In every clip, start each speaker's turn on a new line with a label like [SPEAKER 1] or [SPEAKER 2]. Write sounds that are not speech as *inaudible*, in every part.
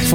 [SPEAKER 1] Ik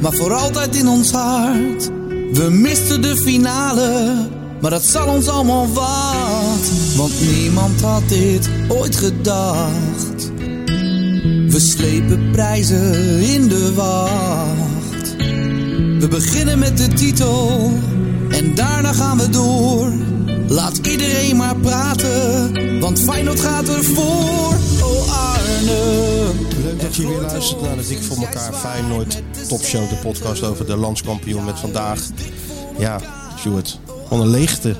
[SPEAKER 2] maar voor altijd in ons hart. We misten de finale, maar dat zal ons allemaal wat. Want niemand had dit ooit gedacht. We slepen prijzen in de wacht. We beginnen met de titel en daarna gaan we door. Laat iedereen maar praten, want Feyenoord gaat ervoor. Oh Arne.
[SPEAKER 3] Leuk dat je weer luistert naar de Dik voor elkaar Feyenoord Topshow, de podcast over de landskampioen met vandaag. Ja, Stuart, van een leegte.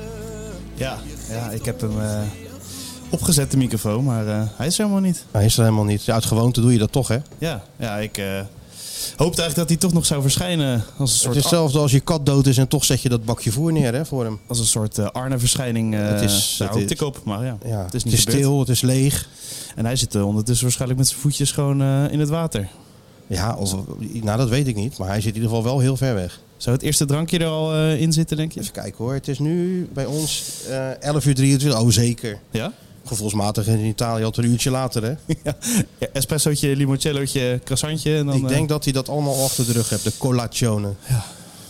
[SPEAKER 4] Ja, ja ik heb hem eh, opgezet, de microfoon, maar eh, hij is er helemaal niet.
[SPEAKER 3] Hij is er helemaal niet. Ja, uit gewoonte doe je dat toch, hè?
[SPEAKER 4] Ja, ja ik eh, hoopte eigenlijk dat hij toch nog zou verschijnen als een
[SPEAKER 3] Het
[SPEAKER 4] soort,
[SPEAKER 3] is hetzelfde als je kat dood is en toch zet je dat bakje voer neer hè, voor hem.
[SPEAKER 4] als een soort eh, Arne-verschijning. eh,
[SPEAKER 3] Het is-
[SPEAKER 4] daar
[SPEAKER 3] het
[SPEAKER 4] hoopte
[SPEAKER 3] is-
[SPEAKER 4] ik op, maar ja,
[SPEAKER 3] Ja,
[SPEAKER 4] het is niet gebeurd.
[SPEAKER 3] stil, het is leeg.
[SPEAKER 4] En hij zit eh, ondertussen waarschijnlijk met zijn voetjes gewoon eh, in het water.
[SPEAKER 3] Ja, of, nou dat weet ik niet, maar hij zit in ieder geval wel heel ver weg.
[SPEAKER 4] Zou het eerste drankje er al eh, in zitten, denk je?
[SPEAKER 3] *laughs* Even kijken hoor, het is nu bij ons eh 11 uur 23, oh zeker.
[SPEAKER 4] Ja?
[SPEAKER 3] Gevoelsmatig in Italië al een uurtje later hè.
[SPEAKER 4] ja. Espressootje, limoncellootje, croissantje. En dan,
[SPEAKER 3] ik
[SPEAKER 4] eh,
[SPEAKER 3] denk dat hij dat allemaal achter de rug hebt, de colazione.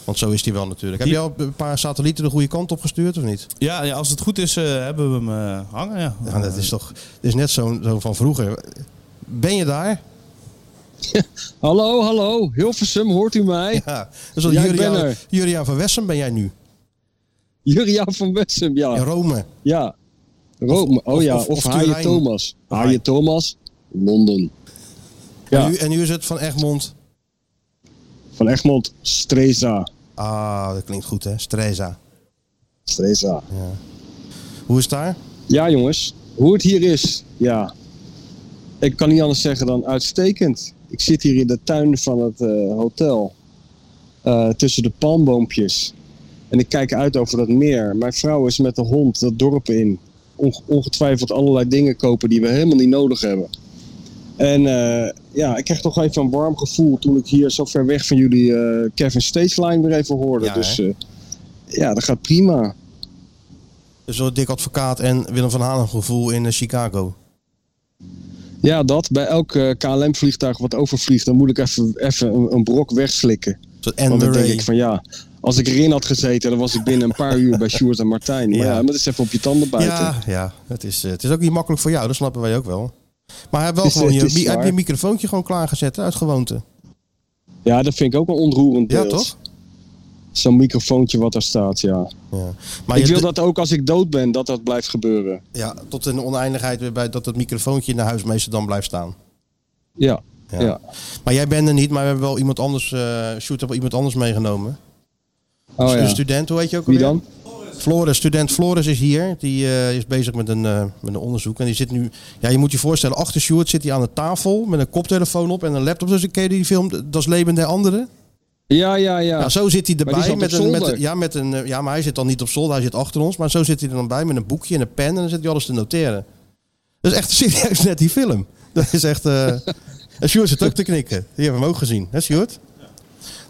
[SPEAKER 3] Want zo is hij wel natuurlijk. Heb
[SPEAKER 4] Die-
[SPEAKER 3] je al een paar satellieten de goede kant op gestuurd of niet?
[SPEAKER 4] ja, ja, als het goed is, eh, hebben we hem eh, hangen, ja.
[SPEAKER 3] *laughs* Ja, dat is toch dat is net zo'n zo van vroeger. Ben je daar?
[SPEAKER 5] Hallo, hallo. Hilversum, hoort u mij? *laughs*
[SPEAKER 3] Ja, dat is al
[SPEAKER 5] Ja, ik ben
[SPEAKER 3] Juriaan,
[SPEAKER 5] er.
[SPEAKER 3] Juriaan van Wessen ben jij nu.
[SPEAKER 5] Juriaan van Wessem,
[SPEAKER 3] In
[SPEAKER 5] ja.
[SPEAKER 3] Rome.
[SPEAKER 5] Ja. Rome, oh
[SPEAKER 3] of-
[SPEAKER 5] ja.
[SPEAKER 3] of-
[SPEAKER 5] Of,
[SPEAKER 3] of
[SPEAKER 5] Haaien
[SPEAKER 3] Turijn.
[SPEAKER 5] Thomas.
[SPEAKER 3] Haaien.
[SPEAKER 5] Haaien Thomas, Londen. Ja,
[SPEAKER 3] En, nu, en nu is het van Egmond.
[SPEAKER 5] van Egmond, Streza.
[SPEAKER 3] Ah, dat klinkt goed hè. Streza.
[SPEAKER 5] Streza.
[SPEAKER 3] Hoe is het daar?
[SPEAKER 5] Ja, jongens. Hoe het hier is, ja. Ik kan niet anders zeggen dan uitstekend. Ik zit hier in de tuin van het eh, hotel. Eh, tussen de palmboompjes. En ik kijk uit over dat meer. Mijn vrouw is met de hond dat dorp in. Onge- ongetwijfeld allerlei dingen kopen die we helemaal niet nodig hebben. En eh, ja, ik kreeg toch even een warm gevoel toen ik hier zo ver weg van jullie eh, Kevin Stageline weer even hoorde.
[SPEAKER 3] Ja, hè?
[SPEAKER 5] dus eh, ja, dat gaat prima.
[SPEAKER 3] Zo'n dik advocaat en Willem van Halen gevoel in eh, Chicago.
[SPEAKER 5] Ja, dat. Bij elk eh, KLM-vliegtuig wat overvliegt, dan moet ik even, even een, een brok wegslikken.
[SPEAKER 3] Zo- En
[SPEAKER 5] Want dan denk
[SPEAKER 3] Murray.
[SPEAKER 5] ik van ja, als ik erin had gezeten, dan was ik binnen een paar uur bij Sjoerd en Martijn. Maar
[SPEAKER 3] Ja.
[SPEAKER 5] ja, maar dat is even op je tanden buiten.
[SPEAKER 3] Ja, ja. Het, is, eh, het is ook niet makkelijk voor jou, dat snappen wij ook wel. Maar heb, wel
[SPEAKER 5] Het is,
[SPEAKER 3] gewoon
[SPEAKER 5] eh,
[SPEAKER 3] je,
[SPEAKER 5] het is
[SPEAKER 3] mi- heb je
[SPEAKER 5] zwaar.
[SPEAKER 3] microfoontje gewoon klaargezet hè, uit gewoonte?
[SPEAKER 5] Ja, dat vind ik ook een ontroerend
[SPEAKER 3] Ja,
[SPEAKER 5] beeld.
[SPEAKER 3] toch?
[SPEAKER 5] Zo'n microfoontje wat daar staat, ja.
[SPEAKER 3] Ja. Maar
[SPEAKER 5] ik
[SPEAKER 3] je
[SPEAKER 5] wil
[SPEAKER 3] d-
[SPEAKER 5] dat ook als ik dood ben, dat dat blijft gebeuren.
[SPEAKER 3] ja, tot een oneindigheid weer bij dat het microfoontje in de huismeester dan blijft staan.
[SPEAKER 5] Ja,
[SPEAKER 3] Ja.
[SPEAKER 5] ja.
[SPEAKER 3] Maar jij bent er niet, maar we hebben wel iemand anders, eh Sjoerd heeft wel iemand anders meegenomen.
[SPEAKER 5] Oh
[SPEAKER 3] Een
[SPEAKER 5] ja.
[SPEAKER 3] student, hoe heet Dus je ook
[SPEAKER 5] Wie
[SPEAKER 3] alweer?
[SPEAKER 5] dan?
[SPEAKER 3] Floris, student Floris is hier. Die eh, is bezig met een, eh, met een onderzoek. En die zit nu, ja, je moet je voorstellen, achter Sjoerd zit hij aan een tafel met een koptelefoon op en een laptop. Dus ik ken je die film, Dat is Leven der Anderen.
[SPEAKER 5] Ja, ja, ja.
[SPEAKER 3] Ja, Nou, zo zit hij
[SPEAKER 5] Maar die
[SPEAKER 3] erbij.
[SPEAKER 5] zat op
[SPEAKER 3] Met een, met
[SPEAKER 5] zolder.
[SPEAKER 3] een- ja, met een, eh, ja, maar hij zit dan niet op zolder, hij zit achter ons. Maar zo zit hij er dan bij met een boekje en een pen en dan zit hij alles te noteren. Dat is echt serieus net die film. Dat is echt...
[SPEAKER 5] *laughs*
[SPEAKER 3] eh en Sjoerd zit ook te knikken. Die hebben we hem ook gezien, hè Sjoerd?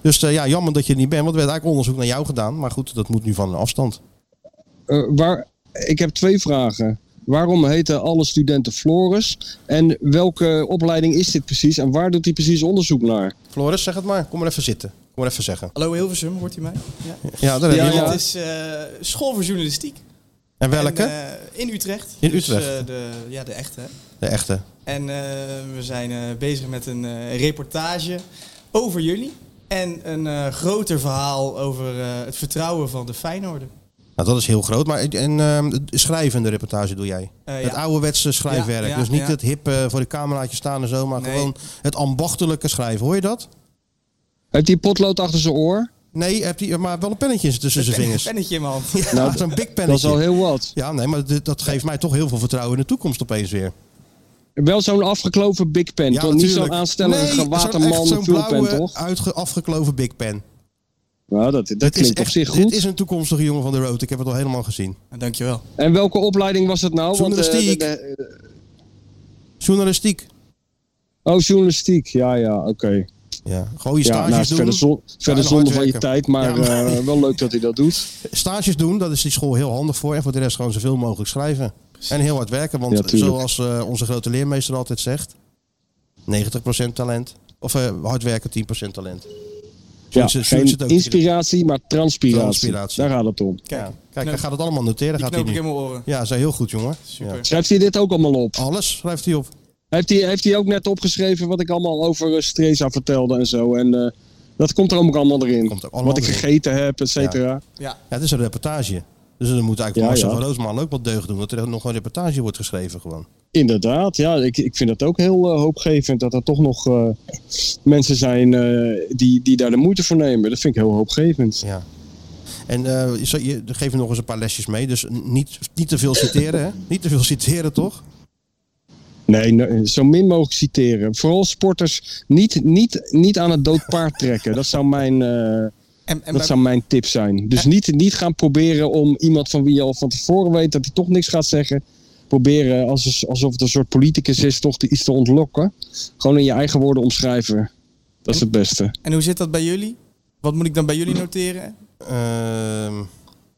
[SPEAKER 3] Dus eh, ja, jammer dat je er niet bent, want er werd eigenlijk onderzoek naar jou gedaan. Maar goed, dat moet nu van een afstand.
[SPEAKER 5] Eh, waar, ik heb twee vragen. Waarom heten alle studenten Floris? En welke opleiding is dit precies? En waar doet hij precies onderzoek naar?
[SPEAKER 3] Floris, zeg het maar. Kom maar even zitten. Kom maar even zeggen.
[SPEAKER 6] Hallo Hilversum, hoort u mij? Ja.
[SPEAKER 3] Ja, daar heb je
[SPEAKER 5] Ja,
[SPEAKER 6] Het
[SPEAKER 3] iemand.
[SPEAKER 5] ja.
[SPEAKER 6] is eh, school voor journalistiek.
[SPEAKER 3] En welke?
[SPEAKER 6] En, eh, in Utrecht.
[SPEAKER 3] In
[SPEAKER 6] Dus,
[SPEAKER 3] Utrecht.
[SPEAKER 6] eh, de, ja, de echte. hè.
[SPEAKER 3] de echte.
[SPEAKER 6] En eh, we zijn eh, bezig met een eh, reportage over jullie. En een eh, groter verhaal over eh, het vertrouwen van de Feyenoorden.
[SPEAKER 3] Nou, dat is heel groot. Maar en, ehm, de schrijvende reportage doe jij?
[SPEAKER 6] Eh,
[SPEAKER 3] Het
[SPEAKER 6] ja.
[SPEAKER 3] ouderwetse schrijfwerk.
[SPEAKER 6] Ja, ja,
[SPEAKER 3] dus niet
[SPEAKER 6] ja.
[SPEAKER 3] het hippe voor de cameraatje staan en zo, maar
[SPEAKER 6] Nee.
[SPEAKER 3] gewoon het ambachtelijke schrijven. Hoor je dat?
[SPEAKER 5] Heeft hij potlood achter zijn oor?
[SPEAKER 3] Nee, heb die, maar wel een pennetje in- tussen zijn
[SPEAKER 6] *laughs*
[SPEAKER 3] vingers.
[SPEAKER 6] Pennetje in mijn hand.
[SPEAKER 3] Ja,
[SPEAKER 5] Nou,
[SPEAKER 3] zo'n big
[SPEAKER 5] Dat is
[SPEAKER 3] pennetje.
[SPEAKER 5] al heel wat.
[SPEAKER 3] Ja, nee, maar dit- dat geeft mij toch heel veel vertrouwen in de toekomst opeens weer.
[SPEAKER 5] Wel zo'n afgekloven big pen.
[SPEAKER 3] Ja,
[SPEAKER 5] toch niet
[SPEAKER 3] natuurlijk.
[SPEAKER 5] zo'n aanstellerige
[SPEAKER 3] Nee,
[SPEAKER 5] waterman
[SPEAKER 3] Zo'n echt zo'n
[SPEAKER 5] vulpen,
[SPEAKER 3] blauwe,
[SPEAKER 5] toch?
[SPEAKER 3] uitge, afgekloven big pen.
[SPEAKER 5] Nou, dat, dat
[SPEAKER 3] Dit is
[SPEAKER 5] klinkt op
[SPEAKER 3] echt-
[SPEAKER 5] zich
[SPEAKER 3] Dit
[SPEAKER 5] goed.
[SPEAKER 3] is een toekomstige jongen van de road. Ik heb het al helemaal gezien.
[SPEAKER 6] Nou, Dankjewel.
[SPEAKER 5] En welke opleiding was dat nou? Want, eh,
[SPEAKER 3] Journalistiek.
[SPEAKER 5] de- de-
[SPEAKER 3] Journalistiek.
[SPEAKER 5] oh, journalistiek. Ja, ja, oké.
[SPEAKER 3] Ja, gewoon je
[SPEAKER 5] Ja,
[SPEAKER 3] stages
[SPEAKER 5] nou,
[SPEAKER 3] doen.
[SPEAKER 5] verder, zon, verder
[SPEAKER 3] en
[SPEAKER 5] zonde
[SPEAKER 3] hard
[SPEAKER 5] van je
[SPEAKER 3] werken.
[SPEAKER 5] tijd, maar,
[SPEAKER 3] Ja, maar-
[SPEAKER 5] eh, wel leuk dat hij dat doet.
[SPEAKER 3] Stages doen, dat is die school heel handig voor. En voor de rest gewoon zoveel mogelijk schrijven. En heel hard werken.
[SPEAKER 5] Ja,
[SPEAKER 3] Want
[SPEAKER 5] tuurlijk.
[SPEAKER 3] zoals eh, onze grote leermeester altijd zegt. 90% talent. Of eh, hard werken, 10% talent.
[SPEAKER 5] Ja,
[SPEAKER 3] Zoiets- zoiets
[SPEAKER 5] geen
[SPEAKER 3] het ook.
[SPEAKER 5] inspiratie, maar transpiratie.
[SPEAKER 3] Transpiratie.
[SPEAKER 5] Daar gaat het om.
[SPEAKER 6] Kijk,
[SPEAKER 3] Ja. Kijk, hij
[SPEAKER 6] Knop.
[SPEAKER 3] gaat het allemaal noteren.
[SPEAKER 6] die
[SPEAKER 3] Gaat hij
[SPEAKER 6] knoop ik
[SPEAKER 3] nu.
[SPEAKER 6] in mijn oren.
[SPEAKER 3] Ja, zijn heel goed, jongen.
[SPEAKER 6] Super.
[SPEAKER 3] Ja.
[SPEAKER 5] Schrijft hij dit ook allemaal op?
[SPEAKER 3] Alles schrijft hij op.
[SPEAKER 5] Heeft hij, heeft hij ook net opgeschreven wat ik allemaal over eh, Streza vertelde en zo. En eh, dat komt er ook allemaal erin.
[SPEAKER 3] Komt ook allemaal
[SPEAKER 5] wat ik
[SPEAKER 3] erin.
[SPEAKER 5] gegeten heb, et cetera.
[SPEAKER 3] Ja, het is een reportage. Dus dan moet eigenlijk
[SPEAKER 5] Ja,
[SPEAKER 3] Marcel
[SPEAKER 5] ja.
[SPEAKER 3] van Roosmalen ook wat deugd doen. Dat er nog een reportage wordt geschreven gewoon.
[SPEAKER 5] Inderdaad, ja. Ik, ik vind dat ook heel eh, hoopgevend. Dat er toch nog eh, mensen zijn eh, die, die daar de moeite voor nemen. Dat vind ik heel hoopgevend.
[SPEAKER 3] Ja. En eh, je- je geef nog eens een paar lesjes mee. Dus niet, niet te veel citeren, hè? Niet te veel citeren, toch?
[SPEAKER 5] Nee, nee, zo min mogelijk citeren. Vooral sporters niet, niet, niet aan het dood paard trekken. Dat zou mijn, eh,
[SPEAKER 6] En, en
[SPEAKER 5] dat
[SPEAKER 6] bij,
[SPEAKER 5] zou mijn tip zijn. Dus niet, niet gaan proberen om iemand van wie je al van tevoren weet dat hij toch niks gaat zeggen. Proberen als, alsof het een soort politicus is toch te- iets te ontlokken. Gewoon in je eigen woorden omschrijven. Dat is het beste.
[SPEAKER 6] en hoe zit dat bij jullie? Wat moet ik dan bij jullie noteren?
[SPEAKER 3] Ehm,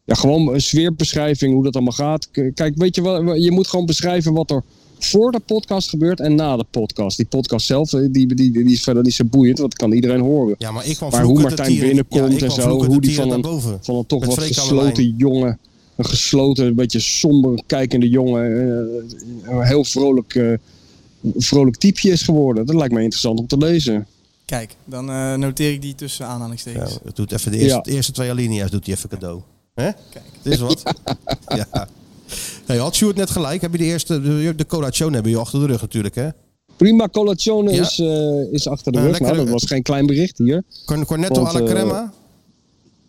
[SPEAKER 5] Ja, gewoon een sfeerbeschrijving, hoe dat allemaal gaat. K- Kijk, weet je wel, je moet gewoon beschrijven wat er voor de podcast gebeurt en na de podcast. Die podcast zelf, eh, die, die, die is verder niet zo boeiend, want dat kan iedereen horen.
[SPEAKER 3] ja, maar ik kwam
[SPEAKER 5] Maar
[SPEAKER 3] vroeger
[SPEAKER 5] hoe
[SPEAKER 3] te
[SPEAKER 5] Martijn
[SPEAKER 3] tieren-
[SPEAKER 5] binnenkomt
[SPEAKER 3] ja, ik
[SPEAKER 5] en
[SPEAKER 3] kwam
[SPEAKER 5] zo,
[SPEAKER 3] vroeger
[SPEAKER 5] hoe
[SPEAKER 3] te
[SPEAKER 5] die
[SPEAKER 3] tieren
[SPEAKER 5] van
[SPEAKER 3] naar boven.
[SPEAKER 5] Van een toch
[SPEAKER 3] Met
[SPEAKER 5] wat
[SPEAKER 3] Freek aan de
[SPEAKER 5] gesloten jongen, een gesloten, een beetje somber kijkende jongen, eh, een heel vrolijk, eh, vrolijk typeje is geworden. Dat lijkt mij interessant om te lezen.
[SPEAKER 6] Kijk, dan eh, noteer ik die tussen
[SPEAKER 3] Ja,
[SPEAKER 6] aanhalingstekens.
[SPEAKER 3] het doet even de eerste,
[SPEAKER 5] Ja.
[SPEAKER 3] de eerste twee alinea's doet hij even cadeau. Hè?
[SPEAKER 6] Kijk.
[SPEAKER 3] Het is wat. *laughs* ja. Nee, had Sjoerd net gelijk. Heb je de eerste, de, de Colazione hebben je achter de rug natuurlijk, hè?
[SPEAKER 5] Prima Colazione
[SPEAKER 3] Ja.
[SPEAKER 5] is, eh, is achter de
[SPEAKER 3] Ja,
[SPEAKER 5] rug.
[SPEAKER 3] lekker,
[SPEAKER 5] nou, dat
[SPEAKER 3] eh,
[SPEAKER 5] was geen klein bericht hier.
[SPEAKER 3] Corn- Cornetto
[SPEAKER 5] Want,
[SPEAKER 3] alla
[SPEAKER 5] eh,
[SPEAKER 3] crema.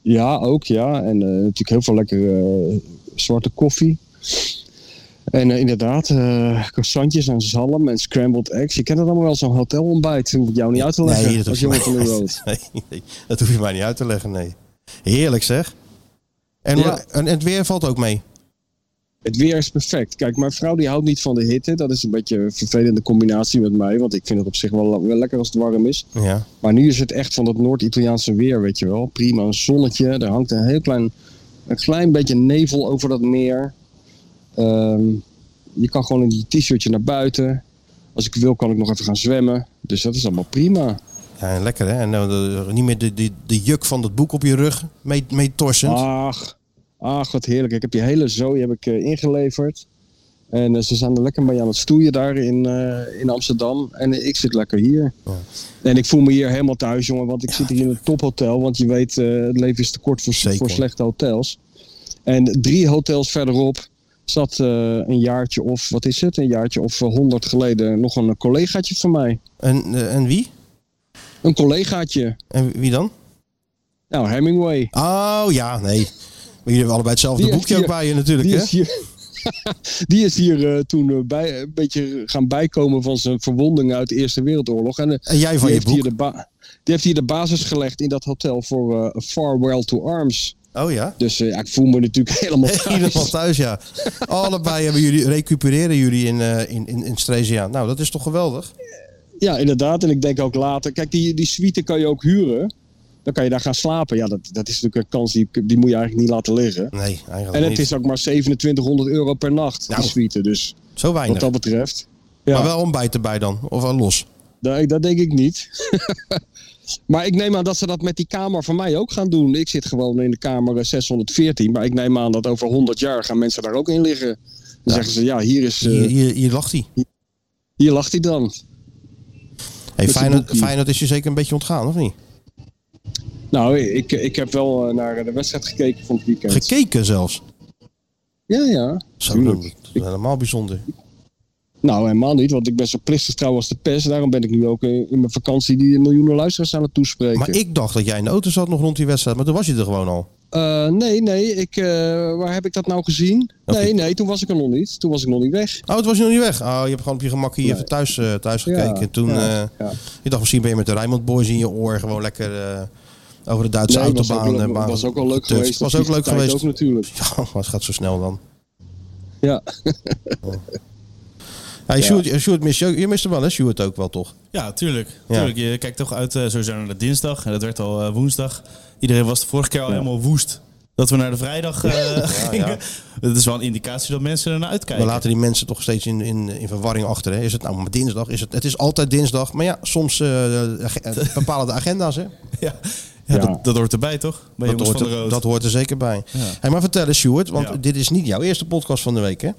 [SPEAKER 5] Ja, ook ja. En eh, natuurlijk heel veel lekkere eh, zwarte koffie. En eh, inderdaad, eh croissantjes en zalm en scrambled eggs. Je kent het allemaal wel, zo'n hotelontbijt. Hoef ik jou niet uit te leggen
[SPEAKER 3] Nee, dat
[SPEAKER 5] als
[SPEAKER 3] hoef je
[SPEAKER 5] jongen
[SPEAKER 3] mij-
[SPEAKER 5] van de
[SPEAKER 3] *laughs*
[SPEAKER 5] road.
[SPEAKER 3] Nee, nee, dat hoef je mij niet uit te leggen, nee. Heerlijk zeg. En,
[SPEAKER 5] Ja.
[SPEAKER 3] wa- en, en het weer valt ook mee.
[SPEAKER 5] Het weer is perfect. Kijk, mijn vrouw die houdt niet van de hitte. Dat is een beetje een vervelende combinatie met mij. Want ik vind het op zich wel, wel lekker als het warm is.
[SPEAKER 3] Ja.
[SPEAKER 5] Maar nu is het echt van dat Noord-Italiaanse weer, weet je wel. Prima, een zonnetje. Er hangt een heel klein, een klein beetje nevel over dat meer. Ehm, je kan gewoon in die t-shirtje naar buiten. Als ik wil, kan ik nog even gaan zwemmen. Dus dat is allemaal prima.
[SPEAKER 3] ja en lekker hè. En eh, niet meer de, de, de juk van dat boek op je rug mee, mee torsend.
[SPEAKER 5] Ah. Ach, ach, wat heerlijk. Ik heb die hele zooi heb ik, eh, ingeleverd. En eh, ze zijn er lekker mee aan het stoeien daar in, eh, in Amsterdam. En ik zit lekker hier. En ik voel me hier helemaal thuis, jongen. Want ik zit hier in een tophotel. Want je weet, eh, het leven is te kort voor,
[SPEAKER 3] Zeker.
[SPEAKER 5] voor slechte hotels. En drie hotels verderop zat eh, een jaartje of, wat is het? Een jaartje of eh, honderd geleden nog een collegaatje van mij.
[SPEAKER 3] En, eh, en wie?
[SPEAKER 5] Een collegaatje.
[SPEAKER 3] En wie dan?
[SPEAKER 5] Nou, Hemingway.
[SPEAKER 3] Oh ja, nee. Maar jullie hebben allebei hetzelfde
[SPEAKER 5] Die
[SPEAKER 3] boekje
[SPEAKER 5] heeft
[SPEAKER 3] ook bij je natuurlijk
[SPEAKER 5] Die
[SPEAKER 3] hè.
[SPEAKER 5] is hier, *laughs* die is hier eh, toen eh, bij, een beetje gaan bijkomen van zijn verwondingen uit de Eerste Wereldoorlog. En, eh,
[SPEAKER 3] En jij van
[SPEAKER 5] die,
[SPEAKER 3] je
[SPEAKER 5] heeft
[SPEAKER 3] boek.
[SPEAKER 5] hier de ba- die heeft hier de basis gelegd in dat hotel voor eh, Farewell to Arms.
[SPEAKER 3] Oh ja.
[SPEAKER 5] Dus eh, ja, ik voel me natuurlijk *laughs* helemaal
[SPEAKER 3] *laughs*
[SPEAKER 5] thuis.
[SPEAKER 3] Helemaal thuis, ja. Allebei hebben jullie, recupereren jullie in, eh in, in, in Strezia. Nou, dat is toch geweldig?
[SPEAKER 5] Ja, inderdaad. En ik denk ook later. Kijk, die, die suite kan je ook huren. Dan kan je daar gaan slapen. Ja, dat, dat is natuurlijk een kans die, die moet je eigenlijk niet laten liggen.
[SPEAKER 3] Nee, eigenlijk
[SPEAKER 5] En het
[SPEAKER 3] niet.
[SPEAKER 5] is ook maar 2700 euro per nacht,
[SPEAKER 3] Nou,
[SPEAKER 5] die suite. Dus
[SPEAKER 3] Zo
[SPEAKER 5] wat
[SPEAKER 3] weinig.
[SPEAKER 5] dat betreft. Ja.
[SPEAKER 3] Maar wel ontbijt erbij dan. Of wel los.
[SPEAKER 5] Nee, dat denk ik niet. *laughs* maar ik neem aan dat ze dat met die kamer van mij ook gaan doen. Ik zit gewoon in de kamer eh, 614. Maar ik neem aan dat over 100 jaar gaan mensen daar ook in liggen. Dan zeggen ze, ja, hier, is, eh,
[SPEAKER 3] Hier,
[SPEAKER 5] hier,
[SPEAKER 3] hier, hier lacht hij.
[SPEAKER 5] lag hij dan.
[SPEAKER 3] Hey,
[SPEAKER 5] Met zijn
[SPEAKER 3] Feyenoord,
[SPEAKER 5] boekje.
[SPEAKER 3] Feyenoord is je zeker een beetje ontgaan, of niet?
[SPEAKER 5] Nou, ik, ik heb wel eh, naar de wedstrijd gekeken van het weekend.
[SPEAKER 3] Gekeken zelfs.
[SPEAKER 5] ja, ja.
[SPEAKER 3] Zo,
[SPEAKER 5] Tuurlijk.
[SPEAKER 3] dat is helemaal bijzonder.
[SPEAKER 5] Nou, helemaal niet, want ik ben zo plichtig trouw als de pers. Daarom ben ik nu ook eh, in mijn vakantie die miljoenen luisteraars aan het toespreken.
[SPEAKER 3] Maar ik dacht dat jij in de auto zat nog rond die wedstrijd, maar toen was je er gewoon al.
[SPEAKER 5] Eh, nee, nee, ik, eh, waar heb ik dat nou gezien? Nee, nee, toen was ik er nog niet. Toen was ik nog niet weg.
[SPEAKER 3] Oh, het was je nog niet weg. Oh, je hebt gewoon op je gemak hier even thuis, eh, thuis
[SPEAKER 5] Ja,
[SPEAKER 3] gekeken. En toen,
[SPEAKER 5] ja,
[SPEAKER 3] eh,
[SPEAKER 5] ja.
[SPEAKER 3] ik dacht misschien ben je met de Rijnmond Boys in je oor gewoon lekker eh, over de Duitse
[SPEAKER 5] Nee, was ook,
[SPEAKER 3] autobaan.
[SPEAKER 5] wel-
[SPEAKER 3] eh, baan
[SPEAKER 5] was ook wel leuk
[SPEAKER 3] getust.
[SPEAKER 5] geweest.
[SPEAKER 3] Was ook leuk
[SPEAKER 5] Tijd
[SPEAKER 3] geweest.
[SPEAKER 5] Ook natuurlijk.
[SPEAKER 3] Ja, *laughs* maar het gaat zo snel dan.
[SPEAKER 5] Ja. *laughs*
[SPEAKER 3] Hey, Sjoerd, eh, Sjoerd mis je, ook- je mist hem wel, hè? Sjoerd ook wel, toch?
[SPEAKER 4] Ja, tuurlijk.
[SPEAKER 3] Ja.
[SPEAKER 4] tuurlijk. Je kijkt toch uit eh, sowieso naar de dinsdag. En dat werd al eh, woensdag. Iedereen was de vorige keer al helemaal woest. Dat we naar de vrijdag eh, gingen. Dat is wel een indicatie dat mensen ernaar
[SPEAKER 3] We
[SPEAKER 4] uitkijken.
[SPEAKER 3] laten die mensen toch steeds in, in, in verwarring achter. Hè? Is het nou maar dinsdag? Is het, het is altijd dinsdag. Maar ja, soms eh, de ag- eh, bepalen de
[SPEAKER 4] *laughs*
[SPEAKER 3] agenda's. Hè?
[SPEAKER 4] Ja, ja,
[SPEAKER 5] Ja.
[SPEAKER 4] Dat, dat hoort erbij, toch? Bij
[SPEAKER 3] Dat,
[SPEAKER 4] jongens
[SPEAKER 3] hoort
[SPEAKER 4] van de
[SPEAKER 3] er,
[SPEAKER 4] Rood.
[SPEAKER 3] dat hoort er zeker bij. Hey, maar vertel eens, Sjoerd, want
[SPEAKER 4] Ja.
[SPEAKER 3] dit is niet jouw eerste podcast van de week. Hè?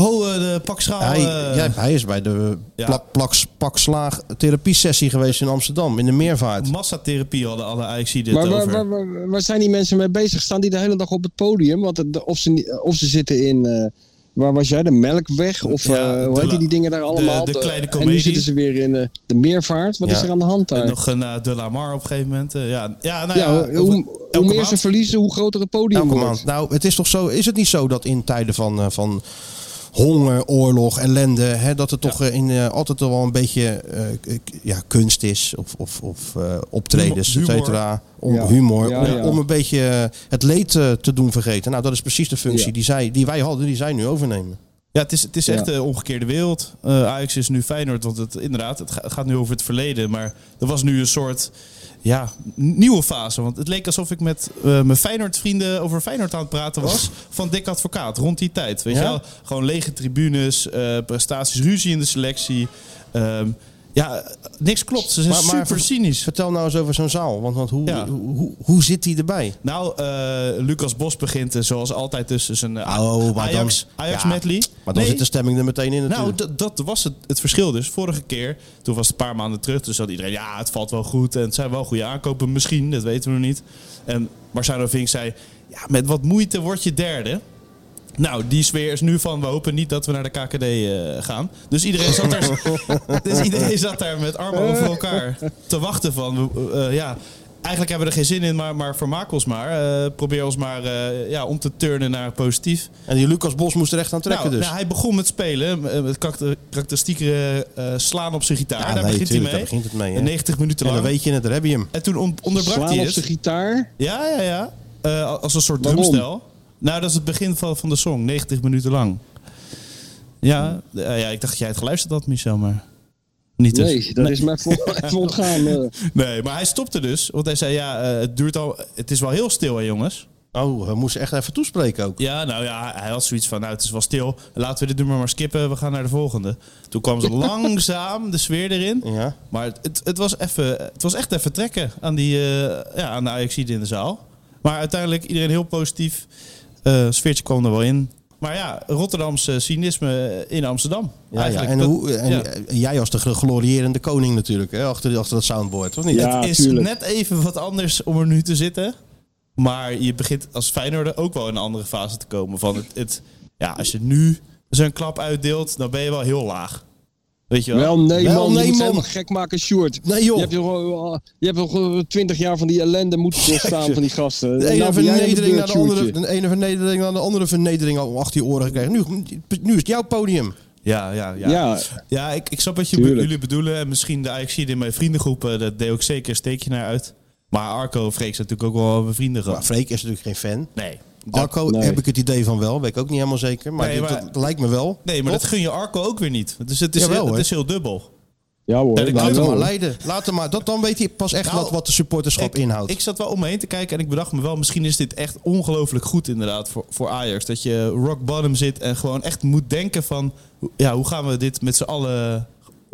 [SPEAKER 4] Oh, eh, de pakschaal.
[SPEAKER 3] hij,
[SPEAKER 4] eh,
[SPEAKER 3] jij- hij is bij de
[SPEAKER 4] ja.
[SPEAKER 3] plak, plaks, pakslaag therapiesessie geweest in Amsterdam, in de meervaart.
[SPEAKER 4] Massatherapie hadden alle AXI dit
[SPEAKER 5] Maar waar,
[SPEAKER 4] over.
[SPEAKER 5] waar, waar, waar zijn die mensen mee bezig? Staan die de hele dag op het podium? Want het- of, ze, niet- of ze zitten in. eh, waar was jij? De Melkweg? Of
[SPEAKER 4] Ja,
[SPEAKER 5] eh,
[SPEAKER 4] de
[SPEAKER 5] hoe heet
[SPEAKER 4] la-
[SPEAKER 5] die, die dingen daar
[SPEAKER 4] de-
[SPEAKER 5] allemaal?
[SPEAKER 4] de kleine
[SPEAKER 5] En nu
[SPEAKER 4] comedie.
[SPEAKER 5] zitten ze weer in eh, de meervaart. Wat
[SPEAKER 3] Ja.
[SPEAKER 5] is er aan de hand
[SPEAKER 4] En
[SPEAKER 5] daar?
[SPEAKER 4] nog een eh, De La Mar op een gegeven moment. eh, ja, ja, nou
[SPEAKER 5] ja,
[SPEAKER 4] ja,
[SPEAKER 5] hoe, hoe
[SPEAKER 4] elke
[SPEAKER 5] meer ze
[SPEAKER 4] maand.
[SPEAKER 5] verliezen, hoe groter het podium
[SPEAKER 3] Elke
[SPEAKER 5] wordt.
[SPEAKER 3] maand. Nou, het is toch zo. Is het niet zo dat in tijden van, eh, van honger, oorlog, ellende, hè, dat er toch eh, in, eh, altijd wel een beetje eh, k- ja, kunst is of, of, of eh, optredens, et
[SPEAKER 4] Humor.
[SPEAKER 3] cetera, om
[SPEAKER 5] Ja.
[SPEAKER 3] humor,
[SPEAKER 5] Ja,
[SPEAKER 3] om,
[SPEAKER 5] ja.
[SPEAKER 3] om een beetje eh, het leed eh, te doen vergeten. Nou, dat is precies de functie
[SPEAKER 5] Ja.
[SPEAKER 3] die, zij, die wij hadden, die zij nu overnemen.
[SPEAKER 4] Ja, het is, het is
[SPEAKER 5] Ja.
[SPEAKER 4] echt de omgekeerde wereld. Eh, Ajax is nu Feyenoord, want het, inderdaad, het ga- het gaat nu over het verleden. Maar er was nu een soort ja, n- nieuwe fase. Want het leek alsof ik met eh, mijn Feyenoord-vrienden over Feyenoord aan het praten was. Van Dick Advocaat, rond die tijd. Weet je
[SPEAKER 3] Ja?
[SPEAKER 4] wel? Gewoon lege tribunes, eh, prestaties, ruzie in de selectie. Ehm, ja, niks klopt. Ze zijn
[SPEAKER 3] Maar- maar-
[SPEAKER 4] super cynisch.
[SPEAKER 3] Vertel nou eens over zo'n zaal, want, want hoe,
[SPEAKER 4] Ja.
[SPEAKER 3] hoe, hoe, hoe zit die erbij?
[SPEAKER 4] Nou, eh, Lucas Bos begint eh, zoals altijd dus zijn eh,
[SPEAKER 3] Oh, maar dan-
[SPEAKER 4] Ajax, Ajax
[SPEAKER 3] ja.
[SPEAKER 4] medley.
[SPEAKER 3] Maar dan
[SPEAKER 4] Nee,
[SPEAKER 3] zit de stemming er meteen in natuurlijk.
[SPEAKER 4] Nou, dat, dat was het, het verschil dus. Vorige keer, toen was het een paar maanden terug, dus had iedereen, ja, het valt wel goed en het zijn wel goede aankopen misschien, dat weten we nog niet. En Marcelo Vink zei, ja, met wat moeite word je derde. Nou, die sfeer is nu van, we hopen niet dat we naar de KKD eh, gaan. Dus iedereen zat daar, dus iedereen zat daar met armen over elkaar te wachten van, we- eh, ja... Eigenlijk hebben we er geen zin in, maar, maar vermaak ons maar. Eh, probeer ons maar eh, ja, om te turnen naar positief.
[SPEAKER 3] en die Lucas Bos moest er echt aan trekken
[SPEAKER 4] Nou,
[SPEAKER 3] dus.
[SPEAKER 4] nou, hij begon met spelen, eh, met karakter- karakteristieke eh, slaan op zijn gitaar.
[SPEAKER 3] Ja,
[SPEAKER 4] daar,
[SPEAKER 3] nee,
[SPEAKER 4] begint
[SPEAKER 3] tuurlijk,
[SPEAKER 4] hij
[SPEAKER 3] daar
[SPEAKER 4] mee.
[SPEAKER 3] begint het mee, hè.
[SPEAKER 4] En 90 minuten
[SPEAKER 3] en
[SPEAKER 4] lang.
[SPEAKER 3] dan weet je het, daar heb je hem.
[SPEAKER 4] En toen on- onderbrak
[SPEAKER 5] Slaan
[SPEAKER 4] hij
[SPEAKER 5] op zijn
[SPEAKER 4] het.
[SPEAKER 5] gitaar.
[SPEAKER 4] Ja, ja, ja. Eh, als een soort
[SPEAKER 5] Waarom?
[SPEAKER 4] drumstel. Nou, dat is het begin van, van de song, 90 minuten lang. Ja, eh, ja, ik dacht dat jij het geluisterd had, Michel, maar niet dus.
[SPEAKER 5] Nee, dat is mij voor, even ontgaan. eh.
[SPEAKER 4] Nee, maar hij stopte dus, want hij zei, ja, eh, het duurt al, het is wel heel stil, hè, jongens.
[SPEAKER 3] Oh, we moesten echt even toespreken ook.
[SPEAKER 4] Ja, nou ja, hij had zoiets van, nou het is wel stil, laten we dit nummer maar skippen, we gaan naar de volgende. Toen kwam
[SPEAKER 3] *laughs*
[SPEAKER 4] ze langzaam de sfeer erin.
[SPEAKER 3] Ja.
[SPEAKER 4] Maar het- het, het, was even, het was echt even trekken aan, die, eh, ja, aan de Ajaxiden in de zaal. Maar uiteindelijk iedereen heel positief. Eh sfeertje kwam er wel in. Maar ja, Rotterdamse cynisme in Amsterdam.
[SPEAKER 3] Ja, ja.
[SPEAKER 4] Eigenlijk,
[SPEAKER 3] En,
[SPEAKER 4] dat-
[SPEAKER 3] hoe, en,
[SPEAKER 4] ja.
[SPEAKER 3] en jij was de glorierende koning natuurlijk, hè? Achter, die- achter dat soundboard, of niet?
[SPEAKER 5] Ja.
[SPEAKER 4] Het is
[SPEAKER 5] tuurlijk.
[SPEAKER 4] net even wat anders om er nu te zitten. Maar je begint als Feyenoorder ook wel in een andere fase te komen. Van het, het, ja, als je nu zo'n klap uitdeelt, dan ben je wel heel laag. Weet je wel?
[SPEAKER 5] Wel nee,
[SPEAKER 3] Wel,
[SPEAKER 5] man.
[SPEAKER 3] nee,
[SPEAKER 5] je moet
[SPEAKER 3] man.
[SPEAKER 5] helemaal gek maken, Sjoerd.
[SPEAKER 3] Nee, joh.
[SPEAKER 5] Je hebt nog, je hebt nog twintig jaar van die ellende
[SPEAKER 3] *laughs*
[SPEAKER 5] moeten doorstaan van die gasten.
[SPEAKER 3] De
[SPEAKER 5] En
[SPEAKER 3] ene
[SPEAKER 5] nou ben jij
[SPEAKER 3] vernedering naar
[SPEAKER 5] beurt,
[SPEAKER 3] de andere,
[SPEAKER 5] Sjoerdje.
[SPEAKER 3] de ene vernedering naar de andere vernedering al achter je oren gekregen. Nu, nu is het jouw podium.
[SPEAKER 4] Ja, ja, ja.
[SPEAKER 5] Ja.
[SPEAKER 4] Ja, ik, ik snap wat je
[SPEAKER 5] Tuurlijk.
[SPEAKER 4] jullie bedoelen. En misschien de Ajaxide in mijn vriendengroep, eh, daar deed ook zeker een steekje naar uit. Maar Arco of Freek zijn natuurlijk ook wel mijn vrienden
[SPEAKER 3] Maar
[SPEAKER 4] gehad.
[SPEAKER 3] Freek is natuurlijk geen fan.
[SPEAKER 4] Nee. Dat-
[SPEAKER 3] Arco
[SPEAKER 5] nee.
[SPEAKER 3] heb ik het idee van wel, weet ik ook niet helemaal zeker. Maar,
[SPEAKER 4] Nee,
[SPEAKER 3] dit-
[SPEAKER 4] maar-
[SPEAKER 3] dat lijkt me wel.
[SPEAKER 4] nee, maar
[SPEAKER 3] Toch?
[SPEAKER 4] dat gun je Arco ook weer niet. Dus het is,
[SPEAKER 3] Jawel,
[SPEAKER 4] heel,
[SPEAKER 3] hoor.
[SPEAKER 4] het is heel dubbel.
[SPEAKER 5] Ja
[SPEAKER 4] Ja,
[SPEAKER 5] hoor.
[SPEAKER 4] de
[SPEAKER 5] nou,
[SPEAKER 4] kant
[SPEAKER 3] Laat
[SPEAKER 5] wel.
[SPEAKER 3] hem maar leiden. Laat hem maar. Dat, dan weet hij pas echt
[SPEAKER 4] Nou,
[SPEAKER 3] wat, wat de supporterschap
[SPEAKER 4] ik,
[SPEAKER 3] inhoudt.
[SPEAKER 4] Ik zat wel om me heen te kijken en ik bedacht me wel, misschien is dit echt ongelooflijk goed inderdaad voor, voor Ajax. Dat je rock bottom zit en gewoon echt moet denken van, ho- ja, hoe gaan we dit met z'n allen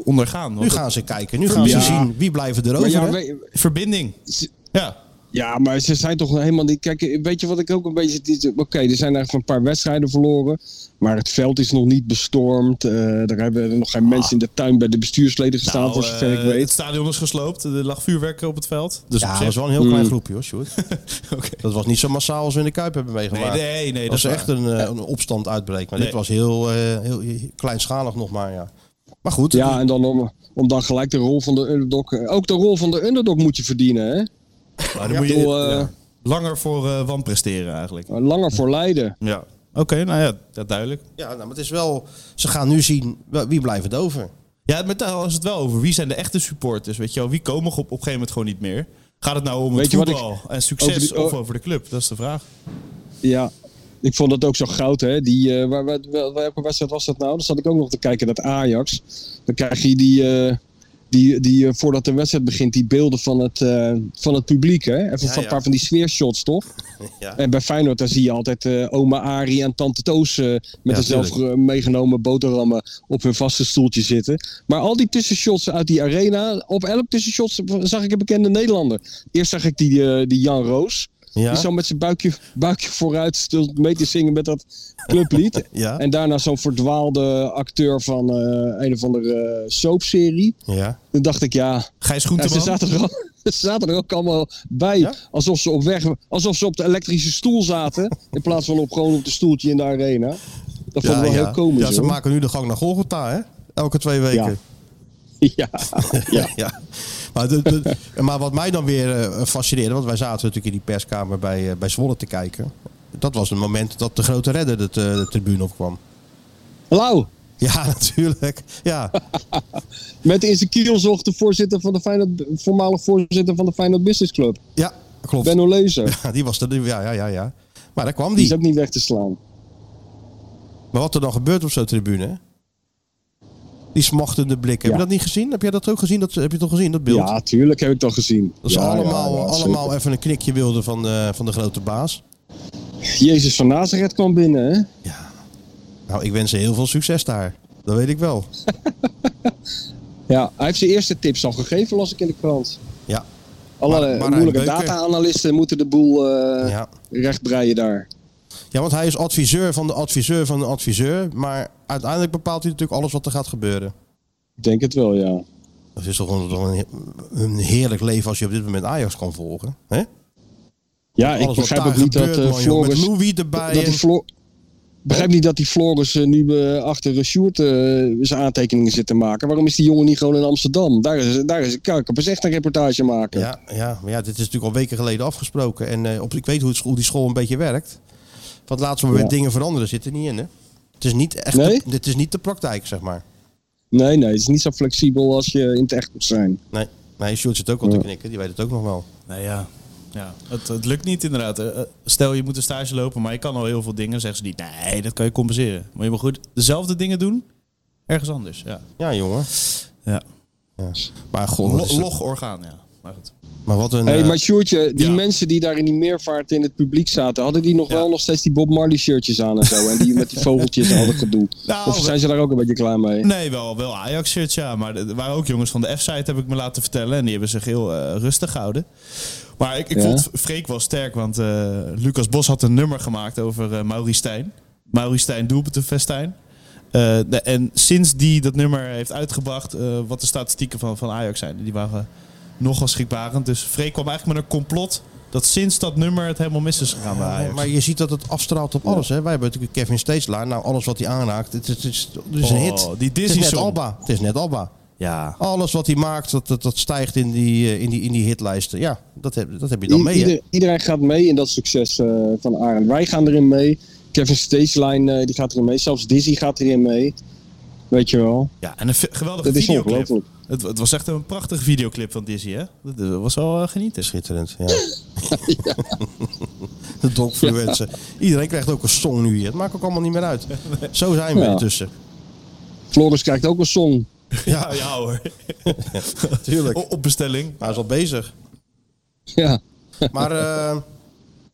[SPEAKER 4] ondergaan?
[SPEAKER 3] nu
[SPEAKER 4] Want
[SPEAKER 3] gaan ze kijken. Nu gaan
[SPEAKER 5] Ja.
[SPEAKER 3] ze zien wie blijven
[SPEAKER 5] Maar
[SPEAKER 3] erover.
[SPEAKER 5] ja,
[SPEAKER 3] hè?
[SPEAKER 5] we-
[SPEAKER 4] het- verbinding. Ja.
[SPEAKER 5] Ja, maar ze zijn toch helemaal niet. Kijk, weet je wat ik ook een beetje. die- Oké, er zijn eigenlijk een paar wedstrijden verloren. Maar het veld is nog niet bestormd. Eh er hebben nog
[SPEAKER 3] Ah.
[SPEAKER 5] geen mensen in de tuin bij de bestuursleden gestaan,
[SPEAKER 4] Nou,
[SPEAKER 5] voor zover
[SPEAKER 4] eh,
[SPEAKER 5] ik weet.
[SPEAKER 4] Het stadion is gesloopt, er lag vuurwerk op het veld. Dus
[SPEAKER 3] Ja,
[SPEAKER 4] op
[SPEAKER 3] dat
[SPEAKER 4] zich-
[SPEAKER 3] was wel een heel
[SPEAKER 5] Mm.
[SPEAKER 3] klein groepje hoor, Sjoerd.
[SPEAKER 4] *laughs* Oké.
[SPEAKER 3] Dat was niet zo massaal als we in de Kuip hebben
[SPEAKER 4] Nee,
[SPEAKER 3] meegemaakt.
[SPEAKER 4] nee, nee.
[SPEAKER 3] dat
[SPEAKER 4] Dat
[SPEAKER 3] is
[SPEAKER 4] is
[SPEAKER 3] echt een, eh, een opstand uitbreekt. Maar dit
[SPEAKER 4] Nee.
[SPEAKER 3] was heel, eh, heel, heel kleinschalig nog maar, ja. Maar goed,
[SPEAKER 5] Ja, en dan om, om dan gelijk de rol van de underdog. eh, Ook de rol van de underdog moet je verdienen, hè?
[SPEAKER 4] waar. Dan moet
[SPEAKER 5] Ik
[SPEAKER 4] je
[SPEAKER 5] bedoel, eh,
[SPEAKER 4] langer voor eh wan presteren eigenlijk.
[SPEAKER 5] Langer voor Leiden.
[SPEAKER 4] Ja. Oké, nou ja, dat duidelijk.
[SPEAKER 3] ja, nou, maar het is wel... Ze gaan nu zien, wel, wie blijft het
[SPEAKER 4] *laughs*
[SPEAKER 3] over?
[SPEAKER 4] Ja, met daar is het wel over. Wie zijn de echte supporters? Weet je wel, wie komen op, op een gegeven moment gewoon niet meer? Gaat het nou om
[SPEAKER 5] Weet
[SPEAKER 4] het
[SPEAKER 5] je wat ik-
[SPEAKER 4] voetbal en succes
[SPEAKER 5] over die- oh.
[SPEAKER 4] of over de club? Dat is de vraag.
[SPEAKER 5] Ja, ik vond dat ook zo goud, hè. Die, eh, waar, waar, wel- welke wedstrijd was dat nou? Dan zat ik ook nog te kijken, dat Ajax. Dan krijg je die, eh, die, die eh, voordat de wedstrijd begint, die beelden van het, eh, van het publiek, hè. Even van,
[SPEAKER 3] ja.
[SPEAKER 5] een paar van die sfeershots, toch?
[SPEAKER 3] Ja.
[SPEAKER 5] En bij Feyenoord, daar zie je altijd eh, oma Ari en tante Toos eh, met de zelf eh, meegenomen boterhammen op hun vaste stoeltje zitten. Maar al die tussenshots uit die arena, op elk tussenshot zag ik een bekende Nederlander. Eerst zag ik die, eh, die Jan Roos.
[SPEAKER 3] Ja,
[SPEAKER 5] Die zo met zijn buikje, buikje vooruit stond mee te zingen met dat clublied.
[SPEAKER 3] *laughs* Ja.
[SPEAKER 5] En daarna zo'n verdwaalde acteur van eh, een of andere eh, soapserie.
[SPEAKER 3] ja.
[SPEAKER 5] Dan dacht ik, ja,
[SPEAKER 4] Gijs
[SPEAKER 5] ja, ze,
[SPEAKER 4] Groenteman?
[SPEAKER 5] zaten er, al- ze zaten er ook *laughs* allemaal bij.
[SPEAKER 3] Ja?
[SPEAKER 5] Alsof, ze op weg, alsof ze op de elektrische stoel zaten. in plaats van op, gewoon op de stoeltje in de arena. Dat vond ik
[SPEAKER 3] ja,
[SPEAKER 5] wel
[SPEAKER 3] ja.
[SPEAKER 5] heel komisch.
[SPEAKER 3] Ja, ze
[SPEAKER 5] hoor.
[SPEAKER 3] maken nu de gang naar Golgotha, hè? Elke twee weken.
[SPEAKER 5] Ja. *laughs* ja. ja.
[SPEAKER 3] Ja, maar, de- de- *laughs* maar wat mij dan weer eh, fascineerde, want wij zaten natuurlijk in die perskamer bij, eh, bij Zwolle te kijken. Dat was het moment dat de grote redder de, eh, de tribune opkwam.
[SPEAKER 5] Lau,
[SPEAKER 3] Ja, *laughs* natuurlijk. Ja,
[SPEAKER 5] met in zijn kielzocht de voorzitter van de Feyenoord, voormalig voorzitter van de Feyenoord Business Club.
[SPEAKER 3] ja klopt.
[SPEAKER 5] Benno Lezer.
[SPEAKER 3] Ja, die was er. nu- Ja, ja, ja, ja. Maar daar kwam
[SPEAKER 5] Die is
[SPEAKER 3] die.
[SPEAKER 5] ook niet weg te slaan.
[SPEAKER 3] Maar wat er dan gebeurt op zo'n tribune? hè? Die smachtende blikken.
[SPEAKER 5] Ja.
[SPEAKER 3] Heb je dat niet gezien? Heb jij dat ook gezien? Dat, heb je toch gezien, dat beeld?
[SPEAKER 5] Ja, tuurlijk heb ik dat gezien.
[SPEAKER 3] Dat ze
[SPEAKER 5] Ja, ja,
[SPEAKER 3] allemaal,
[SPEAKER 5] ja,
[SPEAKER 3] allemaal even een knikje wilden van, eh, van de grote baas.
[SPEAKER 5] zeker. Jezus van Nazareth kwam binnen, hè?
[SPEAKER 3] Nou, ik wens ze heel veel succes daar. Dat weet ik wel.
[SPEAKER 5] Ja, hij heeft zijn eerste tips al gegeven, las ik in de krant.
[SPEAKER 3] Ja.
[SPEAKER 5] Alle
[SPEAKER 3] maar
[SPEAKER 5] moeilijke
[SPEAKER 3] Beuker-
[SPEAKER 5] data-analisten moeten de boel eh
[SPEAKER 3] Ja.
[SPEAKER 5] rechtbreien daar.
[SPEAKER 3] Ja, want hij is adviseur van de adviseur van de adviseur. Maar uiteindelijk bepaalt hij natuurlijk alles wat er gaat gebeuren.
[SPEAKER 5] Ik denk het wel, ja.
[SPEAKER 3] Dat is toch een, toch een, een heerlijk leven als je op dit moment Ajax kan volgen. Hè?
[SPEAKER 5] Ja, ik
[SPEAKER 3] Alles wat
[SPEAKER 5] begrijp
[SPEAKER 3] daar
[SPEAKER 5] ook niet dat
[SPEAKER 3] gebeurt,
[SPEAKER 5] eh
[SPEAKER 3] man, joh,
[SPEAKER 5] Floris...
[SPEAKER 3] Met Louis erbij.
[SPEAKER 5] Dat die
[SPEAKER 3] en-
[SPEAKER 5] Flo- begrijp niet dat die Floris eh, nu eh, achter eh, Sjoerd eh, zijn aantekeningen zit te maken. Waarom is die jongen niet gewoon in Amsterdam? Daar is, daar is Kuikers echt een reportage maken.
[SPEAKER 3] ja, ja, maar ja, dit is natuurlijk al weken geleden afgesproken. En eh, op, ik weet hoe, het, hoe die school een beetje werkt. Want laten we weer
[SPEAKER 5] Ja.
[SPEAKER 3] dingen veranderen zit er niet in. Hè? Het is niet echt
[SPEAKER 5] Nee?
[SPEAKER 3] de, dit is niet de praktijk, zeg maar.
[SPEAKER 5] Nee, nee, het is niet zo flexibel als je in het echt moet zijn.
[SPEAKER 3] Nee, nee Sjoerd zit ook al te knikken. Die weet het ook nog wel.
[SPEAKER 4] Nou ja, ja. Het, het lukt niet inderdaad. Eh, eh, Stel, je moet een stage lopen, maar je kan al heel veel dingen. Zeggen ze niet, nee, dat kan je compenseren. Maar je moet goed dezelfde dingen doen, ergens anders. Ja.
[SPEAKER 3] Ja, jongen.
[SPEAKER 4] Ja.
[SPEAKER 3] Ja. Maar god, wat
[SPEAKER 4] Lo-
[SPEAKER 3] is dat-
[SPEAKER 4] log orgaan, ja. Maar goed.
[SPEAKER 3] maar wat een...
[SPEAKER 5] Hé,
[SPEAKER 3] eh,
[SPEAKER 5] maar Sjoerdje, die
[SPEAKER 4] ja.
[SPEAKER 5] mensen die daar in die meervaart in het publiek zaten, hadden die nog wel nog steeds die Bob Marley shirtjes aan en zo? En die met die vogeltjes en al dat gedoe?
[SPEAKER 4] *laughs* Nou,
[SPEAKER 5] of zijn ze daar ook een beetje klaar mee?
[SPEAKER 4] Nee, wel, wel Ajax-shirts, ja. Maar er waren ook jongens van de F-site, heb ik me laten vertellen. En die hebben zich heel eh, rustig gehouden. Maar ik, ik
[SPEAKER 5] Ja.
[SPEAKER 4] vond Freek wel sterk, want eh, Lucas Bos had een nummer gemaakt over eh Mauri Stijn. Mauri Stijn, doelpuntenfestijn. Eh, de- en sinds die dat nummer heeft uitgebracht, eh, wat de statistieken van, van Ajax zijn. Die waren nogal schrikbarend. Dus Freek kwam eigenlijk met een complot dat sinds dat nummer het helemaal mis is gegaan bij Ajax.
[SPEAKER 3] Maar je ziet dat het afstraalt op alles. Hè? Wij hebben natuurlijk Kevin Steeslaar. Nou, alles wat hij aanraakt, het, is- het is, het is een
[SPEAKER 4] Oh,
[SPEAKER 3] hit.
[SPEAKER 4] die
[SPEAKER 3] het is net
[SPEAKER 4] Disney-song.
[SPEAKER 3] Alba. Het is net Alba.
[SPEAKER 4] ja.
[SPEAKER 3] Alles wat hij maakt, dat, dat, dat stijgt in die, eh, in, die, in die hitlijsten. Ja, dat heb, dat heb je dan
[SPEAKER 5] I-
[SPEAKER 3] mee. hè?
[SPEAKER 5] ieder- iedereen gaat mee in dat succes eh, van Arend. Wij gaan erin mee. Kevin Stageline eh, die gaat erin mee. Zelfs Dizzy gaat erin mee. Weet je wel.
[SPEAKER 4] Ja, en een ve- geweldige
[SPEAKER 5] Dat is
[SPEAKER 4] videoclip.
[SPEAKER 5] ongelooflijk.
[SPEAKER 4] Het, het was echt een prachtige videoclip van Dizzy, hè? Dat eh, was wel eh, genieten.
[SPEAKER 3] Schitterend, ja. *laughs* De dogfluencer. Iedereen krijgt ook een song nu hier. Het maakt ook allemaal niet meer uit. Zo zijn we
[SPEAKER 5] Ja.
[SPEAKER 3] intussen.
[SPEAKER 5] Floris krijgt ook een
[SPEAKER 3] *laughs*
[SPEAKER 5] song.
[SPEAKER 4] Ja, ja hoor. Oh.
[SPEAKER 3] Tuurlijk.
[SPEAKER 4] O- op bestelling.
[SPEAKER 3] Hij is al bezig.
[SPEAKER 5] Ja.
[SPEAKER 3] Maar eh,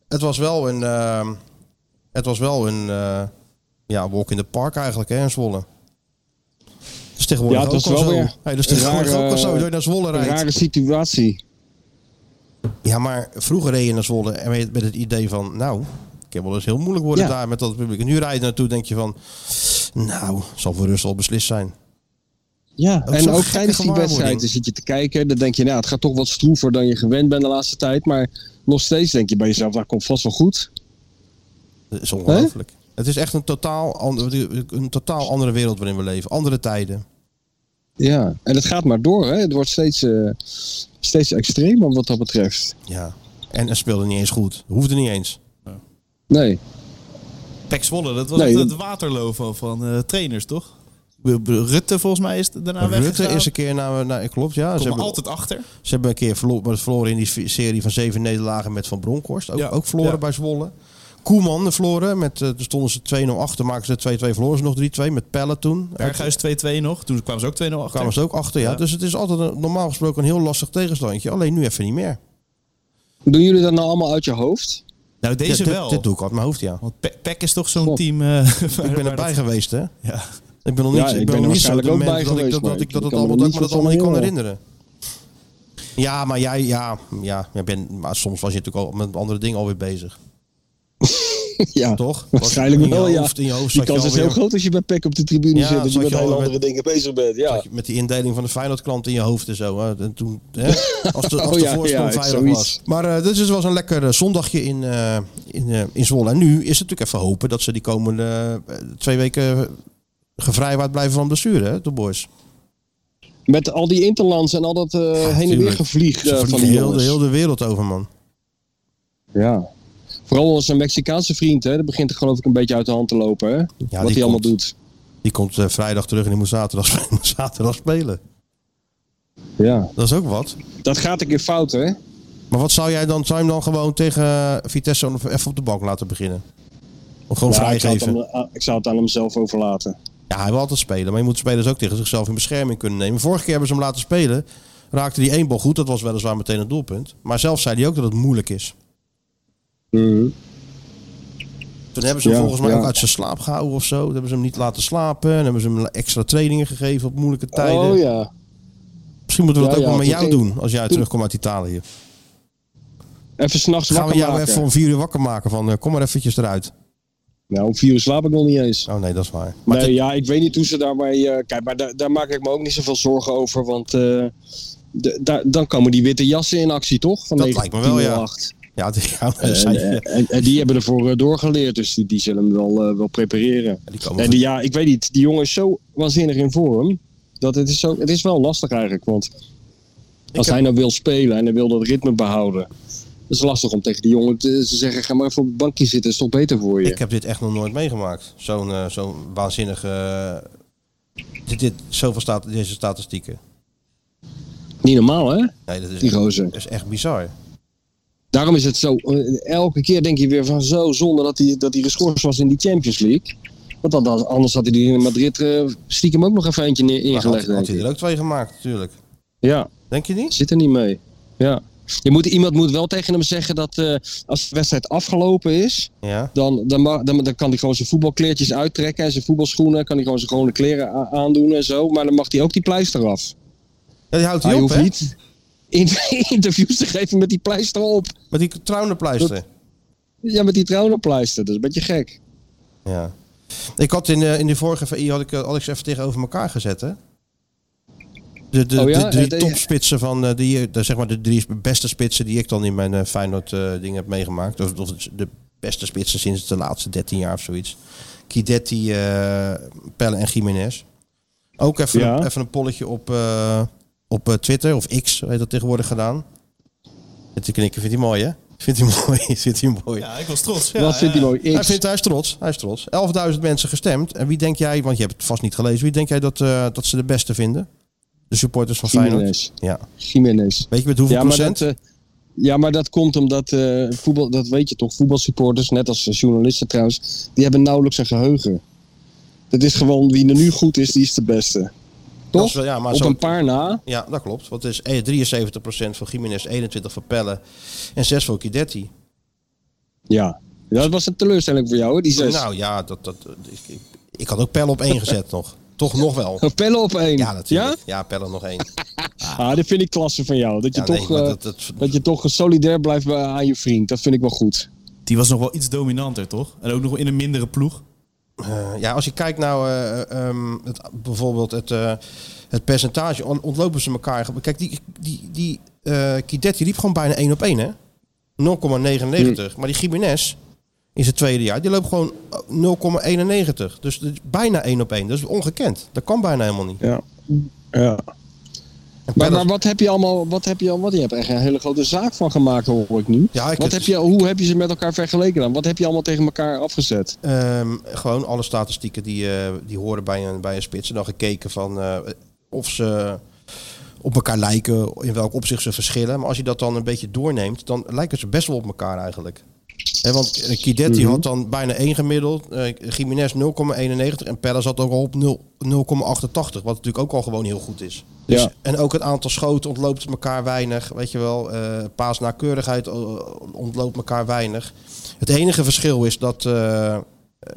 [SPEAKER 3] het was wel een, eh, het was wel een eh, ja, walk in the park eigenlijk, hè, in Zwolle. Dat is tegenwoordig
[SPEAKER 5] Ja, het
[SPEAKER 3] ook
[SPEAKER 5] was
[SPEAKER 3] al
[SPEAKER 5] wel
[SPEAKER 3] zo.
[SPEAKER 5] weer
[SPEAKER 3] Hey, dat is tegenwoordig
[SPEAKER 5] een
[SPEAKER 3] ook al zo,
[SPEAKER 5] rare-
[SPEAKER 3] dat je naar Zwolle
[SPEAKER 5] Een
[SPEAKER 3] rijdt.
[SPEAKER 5] rare situatie.
[SPEAKER 3] Ja, maar vroeger reed je naar Zwolle en met met het idee van, nou, het kan wel eens heel moeilijk worden
[SPEAKER 5] Ja.
[SPEAKER 3] daar met dat publiek. En nu rijd je naartoe, denk je van, nou, zal voor Russel beslist zijn.
[SPEAKER 5] Ja,
[SPEAKER 3] Ook
[SPEAKER 5] en
[SPEAKER 3] zo'n
[SPEAKER 5] ook
[SPEAKER 3] gekke
[SPEAKER 5] tijdens die
[SPEAKER 3] gewaarwording.
[SPEAKER 5] wedstrijd dan zit je te kijken. Dan denk je, nou, het gaat toch wat stroever dan je gewend bent de laatste tijd. Maar nog steeds denk je bij jezelf, dat komt vast wel goed.
[SPEAKER 3] Dat is ongelooflijk. Het is echt een totaal, ander- een totaal andere wereld waarin we leven. Andere tijden.
[SPEAKER 5] Ja, en het gaat maar door. Hè? Het wordt steeds, eh, steeds extremer wat dat betreft.
[SPEAKER 3] Ja. En het speelde niet eens goed. Hoefde niet eens.
[SPEAKER 4] Nou,
[SPEAKER 5] Nee,
[SPEAKER 4] Pek Zwolle, dat was
[SPEAKER 5] Nee,
[SPEAKER 4] het,
[SPEAKER 5] dat-
[SPEAKER 4] het waterloo van- van eh, trainers, toch? Rutte volgens mij is daarna weg.
[SPEAKER 3] Rutte is een keer naar... naar klopt, ja. Ze
[SPEAKER 4] Komen
[SPEAKER 3] hebben,
[SPEAKER 4] altijd achter.
[SPEAKER 3] ze hebben een keer verlo- maar verloren in die v- serie van zeven nederlagen met Van Bronkhorst. Ook,
[SPEAKER 4] Ja.
[SPEAKER 3] ook verloren
[SPEAKER 4] Ja.
[SPEAKER 3] bij Zwolle. Koeman de verloren. Met, eh, toen stonden ze 2-0 achter. Maakten ze 2-2. Verloren ze nog 3-2 met Pelle toen.
[SPEAKER 4] Berghuis 2-2 nog. Toen kwamen ze ook 2-0 achter.
[SPEAKER 3] kwamen ze ook achter, ja.
[SPEAKER 4] Ja.
[SPEAKER 3] Dus het is altijd een- normaal gesproken een heel lastig tegenstandje. Alleen nu even niet meer.
[SPEAKER 5] doen jullie dat nou allemaal uit je hoofd? *laughs*
[SPEAKER 4] Nou,
[SPEAKER 3] Ja,
[SPEAKER 4] deze
[SPEAKER 3] dit,
[SPEAKER 4] wel.
[SPEAKER 3] Dit doe ik uit mijn hoofd, ja.
[SPEAKER 4] Want Pe- Pek is toch zo'n
[SPEAKER 5] Goh.
[SPEAKER 4] team... eh, *laughs*
[SPEAKER 3] Ik ben
[SPEAKER 4] waar
[SPEAKER 3] erbij
[SPEAKER 4] dat-
[SPEAKER 3] geweest, hè.
[SPEAKER 4] Ja.
[SPEAKER 3] Ik ben nog
[SPEAKER 5] Ja,
[SPEAKER 3] niet, ik ben nog niet zo
[SPEAKER 5] waarschijnlijk ook
[SPEAKER 3] dement
[SPEAKER 5] bij
[SPEAKER 3] dat ik
[SPEAKER 5] geweest,
[SPEAKER 3] dat, dat,
[SPEAKER 5] maar
[SPEAKER 3] ik dat,
[SPEAKER 5] ik
[SPEAKER 3] het
[SPEAKER 5] kan me
[SPEAKER 3] allemaal, dat ik
[SPEAKER 5] niet
[SPEAKER 3] me dat allemaal niet
[SPEAKER 5] zoveel
[SPEAKER 3] kan
[SPEAKER 5] herinneren.
[SPEAKER 3] herinneren. Ja, maar jij, ja, ja, jij bent, maar soms was je natuurlijk al met andere dingen alweer bezig,
[SPEAKER 5] ja,
[SPEAKER 3] toch?
[SPEAKER 5] *laughs* waarschijnlijk
[SPEAKER 3] Was- in je
[SPEAKER 5] wel, ja.
[SPEAKER 3] hoofd- in je hoofd
[SPEAKER 5] Die
[SPEAKER 3] zat je
[SPEAKER 5] kans is heel
[SPEAKER 3] alweer-
[SPEAKER 5] groot als je bij Peck op de tribune
[SPEAKER 3] Ja,
[SPEAKER 5] zit. Dat je
[SPEAKER 3] zat
[SPEAKER 5] met
[SPEAKER 3] je
[SPEAKER 5] hele
[SPEAKER 3] alweer
[SPEAKER 5] andere dingen bezig bent. Ja.
[SPEAKER 3] zat je met die indeling van de Feyenoord-klant in je hoofd en zo. Hè? En toen,
[SPEAKER 5] *laughs*
[SPEAKER 3] hè? Als de, als
[SPEAKER 5] Oh
[SPEAKER 3] de
[SPEAKER 5] ja,
[SPEAKER 3] voorsprong
[SPEAKER 5] ja,
[SPEAKER 3] veilig
[SPEAKER 5] zoiets.
[SPEAKER 3] was. Maar eh dus het was een lekker eh, zondagje in, eh, in, eh, in Zwolle. En nu is het natuurlijk even hopen dat ze die komende eh, twee weken gevrijwaard blijven van blessure, hè, de boys.
[SPEAKER 5] Met al die interlands en al dat eh, heen en weer
[SPEAKER 3] tuurlijk.
[SPEAKER 5] gevlieg
[SPEAKER 3] Ze
[SPEAKER 5] eh, van die
[SPEAKER 3] vliegen heel, de,
[SPEAKER 5] jongens.
[SPEAKER 3] heel de wereld over, man.
[SPEAKER 5] Ja. Vooral onze Mexicaanse vriend, hè, dat begint geloof ik een beetje uit de hand te lopen. Hè?
[SPEAKER 3] die
[SPEAKER 5] wat hij
[SPEAKER 3] komt.
[SPEAKER 5] allemaal doet.
[SPEAKER 3] Die komt eh, vrijdag terug en die moet zaterdag, *laughs* spelen- zaterdag spelen.
[SPEAKER 5] Ja.
[SPEAKER 3] Dat is ook wat.
[SPEAKER 5] Dat gaat een keer fout, hè?
[SPEAKER 3] Maar wat zou jij dan, zou je hem dan gewoon tegen eh, Vitesse of even op de bank laten beginnen? Of gewoon
[SPEAKER 5] ik, zou het
[SPEAKER 3] vrijgeven?
[SPEAKER 5] aan, ah, ik zou het aan hemzelf overlaten.
[SPEAKER 3] Ja, hij wil altijd spelen, maar je moet spelers ook tegen zichzelf in bescherming kunnen nemen. Vorige keer hebben ze hem laten spelen, raakte die één bal goed, dat was weliswaar meteen een doelpunt. Maar zelf zei hij ook dat het moeilijk is. Toen hebben ze hem
[SPEAKER 5] Mhm. Ja,
[SPEAKER 3] volgens mij
[SPEAKER 5] ja.
[SPEAKER 3] ook uit zijn slaap gehouden of zo. Toen hebben ze hem niet laten slapen en hebben ze hem extra trainingen gegeven op moeilijke tijden.
[SPEAKER 5] Oh ja.
[SPEAKER 3] Misschien moeten we dat
[SPEAKER 5] Ja,
[SPEAKER 3] ook wel
[SPEAKER 5] ja,
[SPEAKER 3] met
[SPEAKER 5] toen
[SPEAKER 3] jou
[SPEAKER 5] ging-
[SPEAKER 3] doen als jij terugkomt uit Italië.
[SPEAKER 5] Even s'nachts
[SPEAKER 3] Gaan we
[SPEAKER 5] wakker
[SPEAKER 3] jou
[SPEAKER 5] maken.
[SPEAKER 3] even om vier uur wakker maken van eh, kom maar eventjes eruit.
[SPEAKER 5] Nou, om vier uur slaap ik nog niet eens.
[SPEAKER 3] Oh nee, dat is waar.
[SPEAKER 5] nee, ja, ik weet niet hoe ze daarmee... eh, kijk, maar daar, daar maak ik me ook niet zoveel zorgen over, want... eh, d- daar, dan komen die witte jassen in actie, toch? Van
[SPEAKER 3] Dat lijkt me wel, ja.
[SPEAKER 5] 1908.
[SPEAKER 3] Ja, die, *laughs* ja,
[SPEAKER 5] En,
[SPEAKER 3] zei je.
[SPEAKER 5] en, en- en die hebben ervoor eh, doorgeleerd, dus die, die zullen hem wel, eh, wel prepareren.
[SPEAKER 3] Ja, die komen
[SPEAKER 5] En die, ja, ik weet niet. Die jongen is zo waanzinnig in vorm. Dat het, is zo, het is wel lastig eigenlijk. Want als hij nou wil spelen en hij wil dat ritme behouden. Het is lastig om tegen die jongen te, te zeggen: ga maar even op het bankje zitten, is toch beter voor je.
[SPEAKER 3] Ik heb dit echt nog nooit meegemaakt. Zo'n eh, zo'n waanzinnige. eh, dit, dit, zoveel staat, deze statistieken.
[SPEAKER 5] Niet normaal, hè?
[SPEAKER 3] Nee, dat is,
[SPEAKER 5] Die gozer.
[SPEAKER 3] dat is echt bizar.
[SPEAKER 5] Daarom is het zo. eh, Elke keer denk je weer van zo zonde dat hij, dat hij geschorst was in die Champions League. Want dan- dan, anders had hij die in Madrid eh, stiekem ook nog even eentje neer-
[SPEAKER 3] Maar had,
[SPEAKER 5] ingelegd.
[SPEAKER 3] had
[SPEAKER 5] Denk
[SPEAKER 3] hij
[SPEAKER 5] ik.
[SPEAKER 3] er ook twee gemaakt, natuurlijk.
[SPEAKER 5] Ja.
[SPEAKER 3] Denk je niet?
[SPEAKER 5] Zit er niet mee. Ja. Je moet, iemand moet wel tegen hem zeggen dat eh, als de wedstrijd afgelopen is,
[SPEAKER 3] Ja.
[SPEAKER 5] dan, dan, ma- dan, dan kan hij gewoon zijn voetbalkleertjes uittrekken en zijn voetbalschoenen. Kan hij gewoon zijn gewone kleren a- aandoen en zo. Maar dan mag hij ook die pleister af.
[SPEAKER 3] ja die houdt
[SPEAKER 5] hij
[SPEAKER 3] hij op, hè?
[SPEAKER 5] hoeft niet in, *laughs* interviews te geven met die pleister op.
[SPEAKER 3] Met die trouwenpleister.
[SPEAKER 5] Ja, met die trouwenpleister. Dat is een beetje gek.
[SPEAKER 3] Ja. Ik had in, eh, in de vorige VI had ik eh, Alex even tegenover elkaar gezet, hè? De, de,
[SPEAKER 5] Oh ja?
[SPEAKER 3] de drie
[SPEAKER 5] Eh, de-
[SPEAKER 3] topspitsen van eh, die, de, zeg maar de drie beste spitsen die ik dan in mijn eh, Feyenoord eh, ding heb meegemaakt. Of, of de beste spitsen sinds de laatste 13 jaar of zoiets. Kidetti, eh Pelle en Jiménez. Ook even,
[SPEAKER 5] Ja.
[SPEAKER 3] een, even een polletje op, eh, op eh, Twitter of X heet dat tegenwoordig gedaan. Met die knikken vindt hij mooi, hè? Vindt hij *laughs* mooi? Vindt hij mooi?
[SPEAKER 4] Ja, ik was trots. Ja,
[SPEAKER 5] Wat vindt hij
[SPEAKER 4] ja.
[SPEAKER 5] mooi?
[SPEAKER 3] Hij
[SPEAKER 5] Ik,
[SPEAKER 3] vindt, hij is trots. Hij is trots. 11.000 mensen gestemd. En wie denk jij, want je hebt het vast niet gelezen, wie denk jij dat, eh, dat ze de beste vinden? De supporters van Feyenoord.
[SPEAKER 5] Jiménez.
[SPEAKER 3] Ja.
[SPEAKER 5] Jiménez.
[SPEAKER 3] Weet je met hoeveel
[SPEAKER 5] Ja, maar
[SPEAKER 3] procent?
[SPEAKER 5] dat, eh, ja, maar dat komt omdat eh, voetbal, dat weet je toch, voetbalsupporters, net als eh, journalisten trouwens, die hebben nauwelijks een geheugen. Dat is gewoon wie er nu goed is, die is de beste.
[SPEAKER 3] Dat
[SPEAKER 5] Toch?
[SPEAKER 3] is wel- ja, maar
[SPEAKER 5] Op
[SPEAKER 3] zo-
[SPEAKER 5] een paar na.
[SPEAKER 3] Ja, dat klopt. Want het is eh, 73% voor Jiménez, 21 voor Pelle en 6 voor Kidetti.
[SPEAKER 5] Ja. Ja, Dat was een teleurstelling voor jou, hè, die zes.
[SPEAKER 3] Nou ja, dat, dat, ik, ik, ik had ook Pelle op één gezet *laughs* nog. Toch nog wel.
[SPEAKER 5] Of Oh, pellen op één.
[SPEAKER 3] Ja, natuurlijk. Ja, Pelle nog één.
[SPEAKER 5] Ah, dat vind ik klasse van jou. Dat je,
[SPEAKER 3] Ja, nee,
[SPEAKER 5] toch,
[SPEAKER 3] maar
[SPEAKER 5] eh, dat,
[SPEAKER 3] dat- dat-
[SPEAKER 5] je toch solidair blijft bij- aan je vriend. Dat vind ik wel goed.
[SPEAKER 4] Die was nog wel iets dominanter, toch? En ook nog in een mindere ploeg.
[SPEAKER 3] Eh, ja, als je kijkt nou eh, ehm, het, bijvoorbeeld het, eh, het percentage, on- ontlopen ze elkaar. Kijk, die, die, die eh Kidet die liep gewoon bijna 1 op 1, hè? 0,99. Maar die Jiménez in zijn tweede jaar, die loopt gewoon eh, 0,91. Dus dat is bijna 1 op 1. Dat is ongekend. Dat kan bijna helemaal niet.
[SPEAKER 5] Ja. ja.
[SPEAKER 3] En
[SPEAKER 5] Maar,
[SPEAKER 3] Palace-
[SPEAKER 5] maar wat heb je allemaal... Wat heb je, al- wat, je hebt echt een hele grote zaak van gemaakt, hoor ik nu.
[SPEAKER 3] ja, ik
[SPEAKER 5] Wat
[SPEAKER 3] het-
[SPEAKER 5] heb je, hoe heb je ze met elkaar vergeleken dan? Wat heb je allemaal tegen elkaar afgezet?
[SPEAKER 3] Ehm, gewoon alle statistieken die, eh, die horen bij een, bij een spits. En dan gekeken van eh, of ze op elkaar lijken, in welk opzicht ze verschillen. Maar als je dat dan een beetje doorneemt, dan lijken ze best wel op elkaar eigenlijk. Hè, want eh, Kidet die had dan bijna 1 gemiddeld, eh Jiménez 0,91 en Pelle zat ook al op 0 0,88. Wat natuurlijk ook al gewoon heel goed is. Dus,
[SPEAKER 5] Ja.
[SPEAKER 3] En ook het aantal schoten ontloopt elkaar weinig. Weet je wel, eh paasnakkeurigheid eh, ontloopt elkaar weinig. Het enige verschil is dat eh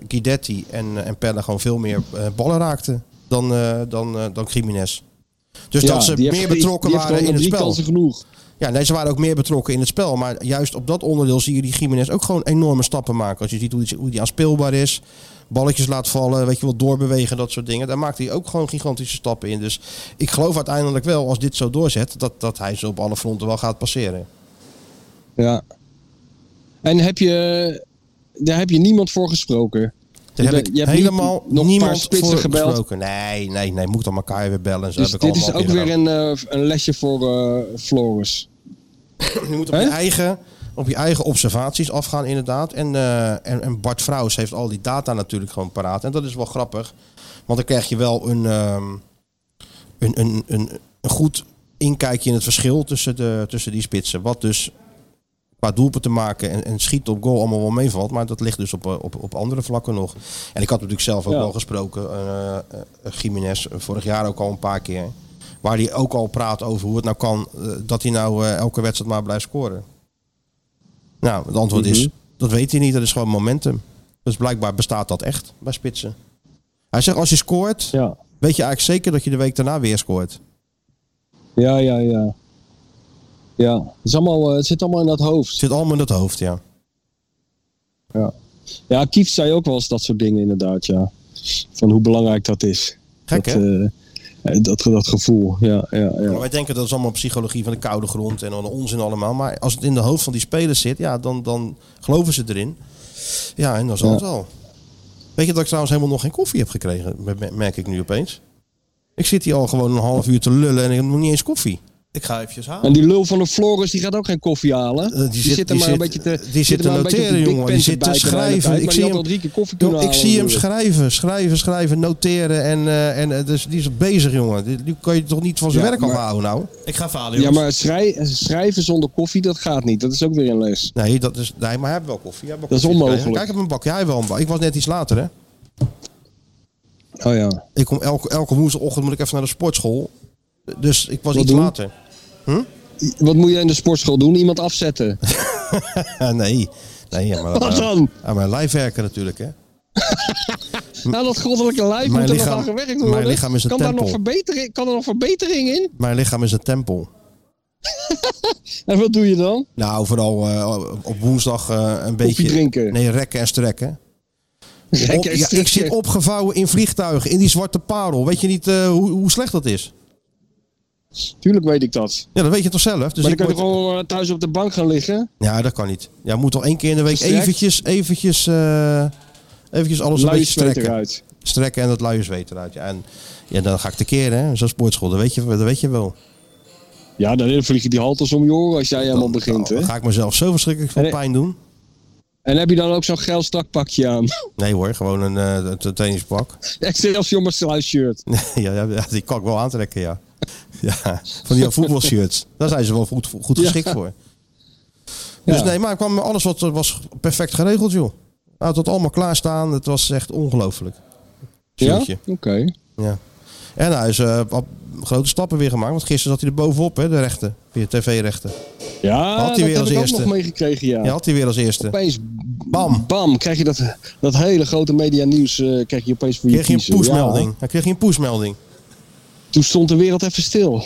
[SPEAKER 3] Guidetti en, en Pelle gewoon veel meer eh, ballen raakten dan, eh dan, eh, dan Jiménez. Dus
[SPEAKER 5] Ja,
[SPEAKER 3] dat ze
[SPEAKER 5] die
[SPEAKER 3] meer
[SPEAKER 5] heeft drie-
[SPEAKER 3] betrokken
[SPEAKER 5] die heeft
[SPEAKER 3] waren
[SPEAKER 5] gewoon
[SPEAKER 3] in het
[SPEAKER 5] drie
[SPEAKER 3] spel.
[SPEAKER 5] kansen genoeg.
[SPEAKER 3] Ja, nee, ze waren ook meer betrokken in het spel. Maar juist op dat onderdeel zie je die Jiménez ook gewoon enorme stappen maken. Als je ziet hoe die, hoe die aanspeelbaar is. Balletjes laat vallen, weet je wel, doorbewegen, dat soort dingen. Daar maakt hij ook gewoon gigantische stappen in. Dus ik geloof uiteindelijk wel, als dit zo doorzet, dat, dat hij ze op alle fronten wel gaat passeren.
[SPEAKER 5] Ja. En heb je, daar heb je niemand voor gesproken?
[SPEAKER 3] Daar
[SPEAKER 5] Je
[SPEAKER 3] heb
[SPEAKER 5] bent-
[SPEAKER 3] ik
[SPEAKER 5] je hebt
[SPEAKER 3] helemaal
[SPEAKER 5] niet- nog een paar
[SPEAKER 3] niemand
[SPEAKER 5] spitsen
[SPEAKER 3] voor
[SPEAKER 5] gebeld.
[SPEAKER 3] gesproken. Nee, nee, nee, moet dan elkaar weer bellen. en Zo
[SPEAKER 5] Dus
[SPEAKER 3] heb ik
[SPEAKER 5] dit is
[SPEAKER 3] allemaal
[SPEAKER 5] ook
[SPEAKER 3] keer
[SPEAKER 5] weer
[SPEAKER 3] gedaan.
[SPEAKER 5] een, eh, een lesje voor eh, Floris.
[SPEAKER 3] Je moet op je,
[SPEAKER 5] Hè?
[SPEAKER 3] eigen, op je eigen observaties afgaan, inderdaad. En, eh, en, en Bart Vrouws heeft al die data natuurlijk gewoon paraat. En dat is wel grappig. Want dan krijg je wel een, ehm, een, een, een, een goed inkijkje in het verschil tussen, de, tussen die spitsen. Wat dus qua doelpunten maken en, en schieten op goal allemaal wel meevalt. Maar dat ligt dus op, eh, op, op andere vlakken nog. En ik had natuurlijk zelf ook
[SPEAKER 5] Ja.
[SPEAKER 3] wel gesproken. eh eh, Jiménez, eh, vorig jaar ook al een paar keer. Waar hij ook al praat over hoe het nou kan eh, dat hij nou eh, elke wedstrijd maar blijft scoren. Nou, het antwoord is, dat weet hij niet. Dat is gewoon momentum. Dus blijkbaar bestaat dat echt bij spitsen. Hij zegt, als je scoort,
[SPEAKER 5] Ja.
[SPEAKER 3] weet je eigenlijk zeker dat je de week daarna weer scoort.
[SPEAKER 5] Ja, ja, ja. Ja, het, is allemaal, eh, het zit allemaal in dat hoofd.
[SPEAKER 3] Zit allemaal in dat hoofd, ja.
[SPEAKER 5] Ja, Kief zei ook wel eens dat soort dingen inderdaad, ja. Van hoe belangrijk dat is.
[SPEAKER 3] Gek,
[SPEAKER 5] dat,
[SPEAKER 3] hè?
[SPEAKER 5] eh, eh, dat, dat gevoel, ja, ja,
[SPEAKER 3] Maar
[SPEAKER 5] ja.
[SPEAKER 3] wij denken dat is allemaal psychologie van de koude grond en allemaal onzin allemaal. Maar als het in de hoofd van die spelers zit, ja, dan, dan geloven ze erin. Ja, en dan zal het wel. Weet je dat ik trouwens helemaal nog geen koffie heb gekregen? Me- me- Merk ik nu opeens. Ik zit hier al gewoon een half uur te lullen en ik heb nog niet eens koffie.
[SPEAKER 4] Ik ga eventjes halen.
[SPEAKER 5] En die lul van de Floris, die gaat ook geen koffie halen.
[SPEAKER 3] Eh, die zit-
[SPEAKER 5] er
[SPEAKER 3] die
[SPEAKER 5] maar
[SPEAKER 3] zit-
[SPEAKER 5] een beetje te,
[SPEAKER 3] die zit
[SPEAKER 5] er
[SPEAKER 3] te
[SPEAKER 5] maar een beetje op
[SPEAKER 3] noteren,
[SPEAKER 5] die Big
[SPEAKER 3] jongen. Die
[SPEAKER 5] Pen
[SPEAKER 3] zit te
[SPEAKER 5] bijten de hele
[SPEAKER 3] schrijven.
[SPEAKER 5] tijd,
[SPEAKER 3] Ik
[SPEAKER 5] maar
[SPEAKER 3] zie
[SPEAKER 5] die had
[SPEAKER 3] hem-
[SPEAKER 5] al drie keer koffie kunnen
[SPEAKER 3] Joh, ik
[SPEAKER 5] halen
[SPEAKER 3] zie hem
[SPEAKER 5] natuurlijk.
[SPEAKER 3] schrijven, schrijven, schrijven, noteren. En, eh, en eh, dus die is bezig, jongen. Die, die kan je toch niet van zijn
[SPEAKER 5] Ja,
[SPEAKER 3] werk
[SPEAKER 5] maar-
[SPEAKER 3] afhouden, nou?
[SPEAKER 4] Ik ga falen,
[SPEAKER 5] Ja,
[SPEAKER 4] jongens.
[SPEAKER 5] maar schrij- schrijven zonder koffie, dat gaat niet. Dat is ook weer een les.
[SPEAKER 3] Nee, dat is, nee maar hij heeft wel koffie. Hij heeft wel
[SPEAKER 5] Dat is
[SPEAKER 3] koffie
[SPEAKER 5] onmogelijk.
[SPEAKER 3] gekregen. Kijk, ik heb een bakje. Hij heeft wel een bak. Ik was net iets later, hè.
[SPEAKER 5] Oh ja.
[SPEAKER 3] Ik kom elke, elke woensdagochtend moet ik even naar de sportschool. Dus ik was
[SPEAKER 5] Wat
[SPEAKER 3] iets
[SPEAKER 5] doen?
[SPEAKER 3] later. *laughs*
[SPEAKER 5] Wat moet jij in de sportschool doen? Iemand
[SPEAKER 3] *laughs*
[SPEAKER 5] afzetten.
[SPEAKER 3] Ah, nee. Nee, ja, maar,
[SPEAKER 5] *laughs* Wat
[SPEAKER 3] maar-
[SPEAKER 5] dan?
[SPEAKER 3] Aan mijn lijf werken natuurlijk, hè.
[SPEAKER 5] Nou, dat goddelijke lijf
[SPEAKER 3] Mijn
[SPEAKER 5] moet er nog
[SPEAKER 3] lichaam-
[SPEAKER 5] aan gewerkt
[SPEAKER 3] mijn
[SPEAKER 5] worden.
[SPEAKER 3] lichaam is een
[SPEAKER 5] kan, Daar
[SPEAKER 3] tempel.
[SPEAKER 5] nog verbetering, kan er nog verbetering in?
[SPEAKER 3] Mijn lichaam is een tempel.
[SPEAKER 5] En wat doe je dan?
[SPEAKER 3] Nou, vooral eh, op woensdag eh, een beetje...
[SPEAKER 5] drinken.
[SPEAKER 3] Nee, rekken en strekken.
[SPEAKER 5] Gekke
[SPEAKER 3] Op- ja, ik
[SPEAKER 5] strikken.
[SPEAKER 3] zit opgevouwen in vliegtuigen, in die zwarte parel. Weet je niet eh, hoe, hoe slecht dat is?
[SPEAKER 5] Tuurlijk weet ik dat.
[SPEAKER 3] Ja, dat weet je toch zelf? Dus
[SPEAKER 5] maar
[SPEAKER 3] ik
[SPEAKER 5] dan kan je
[SPEAKER 3] word-
[SPEAKER 5] gewoon eh, thuis op de bank gaan liggen.
[SPEAKER 3] Ja, dat kan niet. Ja, moet toch één keer in de week
[SPEAKER 5] Gestrekt?
[SPEAKER 3] eventjes, eventjes, eh, eventjes alles een
[SPEAKER 5] Luie
[SPEAKER 3] beetje
[SPEAKER 5] zweet
[SPEAKER 3] strekken.
[SPEAKER 5] eruit.
[SPEAKER 3] Strekken en dat luie zweet eruit. Ja, en ja, dan ga ik tekeer, hè. Zo'n sportschool, dat weet je, dat weet je wel.
[SPEAKER 5] Ja, dan vliegen die halters om je oren als jij helemaal begint.
[SPEAKER 3] Dan
[SPEAKER 5] Hè?
[SPEAKER 3] ga ik mezelf zo verschrikkelijk veel
[SPEAKER 5] Nee.
[SPEAKER 3] pijn doen.
[SPEAKER 5] En heb je dan ook zo'n geel strakpakje aan? *laughs*
[SPEAKER 3] Nee hoor, gewoon een eh, t- tennispak.
[SPEAKER 5] Excelsior Marseille shirt.
[SPEAKER 3] *laughs* ja, ja, ja, die kan ik wel aantrekken, ja. *laughs* ja van die voetbalshirts. Daar zijn ze wel goed, goed geschikt voor. Dus
[SPEAKER 5] Ja.
[SPEAKER 3] nee, maar kwam alles wat was perfect geregeld, joh. Hij had het allemaal klaarstaan. Het was echt ongelooflijk.
[SPEAKER 5] Ja?
[SPEAKER 3] Shirtje.
[SPEAKER 5] Oké.
[SPEAKER 3] Ja. En hij is eh, wat grote stappen weer gemaakt. Want gisteren zat hij er bovenop, hè, de rechten. Via tv-rechten.
[SPEAKER 5] Ja,
[SPEAKER 3] Had hij
[SPEAKER 5] dat
[SPEAKER 3] weer
[SPEAKER 5] heb
[SPEAKER 3] als
[SPEAKER 5] ik
[SPEAKER 3] eerste.
[SPEAKER 5] ook nog meegekregen, ja.
[SPEAKER 3] Ja, had hij weer als eerste.
[SPEAKER 5] Opeens,
[SPEAKER 3] Bam.
[SPEAKER 5] bam, bam, krijg je dat, dat hele grote media nieuws eh, krijg je opeens voor je
[SPEAKER 3] Kreeg je een
[SPEAKER 5] kiezen. Ja.
[SPEAKER 3] pushmelding. Hij kreeg je een pushmelding.
[SPEAKER 5] Toen stond de wereld even stil.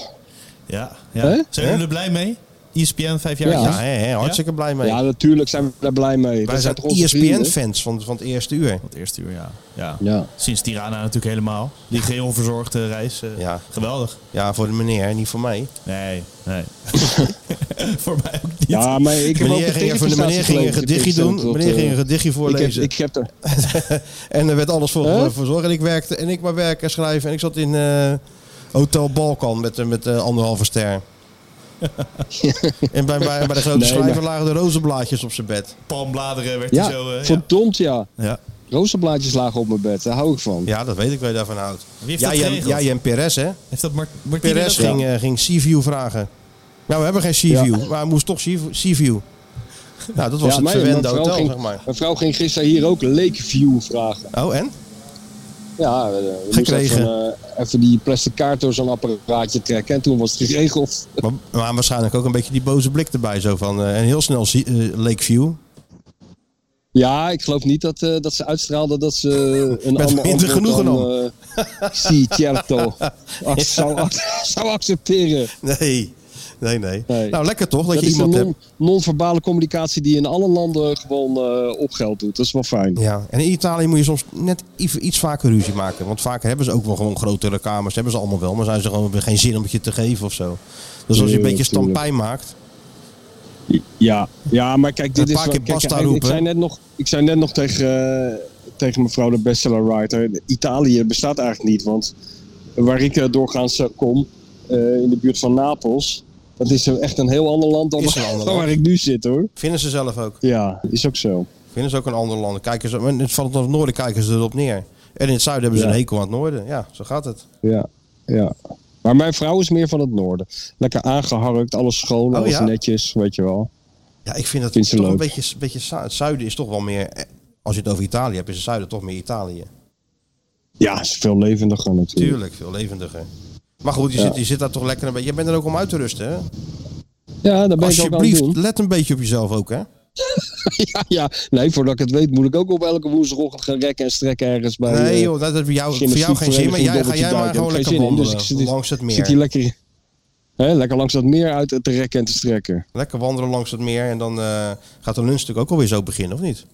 [SPEAKER 4] Ja,
[SPEAKER 5] Hè?
[SPEAKER 4] ja. Zijn jullie er blij mee? E ESPN vijf jaar?
[SPEAKER 5] Ja.
[SPEAKER 3] Ja, hè, hè, hartstikke blij mee.
[SPEAKER 5] Ja, natuurlijk zijn we daar blij mee.
[SPEAKER 3] Wij
[SPEAKER 5] Dat
[SPEAKER 3] zijn E
[SPEAKER 5] toch onze vrienden?
[SPEAKER 3] ESPN-fans van, van het eerste uur.
[SPEAKER 4] Het eerste uur, ja. ja.
[SPEAKER 5] Ja.
[SPEAKER 4] Sinds Tirana natuurlijk helemaal. Die geheel verzorgde reis. eh,
[SPEAKER 3] Ja.
[SPEAKER 4] Geweldig.
[SPEAKER 3] Ja, voor de meneer, niet voor mij.
[SPEAKER 4] Nee,
[SPEAKER 5] *laughs*
[SPEAKER 4] nee. *laughs* Voor mij ook niet.
[SPEAKER 5] Ja, maar ik heb ook
[SPEAKER 3] Meneer
[SPEAKER 5] een
[SPEAKER 3] ging, voor de
[SPEAKER 5] tegenprestatie
[SPEAKER 3] meneer ging een
[SPEAKER 5] geleverd
[SPEAKER 3] gedichtje
[SPEAKER 5] in tegenstelling
[SPEAKER 3] doen.
[SPEAKER 5] tot,
[SPEAKER 3] Meneer ging
[SPEAKER 5] eh,
[SPEAKER 3] een gedichtje
[SPEAKER 5] ik heb,
[SPEAKER 3] voorlezen.
[SPEAKER 5] ik heb er,
[SPEAKER 3] en er werd alles voor,
[SPEAKER 5] Huh?
[SPEAKER 3] voor zorg. En ik werkte en ik maar werken en schrijven. En ik zat in eh, Hotel Balkan met, eh, met eh, anderhalve ster. en bij, bij, bij de grote
[SPEAKER 5] Nee,
[SPEAKER 3] schrijver
[SPEAKER 5] maar-
[SPEAKER 3] lagen de rozenblaadjes op zijn bed.
[SPEAKER 4] Palmbladeren werd hij
[SPEAKER 5] ja,
[SPEAKER 4] zo... eh, ja.
[SPEAKER 5] verdomd ja.
[SPEAKER 4] Ja.
[SPEAKER 5] Rozenblaadjes lagen op mijn bed, daar hou ik van.
[SPEAKER 3] Ja, dat weet ik wel je daarvan houdt.
[SPEAKER 4] heeft
[SPEAKER 3] Ja,
[SPEAKER 4] dat
[SPEAKER 3] jij
[SPEAKER 4] geregeld?
[SPEAKER 3] jij en Perez, hè?
[SPEAKER 4] Heeft dat Mart Martine
[SPEAKER 3] Perez
[SPEAKER 4] dat gedaan?
[SPEAKER 3] ging, eh, ging C-View vragen. Nou, we hebben geen C-View, maar hij moest toch C- C-View. Nou, dat was
[SPEAKER 5] Ja,
[SPEAKER 3] het
[SPEAKER 5] mijn-
[SPEAKER 3] verwende
[SPEAKER 5] mijn vrouw
[SPEAKER 3] hotel,
[SPEAKER 5] ging-
[SPEAKER 3] zeg maar.
[SPEAKER 5] Mijn vrouw ging gisteren hier ook Lakeview vragen.
[SPEAKER 3] Oh, en?
[SPEAKER 5] Ja, we, we moesten
[SPEAKER 3] Gekregen.
[SPEAKER 5] even, eh, even die plastic kaart door zo'n apparaatje trekken en toen was het geregeld.
[SPEAKER 3] Maar, maar waarschijnlijk ook een beetje die boze blik erbij. Zo van, eh, en heel snel zie- eh, Lakeview.
[SPEAKER 5] Ja, ik geloof niet dat, eh, dat ze uitstraalde dat ze eh, een
[SPEAKER 3] Met
[SPEAKER 5] ander
[SPEAKER 3] minder genoegen
[SPEAKER 5] dan
[SPEAKER 3] *laughs*
[SPEAKER 5] eh, Si Certo ac- zou, ac- zou accepteren.
[SPEAKER 3] *laughs* Nee, nee, nee.
[SPEAKER 5] Nee.
[SPEAKER 3] Nou, lekker toch dat,
[SPEAKER 5] Dat
[SPEAKER 3] je
[SPEAKER 5] is een
[SPEAKER 3] iemand
[SPEAKER 5] non-
[SPEAKER 3] hebt.
[SPEAKER 5] non-verbale communicatie die in alle landen gewoon eh, op geld doet. Dat is wel fijn.
[SPEAKER 3] Ja, en in Italië moet je soms net ief- iets vaker ruzie maken. Want vaak hebben ze ook wel gewoon grotere kamers. Hebben ze allemaal wel, maar zijn ze gewoon weer geen zin om het je te geven of zo. Dus als je een
[SPEAKER 5] Nee,
[SPEAKER 3] beetje
[SPEAKER 5] natuurlijk.
[SPEAKER 3] stampijn maakt.
[SPEAKER 5] Ja, ja maar kijk, dit
[SPEAKER 3] Een
[SPEAKER 5] is
[SPEAKER 3] paar
[SPEAKER 5] wel-
[SPEAKER 3] keer
[SPEAKER 5] kijk,
[SPEAKER 3] basta
[SPEAKER 5] ik- Ik
[SPEAKER 3] roepen.
[SPEAKER 5] zei net nog, ik zei net nog tegen, eh, tegen mevrouw de bestsellerwriter, Italië bestaat eigenlijk niet. Want waar ik eh, doorgaans eh, kom, eh, in de buurt van Napels, dat is een- echt een heel ander land dan
[SPEAKER 3] Is een
[SPEAKER 5] *laughs*
[SPEAKER 3] ander
[SPEAKER 5] waar
[SPEAKER 3] land.
[SPEAKER 5] ik nu zit hoor.
[SPEAKER 3] Vinden ze zelf ook.
[SPEAKER 5] Ja, is ook zo.
[SPEAKER 3] Vinden ze ook in andere landen. Kijken ze, in het, van het noorden kijken ze erop neer. En in het zuiden hebben ze
[SPEAKER 5] Ja.
[SPEAKER 3] een hekel aan het noorden. Ja, zo gaat het.
[SPEAKER 5] Ja, ja. Maar mijn vrouw is meer van het noorden. Lekker aangeharkt, alles schoon,
[SPEAKER 3] Oh,
[SPEAKER 5] alles
[SPEAKER 3] ja?
[SPEAKER 5] netjes, weet je wel.
[SPEAKER 3] Ja, ik vind dat
[SPEAKER 5] Vind ze
[SPEAKER 3] toch een
[SPEAKER 5] leuk.
[SPEAKER 3] beetje, een beetje... zu- Het zuiden is toch wel meer... eh, Als je het over Italië hebt, is het zuiden toch meer Italië.
[SPEAKER 5] Ja, is veel levendiger natuurlijk.
[SPEAKER 3] Tuurlijk, veel levendiger. Maar goed, je,
[SPEAKER 5] Ja.
[SPEAKER 3] zit, je zit daar toch lekker een beetje... Je bent er ook om uit te rusten, hè?
[SPEAKER 5] Ja, daar ben ik ook aan het
[SPEAKER 3] Alsjeblieft,
[SPEAKER 5] doen.
[SPEAKER 3] let een beetje op jezelf ook, hè?
[SPEAKER 5] Ja, ja, nee, voordat ik het weet moet ik ook op elke woensdagochtend gaan rekken en strekken ergens bij...
[SPEAKER 3] Nee,
[SPEAKER 5] eh,
[SPEAKER 3] joh, dat heeft voor jou, voor jou geen
[SPEAKER 5] gymnastiekvereniging
[SPEAKER 3] zin. Maar jij, ga
[SPEAKER 5] Dobbeltje
[SPEAKER 3] jij
[SPEAKER 5] Duik.
[SPEAKER 3] maar
[SPEAKER 5] Daar heb
[SPEAKER 3] gewoon
[SPEAKER 5] ik
[SPEAKER 3] lekker
[SPEAKER 5] geen zin in,
[SPEAKER 3] wandelen
[SPEAKER 5] dus ik zit-
[SPEAKER 3] langs het
[SPEAKER 5] zit hier
[SPEAKER 3] meer.
[SPEAKER 5] lekker, hè, lekker langs dat meer uit te rekken en te strekken.
[SPEAKER 3] Lekker wandelen langs het meer en dan eh, gaat de lunch natuurlijk ook alweer zo beginnen, of niet?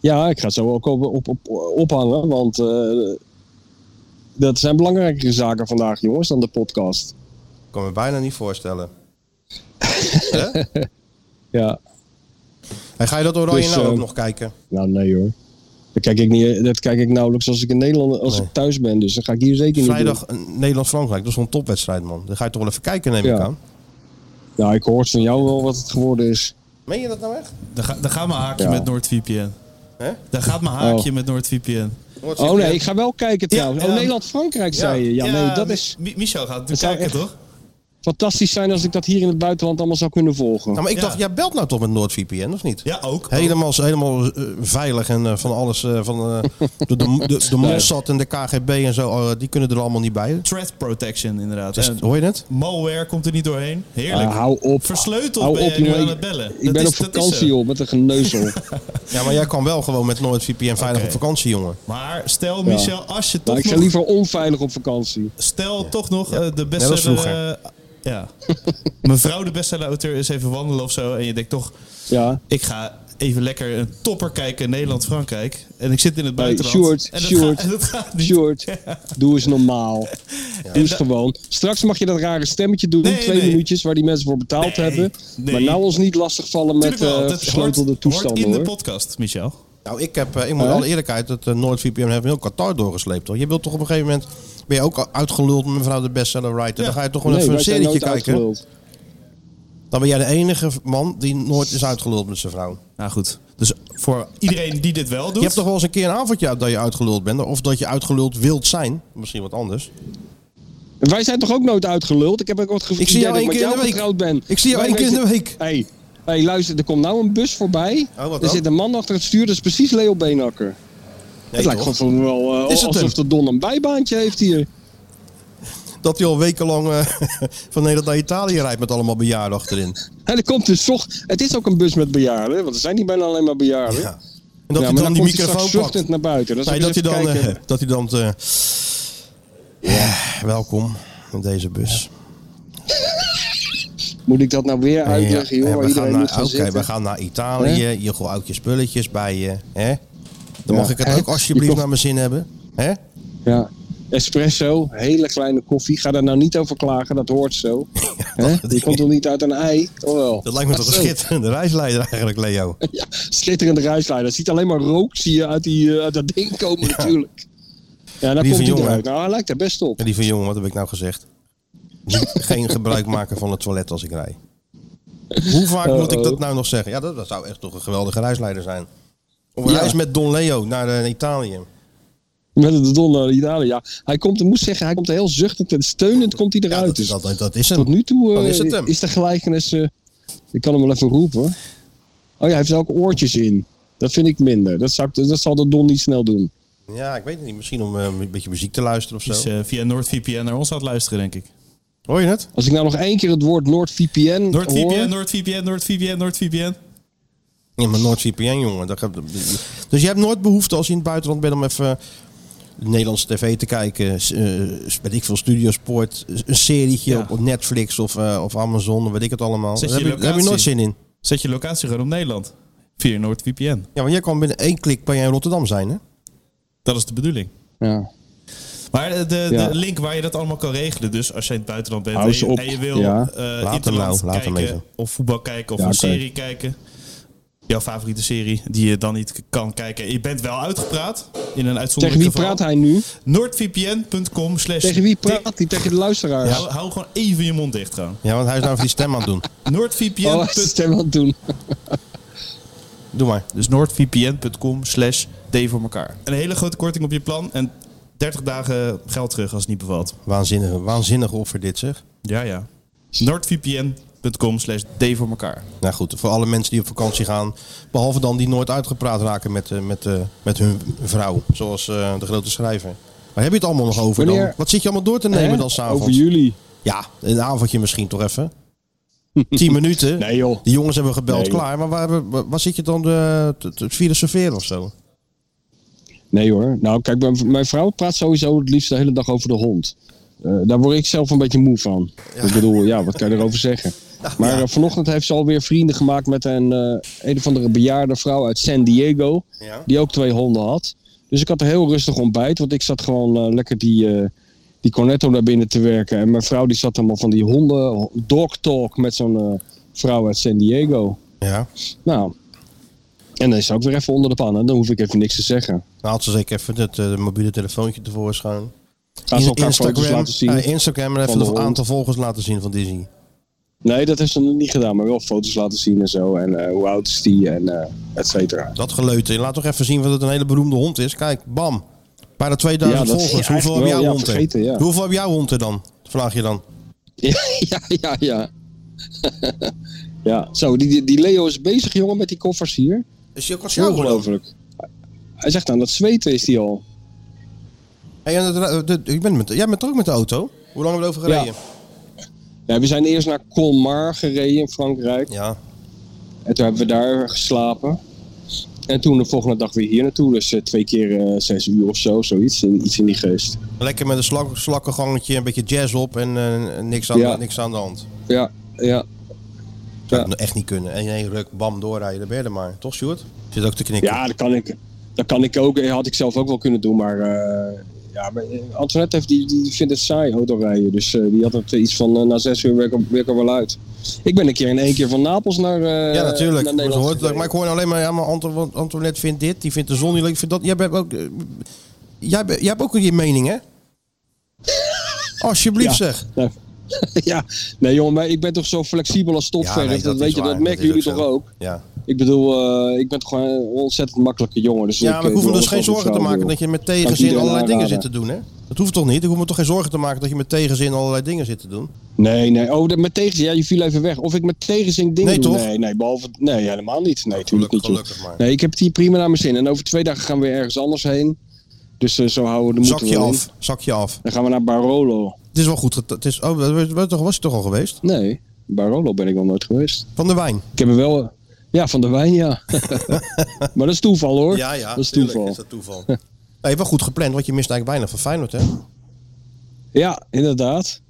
[SPEAKER 5] Ja, ik ga het zo ook op, op, op, ophangen, want eh, dat zijn belangrijkere zaken vandaag, jongens, dan de podcast.
[SPEAKER 3] Ik kan me bijna niet
[SPEAKER 5] *laughs*
[SPEAKER 3] voorstellen.
[SPEAKER 5] Ja,
[SPEAKER 3] En ga je dat oranje
[SPEAKER 5] Dus,
[SPEAKER 3] nou ook
[SPEAKER 5] eh,
[SPEAKER 3] nog kijken?
[SPEAKER 5] nou nee hoor. Dat kijk ik, niet, dat kijk ik nauwelijks als ik in Nederland als ik thuis ben, dus dat ga ik hier zeker niet doen.
[SPEAKER 3] Vrijdag eh, Nederland-Frankrijk, dat is wel een topwedstrijd, man. Dan ga je toch wel even kijken, neem ik
[SPEAKER 5] Ja.
[SPEAKER 3] aan.
[SPEAKER 5] Nou, ik hoor van jou wel wat het geworden is.
[SPEAKER 3] Meen je dat nou echt?
[SPEAKER 4] Daar, ga, daar gaat mijn haakje
[SPEAKER 5] Ja.
[SPEAKER 4] met NoordVPN.
[SPEAKER 3] Hè?
[SPEAKER 4] Daar gaat mijn haakje met NoordVPN.
[SPEAKER 5] Oh nee, ik ga wel kijken trouwens.
[SPEAKER 4] ja. ehm,
[SPEAKER 5] Oh, Nederland-Frankrijk zei je. Ja, nee, dat is...
[SPEAKER 4] Mi- Michel gaat
[SPEAKER 5] Het
[SPEAKER 4] natuurlijk
[SPEAKER 5] zou
[SPEAKER 4] kijken,
[SPEAKER 5] echt-
[SPEAKER 4] toch?
[SPEAKER 5] fantastisch zijn als ik dat hier in het buitenland allemaal zou kunnen volgen.
[SPEAKER 3] Nou, maar ik
[SPEAKER 4] Ja.
[SPEAKER 3] dacht, jij belt nou toch met NoordVPN, of niet?
[SPEAKER 4] Ja, ook.
[SPEAKER 3] Helemaal, helemaal eh, veilig en eh, van alles, eh, van eh, de, de, de, de Mossad en de KGB en zo, eh, die kunnen er allemaal niet bij.
[SPEAKER 4] Threat protection, inderdaad.
[SPEAKER 3] Dus,
[SPEAKER 4] En
[SPEAKER 3] hoor je het?
[SPEAKER 5] *laughs*
[SPEAKER 4] malware komt er niet doorheen. Heerlijk.
[SPEAKER 5] Ah, hou op.
[SPEAKER 4] Versleuteld
[SPEAKER 5] hou
[SPEAKER 4] ben
[SPEAKER 5] op,
[SPEAKER 4] jij nu
[SPEAKER 5] joh.
[SPEAKER 4] aan het bellen.
[SPEAKER 5] Ik
[SPEAKER 4] Dat
[SPEAKER 5] ben
[SPEAKER 4] is-
[SPEAKER 5] op
[SPEAKER 4] dat is
[SPEAKER 5] vakantie,
[SPEAKER 4] zo.
[SPEAKER 5] joh, met een
[SPEAKER 4] *laughs*
[SPEAKER 5] geneuzel. Nou,
[SPEAKER 3] Ja, maar jij kan wel gewoon met NoordVPN veilig
[SPEAKER 4] Oké.
[SPEAKER 3] op vakantie, jongen.
[SPEAKER 4] Maar stel,
[SPEAKER 5] Ja.
[SPEAKER 4] Michel, als je
[SPEAKER 5] nou,
[SPEAKER 4] toch
[SPEAKER 5] ik ga
[SPEAKER 4] nog...
[SPEAKER 5] liever onveilig op vakantie.
[SPEAKER 4] Stel toch nog eh, de
[SPEAKER 3] Net als
[SPEAKER 4] beste...
[SPEAKER 3] vroeger.
[SPEAKER 4] ja. *laughs* Mevrouw de bestseller-auteur is even wandelen of zo. En je denkt toch,
[SPEAKER 5] Ja.
[SPEAKER 4] ik ga even lekker een topper kijken Nederland-Frankrijk. En ik zit in het
[SPEAKER 5] Hey,
[SPEAKER 4] buitenland.
[SPEAKER 5] Eh, Sjoerd,
[SPEAKER 4] en dat
[SPEAKER 5] Sjoerd,
[SPEAKER 4] gaat, *laughs* en dat gaat niet.
[SPEAKER 5] Sjoerd, doe eens normaal. Doe eens
[SPEAKER 4] da-
[SPEAKER 5] gewoon. Straks mag je dat rare stemmetje doen,
[SPEAKER 4] Nee,
[SPEAKER 5] twee
[SPEAKER 4] nee.
[SPEAKER 5] minuutjes, waar die mensen voor betaald
[SPEAKER 4] Nee,
[SPEAKER 5] hebben.
[SPEAKER 4] nee.
[SPEAKER 5] Maar nou ons niet lastigvallen
[SPEAKER 4] Tuurlijk
[SPEAKER 5] met
[SPEAKER 4] wel,
[SPEAKER 5] eh
[SPEAKER 4] dat
[SPEAKER 5] versleutelde
[SPEAKER 4] hoort,
[SPEAKER 5] toestanden,
[SPEAKER 4] hoort in
[SPEAKER 5] hoor.
[SPEAKER 4] de podcast, Michel.
[SPEAKER 3] Nou, ik heb, eh, ik moet in
[SPEAKER 5] Huh?
[SPEAKER 3] alle eerlijkheid, dat NoordVPN heeft heel Qatar doorgesleept. Hoor. Je wilt toch op een gegeven moment, ben je ook uitgeluld met mevrouw de bestseller writer.
[SPEAKER 4] Ja.
[SPEAKER 3] Dan ga je toch wel
[SPEAKER 5] Nee,
[SPEAKER 3] even een
[SPEAKER 5] wij zijn
[SPEAKER 3] serietje
[SPEAKER 5] nooit
[SPEAKER 3] kijken.
[SPEAKER 5] uitgeluld.
[SPEAKER 3] Dan ben jij de enige man die nooit is uitgeluld met zijn vrouw.
[SPEAKER 4] Nou goed, dus voor iedereen die dit wel doet...
[SPEAKER 3] Je hebt toch wel eens een keer een avondje uit dat je uitgeluld bent. Of dat je uitgeluld wilt zijn. Misschien wat anders.
[SPEAKER 5] Wij zijn toch ook nooit uitgeluld? Ik heb ook wat gevoel
[SPEAKER 3] Ik zie jou
[SPEAKER 5] dat
[SPEAKER 3] één
[SPEAKER 5] met
[SPEAKER 3] keer in
[SPEAKER 5] jou
[SPEAKER 3] de week.
[SPEAKER 5] getrouwd ben.
[SPEAKER 3] Ik zie jou
[SPEAKER 5] Wij
[SPEAKER 3] één keer in
[SPEAKER 5] weten-
[SPEAKER 3] de week.
[SPEAKER 5] Hé, hey, hey, luister, er komt nou een bus voorbij.
[SPEAKER 3] Oh, wat
[SPEAKER 5] er
[SPEAKER 3] dan?
[SPEAKER 5] zit een man achter het stuur, dat is precies Leo Beenakker. het lijkt
[SPEAKER 3] toch?
[SPEAKER 5] gewoon wel eh,
[SPEAKER 3] Is het hem?
[SPEAKER 5] alsof de Don een bijbaantje heeft hier.
[SPEAKER 3] Dat hij al wekenlang eh, *laughs* van Nederland naar Italië rijdt met allemaal bejaarden achterin.
[SPEAKER 5] En er komt dus toch, het is ook een bus met bejaarden, want er zijn niet bijna alleen maar bejaarden.
[SPEAKER 3] Ja.
[SPEAKER 5] Ja.
[SPEAKER 3] En dat
[SPEAKER 5] maar
[SPEAKER 3] hij dan die
[SPEAKER 5] komt hij straks
[SPEAKER 3] microfoon pakt.
[SPEAKER 5] zuchtend naar buiten. Dan
[SPEAKER 3] Nee,
[SPEAKER 5] zal
[SPEAKER 3] dat
[SPEAKER 5] ik
[SPEAKER 3] hij
[SPEAKER 5] eens
[SPEAKER 3] dan...
[SPEAKER 5] even
[SPEAKER 3] eh,
[SPEAKER 5] kijken.
[SPEAKER 3] dat hij dan te- ja, welkom in deze bus.
[SPEAKER 5] Moet ik dat nou weer uitleggen, joh?
[SPEAKER 3] eh, Ja,
[SPEAKER 5] waar
[SPEAKER 3] we, gaan
[SPEAKER 5] iedereen moet
[SPEAKER 3] naar,
[SPEAKER 5] gaan
[SPEAKER 3] oké,
[SPEAKER 5] zitten?
[SPEAKER 3] we gaan naar Italië. Je gooit ook je spulletjes bij je. Hè? Dan mag ik het
[SPEAKER 5] Hè?
[SPEAKER 3] ook alsjeblieft
[SPEAKER 5] Je
[SPEAKER 3] naar mijn zin hebben. Hè?
[SPEAKER 5] Ja. Espresso, hele kleine koffie. Ga daar nou niet over klagen, dat hoort
[SPEAKER 3] *laughs*
[SPEAKER 5] zo. Hè? Die komt toch niet uit een ei? Oh wel.
[SPEAKER 3] Dat lijkt me toch een
[SPEAKER 5] Zo.
[SPEAKER 3] schitterende reisleider eigenlijk, Leo.
[SPEAKER 5] Ja, schitterende ruisleider. Ziet alleen maar rook zie je uit, die, eh, uit dat ding komen natuurlijk. Ja, daar
[SPEAKER 3] Lieve
[SPEAKER 5] komt hij
[SPEAKER 3] jongen.
[SPEAKER 5] eruit. Nou, hij lijkt er best op.
[SPEAKER 3] En die van jongen, wat heb ik nou gezegd? Niet- *laughs* Geen gebruik maken van het toilet als ik rij. Hoe vaak moet ik dat
[SPEAKER 5] Uh-oh.
[SPEAKER 3] nou nog zeggen? Ja, dat, dat zou echt toch een geweldige reisleider zijn. Op een
[SPEAKER 5] Ja.
[SPEAKER 3] reis met Don Leo naar eh, Italië.
[SPEAKER 5] Met de Don naar Italië. Ja, hij komt, ik moet zeggen, hij komt heel zuchtend en steunend komt hij
[SPEAKER 3] Ja,
[SPEAKER 5] eruit.
[SPEAKER 3] dat,
[SPEAKER 5] dus
[SPEAKER 3] dat, dat, dat is
[SPEAKER 5] tot
[SPEAKER 3] hem.
[SPEAKER 5] nu toe eh,
[SPEAKER 3] dan is
[SPEAKER 5] is,
[SPEAKER 3] het hem.
[SPEAKER 5] de gelijkenis... eh, ik kan hem wel even roepen. hoor. Oh ja, hij heeft ook oortjes in. Dat vind ik minder. Dat, zou ik- dat zal de Don niet snel doen.
[SPEAKER 3] Ja, ik weet het niet. Misschien om eh, een beetje muziek te luisteren of
[SPEAKER 4] is
[SPEAKER 3] zo.
[SPEAKER 4] eh, via NordVPN naar ons aan het luisteren, denk ik.
[SPEAKER 3] Hoor je het?
[SPEAKER 5] Als ik nou nog één keer het woord NordVPN
[SPEAKER 4] NordVPN,
[SPEAKER 5] hoor...
[SPEAKER 4] NordVPN, NordVPN, NordVPN.
[SPEAKER 3] Ja, maar nooit VPN, jongen. Dat gaat- Dus je hebt nooit behoefte als je in het buitenland bent om even eh, Nederlandse tv te kijken. s- eh, weet ik veel, Studiosport. Een serietje
[SPEAKER 4] Ja.
[SPEAKER 3] op, op Netflix of, eh, of Amazon, weet ik het allemaal.
[SPEAKER 4] Zet
[SPEAKER 3] Daar
[SPEAKER 4] je
[SPEAKER 3] heb, je, daar heb je nooit
[SPEAKER 4] locatie.
[SPEAKER 3] zin in.
[SPEAKER 4] Zet je locatie gewoon op Nederland. Via NordVPN.
[SPEAKER 3] Ja, want jij kan binnen één klik bij jij in Rotterdam zijn, hè?
[SPEAKER 4] Dat is de bedoeling.
[SPEAKER 5] Ja.
[SPEAKER 4] Maar de, de,
[SPEAKER 5] Ja.
[SPEAKER 4] de link waar je dat allemaal kan regelen, dus als je in het buitenland bent
[SPEAKER 5] Hou
[SPEAKER 4] en
[SPEAKER 5] ze
[SPEAKER 4] je,
[SPEAKER 5] op.
[SPEAKER 4] en je wil
[SPEAKER 5] Ja.
[SPEAKER 4] eh,
[SPEAKER 3] hem
[SPEAKER 4] interland
[SPEAKER 3] nou, laat hem
[SPEAKER 4] kijken
[SPEAKER 3] even.
[SPEAKER 4] of voetbal kijken of
[SPEAKER 5] Ja,
[SPEAKER 4] een
[SPEAKER 5] oké.
[SPEAKER 4] serie kijken, jouw favoriete serie die je dan niet k- kan kijken. Je bent wel uitgepraat in een
[SPEAKER 5] Tegen
[SPEAKER 4] uitzonderlijk
[SPEAKER 5] wie
[SPEAKER 4] geval.
[SPEAKER 5] praat hij nu?
[SPEAKER 4] Noordvpn.com slash
[SPEAKER 5] Tegen wie
[SPEAKER 4] tik.
[SPEAKER 5] praat hij? Tegen de luisteraars?
[SPEAKER 4] Hou, hou gewoon even je mond dicht gewoon.
[SPEAKER 3] Ja, want hij is nou even die stem aan het doen.
[SPEAKER 4] NoordVPN.
[SPEAKER 5] Oh, hij *laughs* is het hem aan het doen.
[SPEAKER 3] Doe maar.
[SPEAKER 4] Dus noordvpn.com slash d voor elkaar. Een hele grote korting op je plan en 30 dagen geld terug als het niet bevalt.
[SPEAKER 3] Waanzinnige, waanzinnige offer dit, zeg.
[SPEAKER 4] Ja, ja. NordVPN.com slash D voor elkaar.
[SPEAKER 3] Nou goed, voor alle mensen die op vakantie gaan. Behalve dan die nooit uitgepraat raken met, eh, met, eh, met hun vrouw. Zoals eh, de grote schrijver. Waar heb je het allemaal nog over dan?
[SPEAKER 5] Wanneer-
[SPEAKER 3] Wat zit je allemaal door te nemen
[SPEAKER 5] Hè?
[SPEAKER 3] dan
[SPEAKER 5] Over
[SPEAKER 3] s'avonds?
[SPEAKER 5] jullie.
[SPEAKER 3] Ja, een avondje misschien toch
[SPEAKER 5] *laughs*
[SPEAKER 3] even. Tien minuten.
[SPEAKER 5] Nee joh.
[SPEAKER 3] Die jongens hebben gebeld,
[SPEAKER 5] Nee, joh.
[SPEAKER 3] klaar. Maar waar, waar, waar zit je dan eh, te, te filosoferen of zo?
[SPEAKER 5] Nee hoor. Nou kijk, mijn, mijn vrouw praat sowieso het liefst de hele dag over de hond. Eh, daar word ik zelf een beetje moe van. Ik bedoel, ja, wat kan je erover zeggen? Maar eh, vanochtend heeft ze alweer vrienden gemaakt met een, eh, een of andere bejaarde vrouw uit San Diego.
[SPEAKER 3] Ja.
[SPEAKER 5] Die ook twee honden had. Dus ik had een heel rustig ontbijt. Want ik zat gewoon eh, lekker die, eh, die cornetto naar binnen te werken. En mijn vrouw die zat allemaal van die honden dog talk met zo'n eh, vrouw uit San Diego.
[SPEAKER 3] Ja.
[SPEAKER 5] Nou, en dan is ze ook weer even onder de pannen. Dan hoef ik even niks te zeggen.
[SPEAKER 3] Dan haalt Nou, ze zeker even het eh, mobiele telefoontje tevoorschijn.
[SPEAKER 5] Gaan ze
[SPEAKER 3] In-
[SPEAKER 5] elkaar foto's laten zien?
[SPEAKER 3] eh, Instagram en even
[SPEAKER 5] van de
[SPEAKER 3] het
[SPEAKER 5] hond.
[SPEAKER 3] aantal volgers laten zien van Disney.
[SPEAKER 5] Nee, dat heeft ze nog niet gedaan, maar wel foto's laten zien en zo. En eh, hoe oud is die en eh et cetera. *laughs*
[SPEAKER 3] Dat geleuten. Laat toch even zien dat het een hele beroemde hond is. Kijk, bam. Bijna 2000
[SPEAKER 5] Ja, dat-
[SPEAKER 3] volgers.
[SPEAKER 5] ja,
[SPEAKER 3] Hoeveel heb
[SPEAKER 5] wel,
[SPEAKER 3] jouw
[SPEAKER 5] ja,
[SPEAKER 3] hond er?
[SPEAKER 5] vergeten, ja.
[SPEAKER 3] Hoeveel heb jouw hond er dan? Vraag je dan.
[SPEAKER 5] Ja, ja, ja, ja. *laughs* ja, zo, die, die- die Leo is bezig, jongen, met die koffers hier.
[SPEAKER 3] Is je ook al
[SPEAKER 5] Ongelooflijk. Hij zegt aan dat zweten is die al.
[SPEAKER 3] Hey, en het- de- de- ik ben met, jij bent toch ook met de auto? Hoe lang hebben we erover
[SPEAKER 5] Ja.
[SPEAKER 3] gereden?
[SPEAKER 5] Ja, we zijn eerst naar Colmar gereden in Frankrijk.
[SPEAKER 3] Ja.
[SPEAKER 5] En toen hebben we daar geslapen. En toen de volgende dag weer hier naartoe. Dus eh, twee keer eh, zes uur of zo, zoiets. in- Iets in die geest.
[SPEAKER 3] Lekker met een slak, slakkengangetje, een beetje jazz op en eh, niks, aan
[SPEAKER 5] Ja.
[SPEAKER 3] de, niks aan de hand.
[SPEAKER 5] Ja, ja.
[SPEAKER 3] Zou
[SPEAKER 5] Ja.
[SPEAKER 3] het echt niet kunnen. En in één ruk, bam, doorrijden. Dan ben je er maar. Toch, Sjoerd? Zit ook te knikken.
[SPEAKER 5] Ja, dat kan ik, dat kan ik ook. eh, Had ik zelf ook wel kunnen doen. Maar, eh, ja, maar eh, Antoinette heeft, die, die vindt het saai autorijden. Dus eh, die had het iets van eh, na zes uur werk ik er wel uit. Ik ben een keer in één keer van Napels naar eh
[SPEAKER 3] Ja, natuurlijk.
[SPEAKER 5] Naar
[SPEAKER 3] Maar, ze
[SPEAKER 5] Nederland
[SPEAKER 3] hoort het ook.
[SPEAKER 5] gereden.
[SPEAKER 3] maar ik hoor alleen maar, ja, maar Anto- want Antoinette vindt dit, die vindt de zon niet leuk, vindt dat. Jij bent ook, eh, jij, be- jij hebt ook je mening,
[SPEAKER 5] *laughs*
[SPEAKER 3] hè? Alsjeblieft, zeg.
[SPEAKER 5] Nou, *laughs* ja, nee jongen, maar ik ben toch zo flexibel als stopverf.
[SPEAKER 3] nee,
[SPEAKER 5] dat
[SPEAKER 3] is
[SPEAKER 5] weet je,
[SPEAKER 3] waar.
[SPEAKER 5] dat merken
[SPEAKER 3] is
[SPEAKER 5] jullie toch
[SPEAKER 3] zo.
[SPEAKER 5] ook?
[SPEAKER 3] Ja,
[SPEAKER 5] Ik bedoel, eh, ik ben toch gewoon een ontzettend makkelijke jongen. Dus
[SPEAKER 3] ja maar ik
[SPEAKER 5] eh,
[SPEAKER 3] hoef me
[SPEAKER 5] doe
[SPEAKER 3] dus
[SPEAKER 5] alles
[SPEAKER 3] geen
[SPEAKER 5] wat ik
[SPEAKER 3] zorgen te
[SPEAKER 5] zou
[SPEAKER 3] maken
[SPEAKER 5] doen.
[SPEAKER 3] dat je met
[SPEAKER 5] Dank
[SPEAKER 3] tegenzin
[SPEAKER 5] iedereen
[SPEAKER 3] allerlei dingen zit te
[SPEAKER 5] aanraden.
[SPEAKER 3] doen, hè? Dat hoeft toch niet? Ik hoef me toch geen zorgen te maken dat je met tegenzin allerlei dingen zit te doen?
[SPEAKER 5] Nee, nee. Oh, dat met tegenzin. Ja, je viel even weg. Of ik met tegenzin dingen
[SPEAKER 3] Nee,
[SPEAKER 5] doe.
[SPEAKER 3] toch?
[SPEAKER 5] Nee, nee. Behalve... Nee, helemaal niet. Nee,
[SPEAKER 3] Gelukkig,
[SPEAKER 5] natuurlijk niet. joh.
[SPEAKER 3] gelukkig maar.
[SPEAKER 5] Nee, ik heb het hier prima naar mijn zin. En over twee dagen gaan we weer ergens anders heen. Dus eh, zo houden we de moed
[SPEAKER 3] Zak
[SPEAKER 5] er
[SPEAKER 3] je
[SPEAKER 5] wel in.
[SPEAKER 3] af, zak je af.
[SPEAKER 5] Dan gaan we naar Barolo.
[SPEAKER 3] Het is wel goed. get- Het is, oh, we- we- toch- was je toch al geweest?
[SPEAKER 5] Nee, Barolo ben ik nog nooit geweest.
[SPEAKER 3] Van de wijn.
[SPEAKER 5] Ik heb er wel... eh, Ja, van de wijn,
[SPEAKER 3] *laughs*
[SPEAKER 5] ja. *laughs* maar dat is toeval, hoor. Dat is toeval.
[SPEAKER 3] dat toeval. *laughs* Nee, wel goed gepland, want je mist eigenlijk weinig van Feyenoord, hè?
[SPEAKER 5] Ja, inderdaad.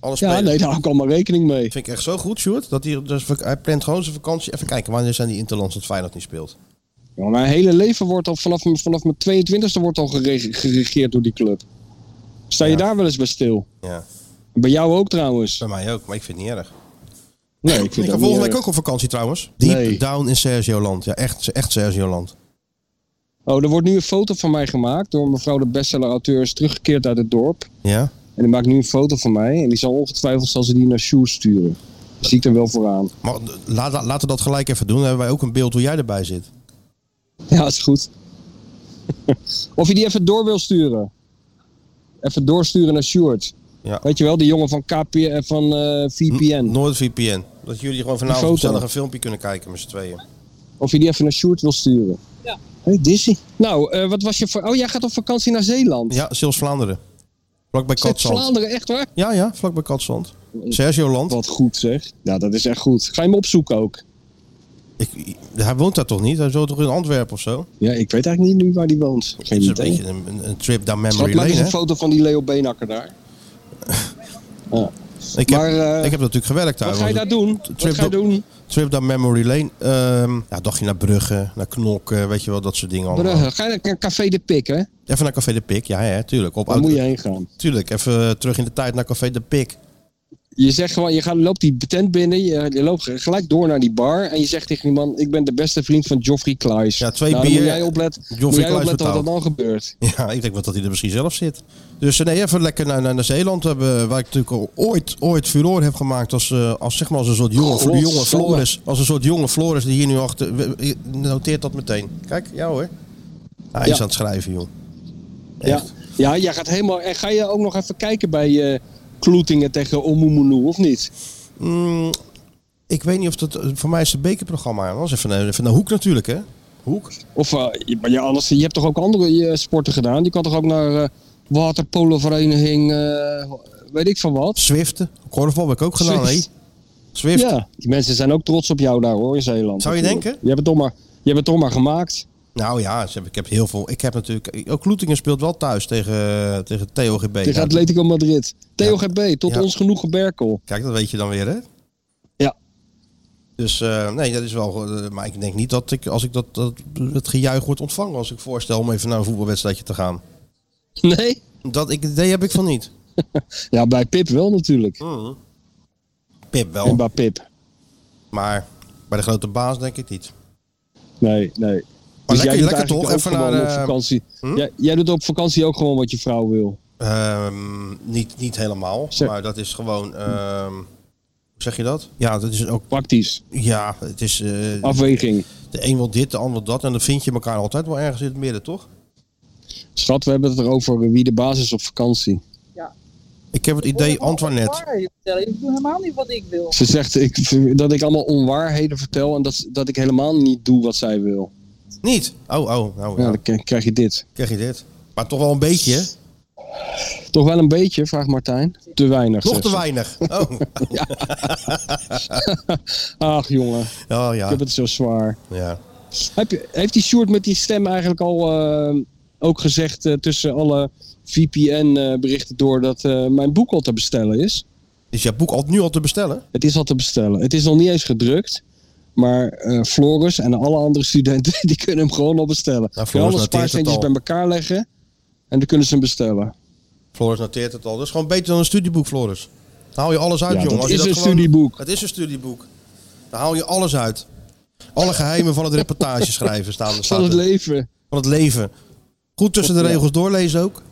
[SPEAKER 3] Alle spelers.
[SPEAKER 5] Ja, nee, daar hou ik allemaal rekening mee.
[SPEAKER 3] Vind ik echt zo goed, Sjoerd. Dat hij, dus, hij plant gewoon zijn vakantie. Even kijken, wanneer zijn die interlands dat Feyenoord niet speelt?
[SPEAKER 5] Ja, mijn hele leven wordt al vanaf, vanaf mijn 22e wordt al gerege- geregeerd door die club. Sta je daar wel eens bij stil?
[SPEAKER 3] Ja,
[SPEAKER 5] Bij jou ook trouwens.
[SPEAKER 3] bij mij ook, maar ik vind het niet erg.
[SPEAKER 5] Nee, ik
[SPEAKER 3] Ik
[SPEAKER 5] vind
[SPEAKER 3] ga
[SPEAKER 5] dat
[SPEAKER 3] volgende
[SPEAKER 5] niet eh,
[SPEAKER 3] week
[SPEAKER 5] erg.
[SPEAKER 3] ook op vakantie trouwens. Deep
[SPEAKER 5] Nee.
[SPEAKER 3] down in Sergio Land. Ja, echt, echt Sergio Land.
[SPEAKER 5] Oh, er wordt nu een foto van mij gemaakt door mevrouw de bestseller-auteur is teruggekeerd uit het dorp.
[SPEAKER 3] Ja.
[SPEAKER 5] En die maakt nu een foto van mij. En die zal ongetwijfeld zal ze die naar Sjoerd sturen. Dat zie ik er wel vooraan.
[SPEAKER 3] Maar eh, laat, laat- laten we dat gelijk even doen. Dan hebben wij ook een beeld hoe jij erbij zit.
[SPEAKER 5] Ja, is goed. of je die even door wil sturen. Even doorsturen naar Sjoerd.
[SPEAKER 3] Ja.
[SPEAKER 5] Weet je wel, die jongen van, KPN, van eh, VPN.
[SPEAKER 3] NoordVPN. Dat jullie gewoon
[SPEAKER 5] Een
[SPEAKER 3] vanavond
[SPEAKER 5] foto.
[SPEAKER 3] gezellig een filmpje kunnen kijken met z'n tweeën.
[SPEAKER 5] Of je die even naar Sjoerd wil sturen. Ja. Hey, Dizzy. Nou, eh, wat was je voor... Oh, jij gaat op vakantie naar Zeeland.
[SPEAKER 3] Ja, Sils Vlaanderen. Vlak bij
[SPEAKER 5] Zit
[SPEAKER 3] Katzand.
[SPEAKER 5] Vlaanderen, echt waar?
[SPEAKER 3] Ja, ja, vlak bij Katzand. Sergio Land.
[SPEAKER 5] Wat goed zeg. Ja, dat is echt goed. Ga je hem opzoeken ook?
[SPEAKER 3] Ik, hij woont daar toch niet? Hij woont toch in Antwerpen of zo?
[SPEAKER 5] Ja, ik weet eigenlijk niet nu waar die woont. Geen
[SPEAKER 3] Het is een
[SPEAKER 5] idee.
[SPEAKER 3] beetje een, een- een trip down
[SPEAKER 5] Schat,
[SPEAKER 3] memory
[SPEAKER 5] maak
[SPEAKER 3] lane.
[SPEAKER 5] eens een
[SPEAKER 3] Hè?
[SPEAKER 5] foto van die Leo Beenakker
[SPEAKER 3] *laughs*
[SPEAKER 5] daar. Ja.
[SPEAKER 3] Ik,
[SPEAKER 5] Maar,
[SPEAKER 3] heb,
[SPEAKER 5] eh,
[SPEAKER 3] ik heb natuurlijk gewerkt daar.
[SPEAKER 5] Wat ga je
[SPEAKER 3] want-
[SPEAKER 5] daar doen? Wat ga je doen?
[SPEAKER 3] Trip down memory lane. Ehm ja, dagje naar Brugge, naar Knokken, weet je wel, dat soort dingen allemaal.
[SPEAKER 5] Brugge. Ga je naar Café de Pik, hè?
[SPEAKER 3] Even naar Café de Pik, ja, hè, tuurlijk. Op
[SPEAKER 5] Waar
[SPEAKER 3] oud-
[SPEAKER 5] moet je heen gaan?
[SPEAKER 3] Tuurlijk, even eh, terug in de tijd naar Café de Pik. *laughs*
[SPEAKER 5] Je zegt gewoon, je gaat, loopt die tent binnen, je, je loopt gelijk door naar die bar en je zegt tegen die man, ik ben de beste vriend van Geoffrey Kluis.
[SPEAKER 3] Ja, twee
[SPEAKER 5] nou, dan
[SPEAKER 3] bier,
[SPEAKER 5] Moet jij opletten,
[SPEAKER 3] Geoffrey
[SPEAKER 5] moet jij
[SPEAKER 3] Kluis
[SPEAKER 5] opletten wat er
[SPEAKER 3] betaalt.
[SPEAKER 5] dan gebeurt.
[SPEAKER 3] Ja, ik denk wel dat hij er misschien zelf zit. Dus eh, nee, even lekker naar, naar, naar Zeeland. Hebben, waar ik natuurlijk al ooit, ooit furore heb gemaakt als, eh, als, zeg maar als een soort jonge,
[SPEAKER 5] Godsamme.
[SPEAKER 3] jonge Floris. Als een soort jonge Floris die hier nu achter... we- we- Noteert dat meteen. Kijk, ja hoor. Ah, Hij
[SPEAKER 5] Ja.
[SPEAKER 3] is aan het schrijven, joh.
[SPEAKER 5] Ja. ja, jij gaat helemaal, en ga je ook nog even kijken bij eh Kloetingen tegen Omumunu, of niet?
[SPEAKER 3] Mm, ik weet niet of dat... eh, Voor mij is het bekerprogramma. Dat was even, een- even een hoek natuurlijk, hè. Hoek?
[SPEAKER 5] Of, eh, je, maar ja, anders, je hebt toch ook andere eh, sporten gedaan? Je kan toch ook naar eh, waterpolovereniging, eh, weet ik van wat?
[SPEAKER 3] Swiften. Korfbal heb ik ook gedaan, nou, hè.
[SPEAKER 5] Zwift.
[SPEAKER 3] Swift.
[SPEAKER 5] Ja, die mensen zijn ook trots op jou daar hoor, in Zeeland.
[SPEAKER 3] Zou je
[SPEAKER 5] Natuurlijk.
[SPEAKER 3] denken?
[SPEAKER 5] Je hebt het toch maar, je hebt het toch maar gemaakt.
[SPEAKER 3] Nou ja, ze hebben- ik heb heel veel... Ik heb natuurlijk... Ook Loetingen speelt wel thuis tegen, eh, tegen TOGB.
[SPEAKER 5] Tegen
[SPEAKER 3] Ja,
[SPEAKER 5] Atletico Madrid. Theo GB, tot
[SPEAKER 3] Ja.
[SPEAKER 5] ons genoegen Berkel. *laughs*
[SPEAKER 3] Kijk, dat weet je dan weer, hè?
[SPEAKER 5] Ja.
[SPEAKER 3] Dus eh, nee, dat is wel. eh, maar ik denk niet dat ik, als ik dat, dat het gejuich wordt ontvangen als ik voorstel om even naar een voetbalwedstrijdje te gaan.
[SPEAKER 5] Nee?
[SPEAKER 3] Dat ik, idee heb ik van niet.
[SPEAKER 5] Ja, bij Pip wel natuurlijk.
[SPEAKER 3] Pip
[SPEAKER 5] En
[SPEAKER 3] wel,
[SPEAKER 5] bij Pip.
[SPEAKER 3] maar bij de grote baas denk ik niet.
[SPEAKER 5] Nee, nee.
[SPEAKER 3] Maar lekker,
[SPEAKER 5] doet
[SPEAKER 3] lekker
[SPEAKER 5] eigenlijk
[SPEAKER 3] toch?
[SPEAKER 5] ook
[SPEAKER 3] Even
[SPEAKER 5] gewoon
[SPEAKER 3] naar,
[SPEAKER 5] op
[SPEAKER 3] eh,
[SPEAKER 5] vakantie.
[SPEAKER 3] hm?
[SPEAKER 5] Jij, jij doet op vakantie ook gewoon wat je vrouw wil.
[SPEAKER 3] Ehm, niet, niet helemaal,
[SPEAKER 5] Zeg-
[SPEAKER 3] maar dat is gewoon. ehm, hoe zeg je dat? Ja, dat is ook.
[SPEAKER 5] Praktisch.
[SPEAKER 3] Ja, het is. eh,
[SPEAKER 5] Afweging.
[SPEAKER 3] de een wil dit, de ander wil dat. En dan vind je elkaar altijd wel ergens in het midden, toch?
[SPEAKER 5] Schat, we hebben het erover eh, wie de baas is op vakantie.
[SPEAKER 3] Ik heb het idee, Antoinette.
[SPEAKER 7] Ik doe helemaal niet wat ik wil.
[SPEAKER 5] Ze zegt ik, *laughs* dat ik allemaal onwaarheden vertel en dat, dat ik helemaal niet doe wat zij wil.
[SPEAKER 3] Niet. Oh, oh, nou
[SPEAKER 5] Ja,
[SPEAKER 3] ja.
[SPEAKER 5] dan k- krijg je dit.
[SPEAKER 3] Krijg je dit? Maar toch wel een beetje, hè?
[SPEAKER 5] Toch wel een beetje, vraagt Martijn. Te weinig.
[SPEAKER 3] Nog
[SPEAKER 5] zegt
[SPEAKER 3] te
[SPEAKER 5] ze. *laughs*
[SPEAKER 3] weinig. Oh,
[SPEAKER 5] Ach jongen,
[SPEAKER 3] oh
[SPEAKER 5] ik
[SPEAKER 3] ja.
[SPEAKER 5] heb het zo zwaar.
[SPEAKER 3] ja.
[SPEAKER 5] Heb je, heeft die Sjoerd met die stem eigenlijk al eh, ook gezegd eh, tussen alle VPN-berichten door dat eh, mijn boek al te bestellen is?
[SPEAKER 3] Is jouw boek al, nu al te bestellen?
[SPEAKER 5] Het is al te bestellen. Het is nog niet eens gedrukt. Maar eh Floris en alle andere studenten *laughs* die kunnen hem gewoon al bestellen.
[SPEAKER 3] Nou, Floris
[SPEAKER 5] Kun je alle
[SPEAKER 3] noteert het
[SPEAKER 5] spaarcentjes
[SPEAKER 3] al.
[SPEAKER 5] bij elkaar leggen en dan kunnen ze hem bestellen.
[SPEAKER 3] Floris noteert het al. Dat is gewoon beter dan een studieboek, Floris. Dan haal je alles uit,
[SPEAKER 5] Ja,
[SPEAKER 3] jongen.
[SPEAKER 5] dat
[SPEAKER 3] Als je
[SPEAKER 5] is een
[SPEAKER 3] gewoon-
[SPEAKER 5] studieboek.
[SPEAKER 3] Het is een studieboek. Dan haal je alles uit. Alle geheimen van het
[SPEAKER 5] *laughs*
[SPEAKER 3] reportage schrijven staan er.
[SPEAKER 5] Van
[SPEAKER 3] Staat
[SPEAKER 5] het
[SPEAKER 3] er.
[SPEAKER 5] leven,
[SPEAKER 3] Van het leven. Goed tussen de
[SPEAKER 5] Ja.
[SPEAKER 3] regels doorlezen ook.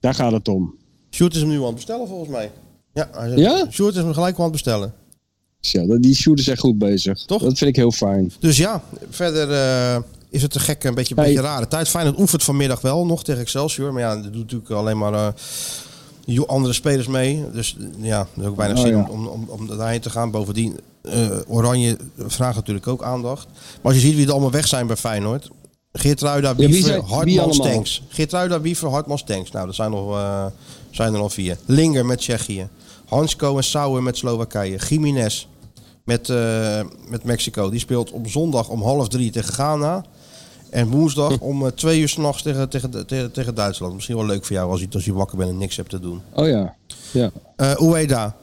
[SPEAKER 5] daar gaat het om.
[SPEAKER 3] Sjoerd is hem nu aan het bestellen, volgens mij. Ja, hij zegt-
[SPEAKER 5] Ja?
[SPEAKER 3] Sjoerd is hem gelijk al aan het bestellen.
[SPEAKER 5] Dus ja, dat- die Sjoerd is echt goed bezig.
[SPEAKER 3] Toch?
[SPEAKER 5] Dat vind ik heel fijn.
[SPEAKER 3] Dus ja, verder eh, is het een gekke, een beetje, een
[SPEAKER 5] Hey.
[SPEAKER 3] beetje rare tijd. Feyenoord oefent vanmiddag wel nog tegen Excelsior. Maar ja, dat doet natuurlijk alleen maar eh, jo- andere spelers mee. Dus eh, ja, er is ook weinig
[SPEAKER 5] Oh,
[SPEAKER 3] zin
[SPEAKER 5] ja.
[SPEAKER 3] om, om, om daarheen te gaan. Bovendien, eh, Oranje vraagt natuurlijk ook aandacht. Maar als je ziet wie er allemaal weg zijn bij Feyenoord. Geertruida,
[SPEAKER 5] wie
[SPEAKER 3] Wiever,
[SPEAKER 5] zijn- wie
[SPEAKER 3] Hartman,
[SPEAKER 5] allemaal?
[SPEAKER 3] Stenks. Geertruida, Wiever, Hartman, Stenks. Nou, dat zijn, nog, eh, zijn er al vier. Linger met Tsjechië. Hansko en Sauer met Slowakije. Jiménez met, eh, met Mexico. Die speelt op zondag om half drie tegen Ghana. En woensdag
[SPEAKER 5] Hm.
[SPEAKER 3] om eh, twee uur s'nachts tegen, tegen, tegen, tegen Duitsland. Misschien wel leuk voor jou als je, als je wakker bent en niks hebt te doen.
[SPEAKER 5] Oh ja. ja.
[SPEAKER 3] Eh Ueda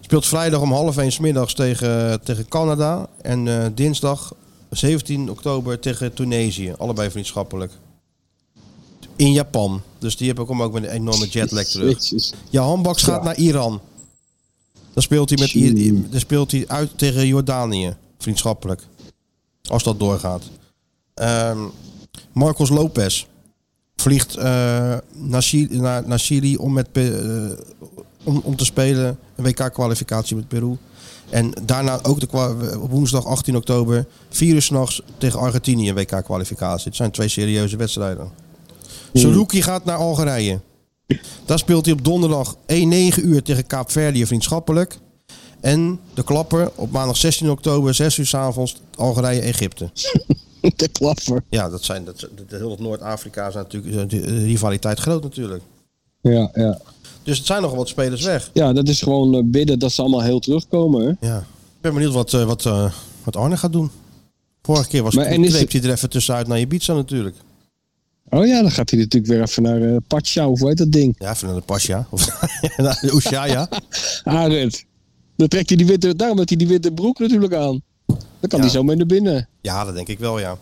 [SPEAKER 3] speelt vrijdag om half één 's middags tegen, tegen Canada. En eh, dinsdag 17 oktober tegen Tunesië. Allebei vriendschappelijk. In Japan. Dus die heb ik hem ook met een enorme jetlag terug.
[SPEAKER 5] Jezus. *laughs*
[SPEAKER 3] Jahan Baks gaat
[SPEAKER 5] Ja.
[SPEAKER 3] naar Iran. Dan speelt hij, met, I-
[SPEAKER 5] Tjie.
[SPEAKER 3] dan speelt hij uit tegen Jordanië. Vriendschappelijk. Als dat doorgaat. Ehm, Marcos Lopez vliegt eh, naar, Chili, naar, naar Chili om, met, Pe- eh, om, om te spelen. Een WK-kwalificatie met Peru. En daarna ook de kwa- op woensdag 18 oktober. 4 uur s'nachts tegen Argentinië een WK-kwalificatie. Het zijn twee serieuze wedstrijden.
[SPEAKER 5] Hmm.
[SPEAKER 3] Saruki gaat naar Algerije. Daar speelt hij op donderdag 1-9 uur tegen Kaapverdië vriendschappelijk. En de klapper op maandag 16 oktober, 6 uur 's avonds, Algerije-Egypte.
[SPEAKER 5] De klapper.
[SPEAKER 3] Ja, dat zijn, dat, de, de heel Noord-Afrika is natuurlijk, is de rivaliteit groot natuurlijk.
[SPEAKER 5] Ja, ja.
[SPEAKER 3] Dus het zijn nog wat spelers weg.
[SPEAKER 5] ja, dat is gewoon eh, bidden dat ze allemaal heel terugkomen. Hè?
[SPEAKER 3] Ja. Ik ben benieuwd wat, eh, wat, eh, wat Arne gaat doen. Vorige keer was
[SPEAKER 5] Maar en is
[SPEAKER 3] greep
[SPEAKER 5] het-
[SPEAKER 3] hij er even tussenuit naar Ibiza natuurlijk.
[SPEAKER 5] Oh ja, dan gaat hij natuurlijk weer even naar eh Pacha of hoe heet dat ding?
[SPEAKER 3] Ja, even naar de Pasja. Of *laughs* naar de Ushuaia.
[SPEAKER 5] Arend. Dan trekt hij die witte, daarom heeft hij die witte broek natuurlijk aan. Dan kan
[SPEAKER 3] Ja.
[SPEAKER 5] hij zo mee naar binnen.
[SPEAKER 3] Ja, dat denk ik wel,
[SPEAKER 5] *laughs*
[SPEAKER 3] ja.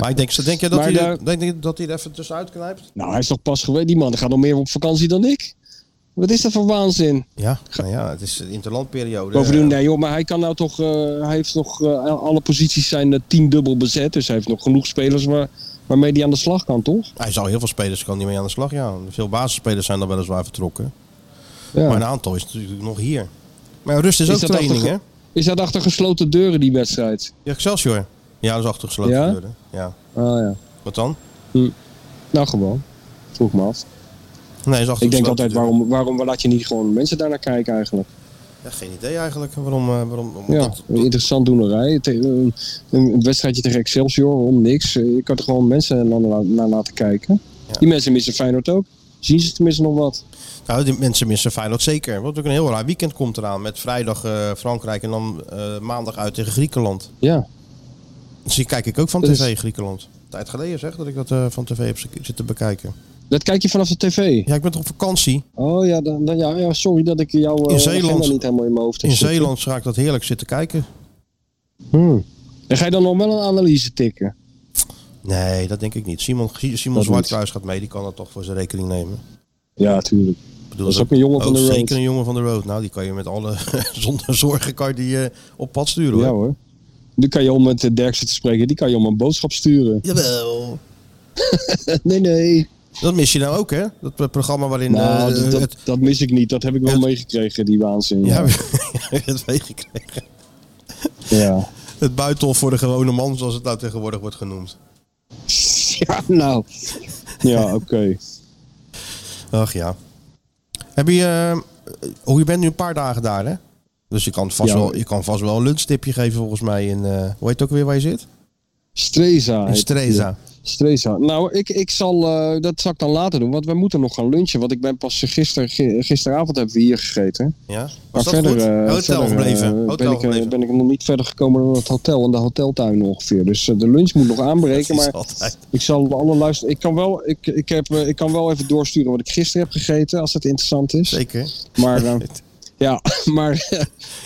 [SPEAKER 3] maar ik denk, denk je dat,
[SPEAKER 5] Maar
[SPEAKER 3] hij,
[SPEAKER 5] daar-
[SPEAKER 3] er- denk je dat hij er even tussenuit knijpt?
[SPEAKER 5] Nou, hij is toch pas geweest. Die man gaat nog meer op vakantie dan ik. Wat is dat voor waanzin?
[SPEAKER 3] Ja, nou ja, het is de interlandperiode.
[SPEAKER 5] Bovendien, nee joh, maar hij kan nou toch, eh, hij heeft nog, eh, alle posities zijn eh, tiendubbel bezet. Dus hij heeft nog genoeg spelers waar, waarmee hij aan de slag kan, toch?
[SPEAKER 3] Hij zal heel veel spelers kan niet mee aan de slag. Ja, veel basisspelers zijn dan weliswaar vertrokken.
[SPEAKER 5] Ja.
[SPEAKER 3] Maar een aantal is natuurlijk nog hier. Maar rust is,
[SPEAKER 5] Is
[SPEAKER 3] ook
[SPEAKER 5] dat
[SPEAKER 3] training,
[SPEAKER 5] achter-
[SPEAKER 3] hè?
[SPEAKER 5] Is dat achter gesloten deuren, die wedstrijd?
[SPEAKER 3] Ja, Excelsior. Ja, dat is achtergesloten
[SPEAKER 5] Ja?
[SPEAKER 3] deuren. Ja.
[SPEAKER 5] Ah ja,
[SPEAKER 3] Wat dan?
[SPEAKER 5] nou gewoon. Vroeg me af.
[SPEAKER 3] Nee, is achtergesloten
[SPEAKER 5] Ik denk altijd,
[SPEAKER 3] deuren.
[SPEAKER 5] waarom, waarom laat je niet gewoon mensen daarnaar kijken eigenlijk?
[SPEAKER 3] Ja, geen idee eigenlijk waarom... eh, waarom, waarom
[SPEAKER 5] Ja,
[SPEAKER 3] dat-
[SPEAKER 5] een interessant doenerij. Te- Een, een wedstrijdje tegen Excelsior, om niks. Eh, Je kan er gewoon mensen naar, la- naar laten kijken.
[SPEAKER 3] Ja.
[SPEAKER 5] Die mensen missen Feyenoord ook. Zien ze tenminste nog wat?
[SPEAKER 3] Nou, die mensen missen Feyenoord zeker. Want ook een heel raar weekend komt eraan. Met vrijdag eh, Frankrijk en dan eh, maandag uit tegen Griekenland.
[SPEAKER 5] Ja,
[SPEAKER 3] Dus die kijk ik ook van
[SPEAKER 5] Dat is-
[SPEAKER 3] tv, Griekenland. Tijd geleden zeg, dat ik dat eh, van tv heb zit- zitten bekijken.
[SPEAKER 5] dat kijk je vanaf de tv.
[SPEAKER 3] Ja, ik ben toch op vakantie.
[SPEAKER 5] Oh ja, dan, dan- ja, ja, sorry dat ik jouw eh,
[SPEAKER 3] In Zeeland.
[SPEAKER 5] agenda niet helemaal in mijn hoofd heb
[SPEAKER 3] In
[SPEAKER 5] zitten.
[SPEAKER 3] Zeeland ga ik dat heerlijk zitten kijken.
[SPEAKER 5] Hmm. En ga je dan nog wel een analyse tikken?
[SPEAKER 3] Nee, dat denk ik niet. Simon, Simon
[SPEAKER 5] Dat
[SPEAKER 3] Zwartkruis gaat mee, die kan dat toch voor zijn rekening nemen.
[SPEAKER 5] Ja, tuurlijk.
[SPEAKER 3] Ik bedoel, Oh,
[SPEAKER 5] Dat is ook een jongen van de road.
[SPEAKER 3] Zeker een jongen van de road. Nou, die kan je met alle *laughs* zonder zorgen kan je die eh, op pad sturen
[SPEAKER 5] Ja
[SPEAKER 3] hoor.
[SPEAKER 5] hoor. Nu kan je om met eh, Derksen te spreken, die kan je om een boodschap sturen.
[SPEAKER 3] Jawel.
[SPEAKER 5] *laughs* nee, nee.
[SPEAKER 3] Dat mis je nou ook hè? Dat pro- programma waarin...
[SPEAKER 5] nou,
[SPEAKER 3] eh,
[SPEAKER 5] dat, dat,
[SPEAKER 3] het-
[SPEAKER 5] dat mis ik niet. Dat heb ik wel
[SPEAKER 3] het-
[SPEAKER 5] meegekregen, die waanzin.
[SPEAKER 3] ja, *laughs*
[SPEAKER 5] Ja.
[SPEAKER 3] het meegekregen.
[SPEAKER 5] Ja.
[SPEAKER 3] Het buitenhof voor de gewone man, zoals het nou tegenwoordig wordt genoemd.
[SPEAKER 5] *laughs* Ja, nou. Ja, oké.
[SPEAKER 3] Ach ja. Heb je... eh, oh, je bent nu een paar dagen daar hè? Dus je kan vast,
[SPEAKER 5] Ja.
[SPEAKER 3] wel, je kan vast wel een lunchtipje geven volgens mij. In, eh, hoe heet het ook weer waar je zit?
[SPEAKER 5] Streza.
[SPEAKER 3] In
[SPEAKER 5] heet het
[SPEAKER 3] Streza.
[SPEAKER 5] hier. Streza. Nou, ik, ik zal, eh, dat zal ik dan later doen, want we moeten nog gaan lunchen. Want ik ben pas gister, gi- gisteravond hebben we hier gegeten.
[SPEAKER 3] Ja?
[SPEAKER 5] Maar
[SPEAKER 3] Was dat goed?
[SPEAKER 5] eh,
[SPEAKER 3] Hotel
[SPEAKER 5] verder,
[SPEAKER 3] gebleven.
[SPEAKER 5] eh,
[SPEAKER 3] Hotel
[SPEAKER 5] ben, ik, eh,
[SPEAKER 3] gebleven.
[SPEAKER 5] ben ik nog niet verder gekomen dan het hotel en de hoteltuin ongeveer. Dus eh, de lunch moet nog
[SPEAKER 3] *laughs*
[SPEAKER 5] aanbreken.
[SPEAKER 3] Dat is
[SPEAKER 5] maar
[SPEAKER 3] altijd.
[SPEAKER 5] ik zal alle luisteren. Ik kan, wel, ik, ik, heb, eh, ik kan wel even doorsturen wat ik gisteren heb gegeten, als dat interessant is.
[SPEAKER 3] Zeker. *laughs*
[SPEAKER 5] Maar eh, ja, *laughs* maar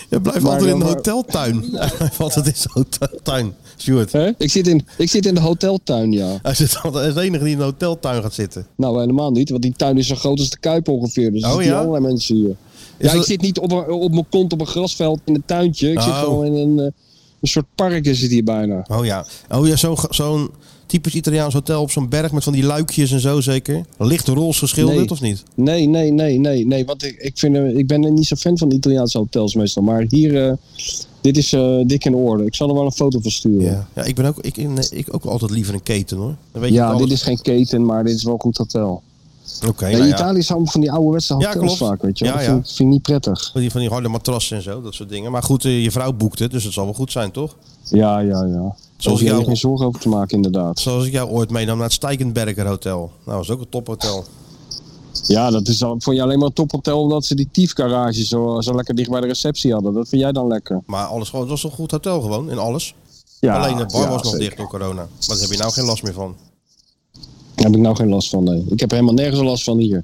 [SPEAKER 3] Je blijft
[SPEAKER 5] Maar
[SPEAKER 3] altijd in de
[SPEAKER 5] dan eh, maar- *laughs*
[SPEAKER 3] hoteltuin. *laughs* Hij blijft altijd in zijn hoteltuin. Stuart.
[SPEAKER 5] hè? ik, zit in, ik zit in de hoteltuin, ja.
[SPEAKER 3] Hij zit altijd hij is de enige die in de hoteltuin gaat zitten.
[SPEAKER 5] Nou, helemaal niet, want die tuin is zo groot als de Kuip ongeveer. Dus er
[SPEAKER 3] Oh,
[SPEAKER 5] zitten
[SPEAKER 3] ja?
[SPEAKER 5] allerlei mensen hier. ja,
[SPEAKER 3] dat-
[SPEAKER 5] ik zit niet op, een- op mijn kont op een grasveld in een tuintje. Ik zit
[SPEAKER 3] Oh.
[SPEAKER 5] gewoon in een, eh, een soort park is het hier bijna.
[SPEAKER 3] Oh ja. Oh ja, zo'n zo'n typisch Italiaans hotel op zo'n berg met van die luikjes en zo zeker. Licht roze geschilderd
[SPEAKER 5] Nee.
[SPEAKER 3] of niet?
[SPEAKER 5] Nee, nee, nee, nee, nee. Want ik, ik, vind, eh, ik ben niet zo fan van Italiaanse hotels meestal. Maar hier, eh, dit is eh, dik in orde. Ik zal er wel een foto van sturen.
[SPEAKER 3] Ja. ja ik ben ook, ik, in- ik ook altijd liever een keten hoor. Dan weet je
[SPEAKER 5] Ja,
[SPEAKER 3] alles.
[SPEAKER 5] dit is geen keten, maar dit is wel een goed hotel.
[SPEAKER 3] Oké,
[SPEAKER 5] In
[SPEAKER 3] nou ja.
[SPEAKER 5] Italië is allemaal van die ouderwetse
[SPEAKER 3] Ja,
[SPEAKER 5] hotels
[SPEAKER 3] klopt.
[SPEAKER 5] vaak, weet je wel.
[SPEAKER 3] Ja,
[SPEAKER 5] dat
[SPEAKER 3] ja.
[SPEAKER 5] Vind, ik- vind ik niet prettig.
[SPEAKER 3] Van die, van die harde matrassen en zo, dat soort dingen. Maar goed, eh, je vrouw boekt het, dus het zal wel goed zijn toch?
[SPEAKER 5] Ja, ja, ja.
[SPEAKER 3] Zoals
[SPEAKER 5] Zoals je
[SPEAKER 3] jou.
[SPEAKER 5] er geen zorgen over te maken, inderdaad.
[SPEAKER 3] Zoals ik jou ooit meenam naar het Steigenberger Hotel. Nou, dat is ook een tophotel.
[SPEAKER 5] Ja, dat is al, vond je alleen maar een tophotel omdat ze die tiefgarage zo, zo lekker dicht bij de receptie hadden. Dat vind jij dan lekker.
[SPEAKER 3] Maar alles gewoon, het was een goed hotel gewoon, in alles.
[SPEAKER 5] Ja,
[SPEAKER 3] Alleen de bar
[SPEAKER 5] ja,
[SPEAKER 3] was nog
[SPEAKER 5] zeker.
[SPEAKER 3] dicht door corona. Maar daar heb je nou geen last meer van.
[SPEAKER 5] Daar heb ik nou geen last van, nee. Ik heb helemaal nergens last van hier.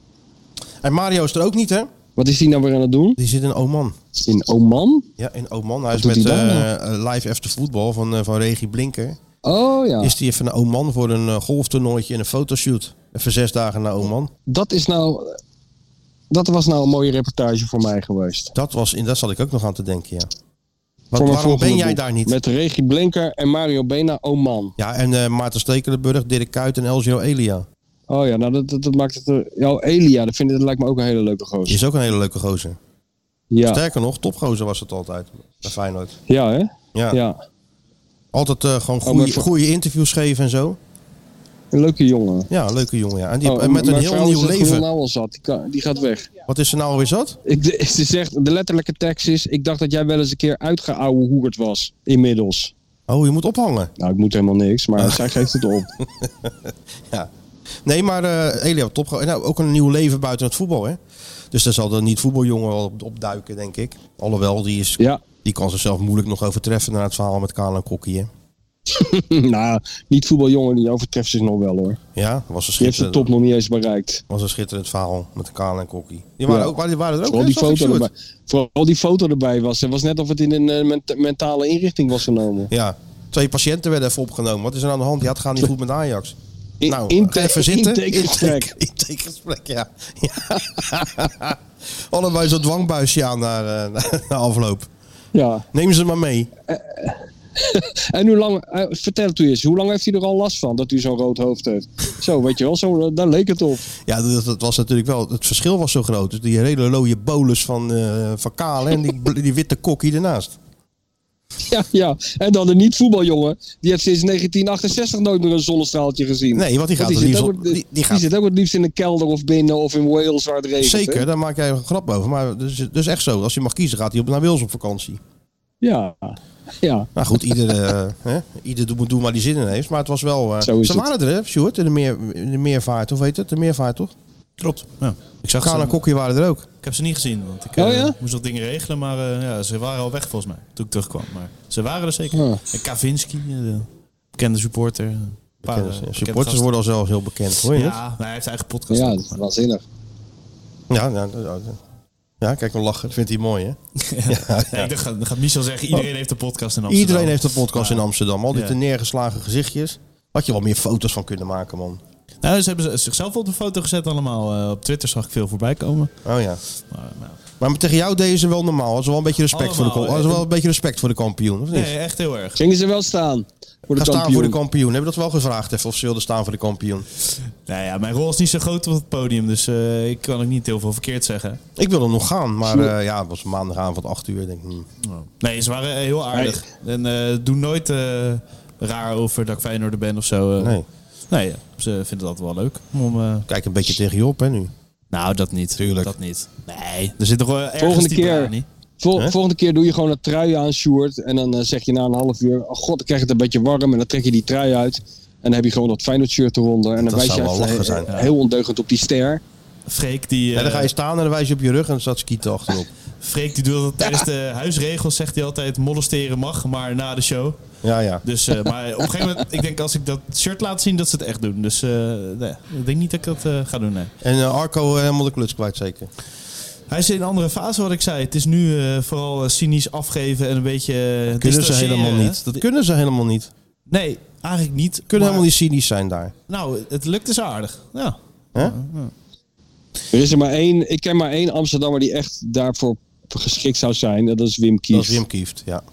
[SPEAKER 3] En Mario is er ook niet, hè?
[SPEAKER 5] Wat is die nou weer aan het doen?
[SPEAKER 3] Die zit in Oman.
[SPEAKER 5] In Oman?
[SPEAKER 3] Ja, in Oman. Hij is
[SPEAKER 5] doet
[SPEAKER 3] met
[SPEAKER 5] hij daar
[SPEAKER 3] eh, eh, Live After Voetbal van, eh, van Regie Blinker.
[SPEAKER 5] Oh ja.
[SPEAKER 3] Is die even naar Oman voor een eh, golftoernooitje en een fotoshoot. Even zes dagen naar Oman.
[SPEAKER 5] Dat is nou... Dat was nou een mooie reportage voor mij geweest.
[SPEAKER 3] Dat was, in dat zat ik ook nog aan te denken, ja. Wat,
[SPEAKER 5] voor mijn
[SPEAKER 3] waarom ben
[SPEAKER 5] volgende
[SPEAKER 3] jij
[SPEAKER 5] boek.
[SPEAKER 3] daar niet?
[SPEAKER 5] Met Regie Blinker en Mario Bena oh Oman.
[SPEAKER 3] Ja, en eh, Maarten Stekelenburg, Dirk Kuyt en Elgio Elia.
[SPEAKER 5] Oh ja, nou dat, dat, dat maakt het... eh, Ja, oh, Elia, dat, vind ik, dat lijkt me ook een hele leuke
[SPEAKER 3] Die
[SPEAKER 5] gozer.
[SPEAKER 3] is ook een hele leuke gozer.
[SPEAKER 5] Ja,
[SPEAKER 3] Sterker nog, topgozer was het altijd. Bij Feyenoord.
[SPEAKER 5] ja hè?
[SPEAKER 3] Ja.
[SPEAKER 5] Ja. Oh,
[SPEAKER 3] Altijd eh, gewoon
[SPEAKER 5] maar
[SPEAKER 3] goede
[SPEAKER 5] voor-
[SPEAKER 3] goede interviews geven en zo.
[SPEAKER 5] Een leuke jongen.
[SPEAKER 3] Ja, een leuke jongen. Ja. En die,
[SPEAKER 5] Oh,
[SPEAKER 3] en met een
[SPEAKER 5] mijn
[SPEAKER 3] heel
[SPEAKER 5] vrouw
[SPEAKER 3] nieuw
[SPEAKER 5] is er gewoon
[SPEAKER 3] leven.
[SPEAKER 5] nou al zat. Die, kan- die gaat weg.
[SPEAKER 3] Wat is er nou alweer zat?
[SPEAKER 5] Ik, de- ze zegt, de letterlijke tekst is... Ik dacht dat jij wel eens een keer uitgeouwe hoerd was. Inmiddels.
[SPEAKER 3] Oh, je moet ophangen.
[SPEAKER 5] Nou, ik moet helemaal niks, maar zij geeft het op.
[SPEAKER 3] Nee, maar eh Elia, top. Nou, ook een nieuw leven buiten het voetbal, hè? Dus daar zal dan niet voetbaljongen wel op, op duiken, denk ik. Alhoewel, die, is,
[SPEAKER 5] Ja, *laughs*
[SPEAKER 3] die kan zichzelf moeilijk nog overtreffen na het verhaal met Kale en Kokkie, hè?
[SPEAKER 5] nou, niet voetbaljongen, die overtreft zich nog wel hoor.
[SPEAKER 3] Ja, dat was een
[SPEAKER 5] Die heeft zijn
[SPEAKER 3] schitterend,
[SPEAKER 5] top nog niet eens bereikt.
[SPEAKER 3] was een schitterend verhaal met Kale en Kokkie. Die waren,
[SPEAKER 5] Ja.
[SPEAKER 3] ook, waren, die waren er ook,
[SPEAKER 5] Vooral
[SPEAKER 3] hè?
[SPEAKER 5] die,
[SPEAKER 3] Zag ik,
[SPEAKER 5] foto
[SPEAKER 3] Sjoerd?
[SPEAKER 5] erbij, vooral die foto erbij was. Het was net of het in een eh, ment- mentale inrichting was genomen.
[SPEAKER 3] Ja, twee patiënten werden even opgenomen. Wat is er aan de hand? Ja, het gaat niet goed met Ajax.
[SPEAKER 5] In,
[SPEAKER 3] Nou,
[SPEAKER 5] inte-
[SPEAKER 3] even zitten.
[SPEAKER 5] intakegesprek.
[SPEAKER 3] *laughs* Intakegesprek, ja. ja. *laughs* Allebei zo'n dwangbuisje aan *laughs* naar, na afloop.
[SPEAKER 5] Ja.
[SPEAKER 3] Neem ze maar mee.
[SPEAKER 5] En hoe lang, eh, vertel het u eens, hoe lang heeft hij er al last van dat u zo'n rood hoofd heeft? Zo, weet je wel, zo, eh, daar leek het op. *laughs*
[SPEAKER 3] Ja, dat, dat was natuurlijk wel... Het verschil was zo groot. Dus die hele looie bolus van, eh van Kale en die, bl- die witte kokkie ernaast.
[SPEAKER 5] Ja, ja. En dan de niet-voetbaljongen, die heeft sinds 1968 nooit meer een zonnestraaltje gezien.
[SPEAKER 3] Nee, want die gaat
[SPEAKER 5] die,
[SPEAKER 3] het
[SPEAKER 5] zit
[SPEAKER 3] liefst
[SPEAKER 5] ook,
[SPEAKER 3] op- die-
[SPEAKER 5] het-
[SPEAKER 3] die
[SPEAKER 5] die
[SPEAKER 3] gaat-
[SPEAKER 5] zit ook het liefst in een kelder of binnen of in Wales waar het regent. hè?
[SPEAKER 3] Zeker, daar maak jij een grap over. Maar dus, dus echt zo. Als je mag kiezen, gaat hij op naar Wils op vakantie.
[SPEAKER 5] Ja, ja.
[SPEAKER 3] Nou goed, ieder, eh, hè, ieder doet doet maar die zin in heeft. Maar het was wel... eh,
[SPEAKER 5] Zo is
[SPEAKER 3] ze
[SPEAKER 5] het.
[SPEAKER 3] waren er, hè, Sjoerd? In de, meer, in de meervaart, of heet het? De meervaart, toch?
[SPEAKER 4] Klopt. Ja. Ik zag
[SPEAKER 3] Kale
[SPEAKER 4] ze.
[SPEAKER 3] en Kokkie waren er ook.
[SPEAKER 4] Ik heb ze niet gezien, want ik
[SPEAKER 5] Oh,
[SPEAKER 4] eh,
[SPEAKER 5] ja?
[SPEAKER 4] moest nog dingen regelen. Maar eh, ja, ze waren al weg volgens mij toen ik terugkwam. Maar ze waren er zeker.
[SPEAKER 5] Ja.
[SPEAKER 4] En Kavinski, eh, de bekende supporter. Een paar, eh,
[SPEAKER 3] Kennis.
[SPEAKER 4] bekende
[SPEAKER 3] supporters
[SPEAKER 4] gasten.
[SPEAKER 3] worden al zelfs heel bekend, hoor je het?
[SPEAKER 4] Ja, nou, hij heeft zijn eigen podcast.
[SPEAKER 5] Ja,
[SPEAKER 4] ook,
[SPEAKER 5] dat is
[SPEAKER 4] maar-
[SPEAKER 5] waanzinnig.
[SPEAKER 3] Ja, ja, ja, ja. ja kijk hem lachen. Dat vindt hij mooi, hè?
[SPEAKER 4] Ja, ik dacht, dan gaat Michel zeggen, iedereen heeft een podcast in Amsterdam.
[SPEAKER 3] Iedereen heeft een podcast in Amsterdam. Al die
[SPEAKER 4] Ja.
[SPEAKER 3] te neergeslagen gezichtjes. Had je wel meer foto's van kunnen maken, man.
[SPEAKER 4] Nou, ze hebben ze- zichzelf op de foto gezet allemaal. Eh, op Twitter zag ik veel voorbij komen.
[SPEAKER 3] Oh ja.
[SPEAKER 4] Maar, nou,
[SPEAKER 3] Maar tegen jou deden ze wel normaal. Hadden ze wel een beetje respect, voor de,
[SPEAKER 4] Allemaal,
[SPEAKER 3] kom- hadden ze wel een beetje respect voor de kampioen, of niet?
[SPEAKER 4] nee, echt heel erg.
[SPEAKER 5] Gingen ze wel staan voor de
[SPEAKER 3] Ga
[SPEAKER 5] kampioen.
[SPEAKER 3] staan voor de kampioen. Hebben we dat wel gevraagd even? Of ze wilden staan voor de kampioen?
[SPEAKER 4] Nou ja, mijn rol is niet zo groot op het podium, dus eh, ik kan ook niet heel veel verkeerd zeggen.
[SPEAKER 3] Ik wilde nog gaan, maar eh, ja, het was maandagavond 8 uur. Ik Denk, hm.
[SPEAKER 4] Nee, ze waren eh, heel aardig. En eh doe nooit eh, raar over dat ik Feyenoorder ben of zo. eh.
[SPEAKER 3] Nee.
[SPEAKER 4] Nee, ja, ze vinden dat wel leuk. Om, eh,
[SPEAKER 3] Kijk een beetje tegen je op, hè, nu.
[SPEAKER 4] nou, dat niet.
[SPEAKER 3] Tuurlijk.
[SPEAKER 4] Dat niet. Nee, er zit toch wel ergens
[SPEAKER 5] Volgende
[SPEAKER 4] die
[SPEAKER 5] keer.
[SPEAKER 4] baan, niet?
[SPEAKER 5] Vol-
[SPEAKER 3] Hè?
[SPEAKER 5] volgende keer doe je gewoon een trui aan, Sjoerd. En dan eh, zeg je na een half uur... Oh god, dan krijg je het een beetje warm. En dan trek je die trui uit. En dan heb je gewoon dat Feyenoord shirt eronder. En dan
[SPEAKER 3] Dat
[SPEAKER 5] wijs je
[SPEAKER 3] zou wel
[SPEAKER 5] even,
[SPEAKER 3] lachen
[SPEAKER 5] eh,
[SPEAKER 3] zijn.
[SPEAKER 5] eh, heel ondeugend op die ster.
[SPEAKER 4] Freek die,
[SPEAKER 3] Ja, dan ga je
[SPEAKER 4] eh,
[SPEAKER 3] staan en dan wijs je op je rug en dan staat skieten *laughs* achterop.
[SPEAKER 4] Freek die doet dat tijdens de huisregels, zegt hij altijd molesteren mag, maar na de show.
[SPEAKER 3] Ja, ja.
[SPEAKER 4] Dus,
[SPEAKER 3] *laughs*
[SPEAKER 4] eh, maar op een gegeven moment, ik denk als ik dat shirt laat zien, dat ze het echt doen. Dus eh, nee, ik denk niet dat ik dat eh, ga doen, nee.
[SPEAKER 3] En eh, Arco eh, helemaal de kluts kwijt, zeker.
[SPEAKER 4] Hij is in een andere fase, wat ik zei. Het is nu eh, vooral eh, cynisch afgeven en een beetje... eh,
[SPEAKER 3] Kunnen ze
[SPEAKER 4] distancieren,
[SPEAKER 3] helemaal
[SPEAKER 4] hè?
[SPEAKER 3] niet. Dat kunnen ze helemaal niet.
[SPEAKER 4] Nee, eigenlijk niet.
[SPEAKER 3] Kunnen
[SPEAKER 4] maar-
[SPEAKER 3] helemaal niet cynisch zijn daar.
[SPEAKER 4] Nou, het lukt dus aardig. Ja.
[SPEAKER 5] Er is er maar één... Ik ken maar één Amsterdammer die echt daarvoor geschikt zou zijn. En dat is Wim Kieft.
[SPEAKER 3] Dat is Wim Kieft, ja.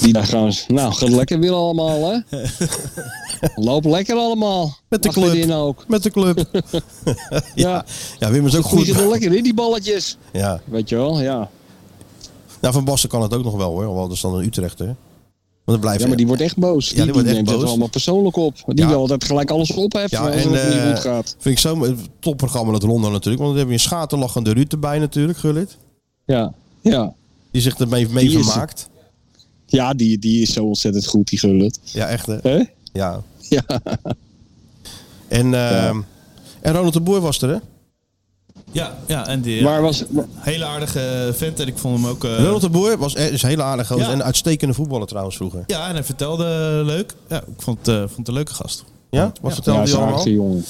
[SPEAKER 5] Die daar gewoon... Nou, gaat lekker willen allemaal, hè?
[SPEAKER 3] *laughs*
[SPEAKER 5] Loop lekker allemaal.
[SPEAKER 3] Met de
[SPEAKER 5] Achterin
[SPEAKER 3] club.
[SPEAKER 5] ook.
[SPEAKER 3] Met de club. ja.
[SPEAKER 5] Ja.
[SPEAKER 3] *laughs* ja, Wim is ook
[SPEAKER 5] Goed. Die zitten
[SPEAKER 3] goed.
[SPEAKER 5] lekker in die balletjes.
[SPEAKER 3] Ja.
[SPEAKER 5] Weet je wel, ja.
[SPEAKER 3] Nou, Van Basten kan het ook nog wel hoor. Al is dan een Utrechter. Want dan blijft
[SPEAKER 5] Ja, maar die wordt echt boos. die,
[SPEAKER 3] die wordt echt
[SPEAKER 5] neemt het
[SPEAKER 3] boos.
[SPEAKER 5] allemaal persoonlijk op. Die
[SPEAKER 3] Ja.
[SPEAKER 5] wil altijd gelijk alles opheffen
[SPEAKER 3] Ja,
[SPEAKER 5] als
[SPEAKER 3] en,
[SPEAKER 5] het
[SPEAKER 3] eh,
[SPEAKER 5] niet goed gaat.
[SPEAKER 3] Vind ik zo'n topprogramma dat Ronda natuurlijk. Want dan heb je een schaterlachende Ruud erbij natuurlijk, Gullit.
[SPEAKER 5] Ja, ja.
[SPEAKER 3] Die zich ermee mee
[SPEAKER 5] Die is-
[SPEAKER 3] vermaakt.
[SPEAKER 5] ja die, die is zo ontzettend goed, die gullet.
[SPEAKER 3] Ja, echt hè.
[SPEAKER 5] Hè?
[SPEAKER 3] Ja.
[SPEAKER 5] Ja.
[SPEAKER 3] En, ehm, en Ronald de Boer was er hè.
[SPEAKER 4] Ja, ja en die
[SPEAKER 5] Waar was-
[SPEAKER 4] hele aardige vent en ik vond hem ook... eh,
[SPEAKER 3] Ronald de Boer was, eh, is een hele aardige gozer
[SPEAKER 4] Ja.
[SPEAKER 3] en een uitstekende voetballer trouwens vroeger.
[SPEAKER 4] ja, en hij vertelde leuk. Ja, ik vond, eh, vond het een leuke gast.
[SPEAKER 3] Ja? Wat vertelde
[SPEAKER 5] Ja,
[SPEAKER 3] hij
[SPEAKER 5] zo'n
[SPEAKER 3] allemaal?
[SPEAKER 5] aardige jongen.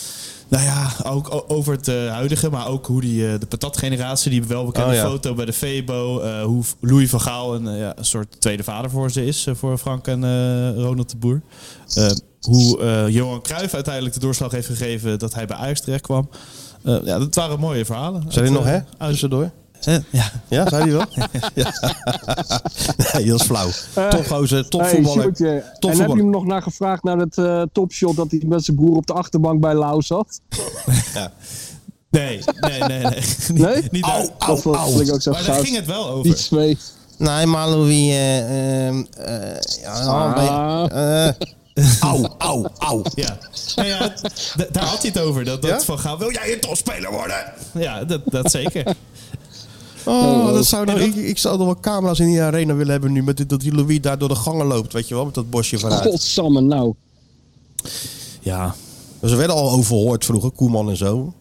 [SPEAKER 4] Nou ja, ook o- over het eh, huidige, maar ook hoe die, eh, de patatgeneratie, die welbekende
[SPEAKER 3] Oh, ja.
[SPEAKER 4] foto bij de Febo, eh, hoe v- Louis van Gaal een, eh, ja, een soort tweede vader voor ze is, eh, voor Frank en eh, Ronald de Boer. Eh, hoe eh, Johan Cruijff uiteindelijk de doorslag heeft gegeven dat hij bij Ajax terecht kwam. Eh, ja, dat waren mooie verhalen.
[SPEAKER 3] Zijn
[SPEAKER 4] Het,
[SPEAKER 3] die nog,
[SPEAKER 4] eh,
[SPEAKER 3] hè?
[SPEAKER 4] uit-
[SPEAKER 3] Tussendoor.
[SPEAKER 4] eh, ja.
[SPEAKER 3] Ja, zei hij wel? *laughs* ja. nee, dat is flauw. Topgozer, topvoetballer.
[SPEAKER 5] Eh, Hey, Sjoerdje, en heb
[SPEAKER 3] voetballer.
[SPEAKER 5] je hem nog naar gevraagd naar het eh, topshot dat hij met zijn broer op de achterbank bij Lau zat?
[SPEAKER 4] Nee, nee, nee. nee. *laughs*
[SPEAKER 5] Nee?
[SPEAKER 4] Niet, niet uit.
[SPEAKER 5] dat was- vind ik ook zo
[SPEAKER 4] Maar daar
[SPEAKER 5] goud.
[SPEAKER 4] ging het wel
[SPEAKER 5] Die *laughs*
[SPEAKER 4] over.
[SPEAKER 5] twee.
[SPEAKER 3] Nee, maar Louis... eh, ehm, eh, ja,
[SPEAKER 4] Ah,
[SPEAKER 5] Ah.
[SPEAKER 3] een beetje- *laughs* eh, Au, au, au.
[SPEAKER 4] Ja. Nou ja, d- daar had hij het over. Dat, dat
[SPEAKER 3] Ja?
[SPEAKER 4] van Gaal, wil jij een topspeler worden? Ja, dat, dat
[SPEAKER 5] *laughs*
[SPEAKER 4] zeker.
[SPEAKER 3] Oh, dat zou ik, ik zou nog wel camera's in die arena willen hebben nu. Met dit, dat die Louis daar door de gangen loopt, weet je wel. Met dat bosje vanuit.
[SPEAKER 5] Godsamme nou.
[SPEAKER 4] Ja.
[SPEAKER 3] Ze Dus werden al overhoord vroeger, Koeman en zo.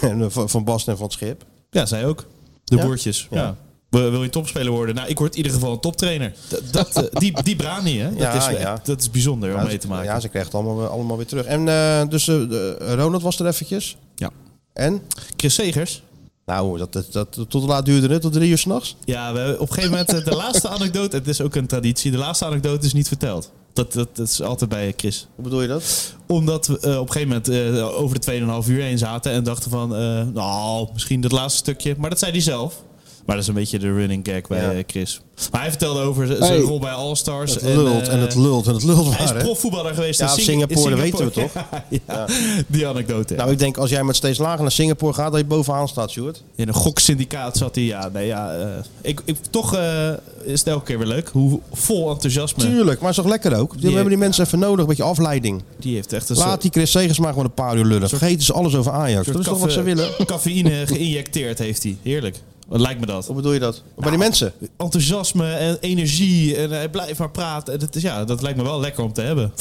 [SPEAKER 3] En van van Basten en van het Schip.
[SPEAKER 4] Ja, zij ook. De
[SPEAKER 3] Ja?
[SPEAKER 4] boertjes. Ja. Wil- Wil je topspeler worden? Nou, ik word in ieder geval een toptrainer. Dat, dat, eh, die, die Brani, hè? Dat,
[SPEAKER 3] Ja,
[SPEAKER 4] is,
[SPEAKER 3] ja.
[SPEAKER 4] dat is bijzonder om
[SPEAKER 3] Ja,
[SPEAKER 4] mee te maken.
[SPEAKER 3] Ja, ze kregen het allemaal, allemaal weer terug. En eh, dus eh, de- Ronald was er eventjes.
[SPEAKER 4] Ja.
[SPEAKER 3] En?
[SPEAKER 4] Chris Segers.
[SPEAKER 3] Nou, dat, dat, dat, tot hoe laat duurde het? Tot drie uur s'nachts?
[SPEAKER 4] Ja, we hebben op een gegeven moment eh, de laatste *laughs* anekdote. Het is ook een traditie. De laatste anekdote is niet verteld. Dat, dat, dat is altijd bij Chris.
[SPEAKER 3] Hoe bedoel je dat?
[SPEAKER 4] Omdat we eh, op een gegeven moment eh, over de 2,5 uur heen zaten en dachten van, eh, nou, misschien dat laatste stukje. Maar dat zei hij zelf. Maar dat is een beetje de running gag bij
[SPEAKER 3] Ja.
[SPEAKER 4] eh, Chris. Maar hij vertelde over z- zijn
[SPEAKER 5] Hey.
[SPEAKER 4] rol bij All Stars.
[SPEAKER 3] Het lult en
[SPEAKER 4] eh,
[SPEAKER 3] het lult en het lult
[SPEAKER 4] Hij
[SPEAKER 3] maar,
[SPEAKER 4] is
[SPEAKER 3] hè?
[SPEAKER 4] profvoetballer geweest
[SPEAKER 3] Ja,
[SPEAKER 4] in, Sing-
[SPEAKER 3] Singapore,
[SPEAKER 4] in
[SPEAKER 3] dat weten
[SPEAKER 4] we toch?
[SPEAKER 3] *laughs*
[SPEAKER 4] ja, die anekdote.
[SPEAKER 3] Nou, ik denk als jij met steeds lager naar Singapore gaat, dat je bovenaan staat, Stuart.
[SPEAKER 4] in een goksyndicaat zat hij. Ja, nee, ja, eh, ik, ik, toch eh, is het elke keer weer leuk hoe vol enthousiasme.
[SPEAKER 3] Tuurlijk, maar is toch lekker ook? We
[SPEAKER 4] Die-
[SPEAKER 3] hebben die mensen even nodig, een beetje afleiding.
[SPEAKER 4] Die heeft echt een soort-
[SPEAKER 3] Laat die Chris Segers maar gewoon een paar uur lullen. Vergeten ze alles over Ajax. Dat
[SPEAKER 4] soort
[SPEAKER 3] is toch
[SPEAKER 4] caffe-
[SPEAKER 3] wat ze willen?
[SPEAKER 4] *laughs* Cafeïne geïnjecteerd heeft hij. Heerlijk. Wat lijkt me dat?
[SPEAKER 3] Hoe bedoel je dat? Bij die mensen?
[SPEAKER 4] enthousiasme en energie. En hij blijft maar praten. En dat, is, ja, dat lijkt me wel lekker om te hebben.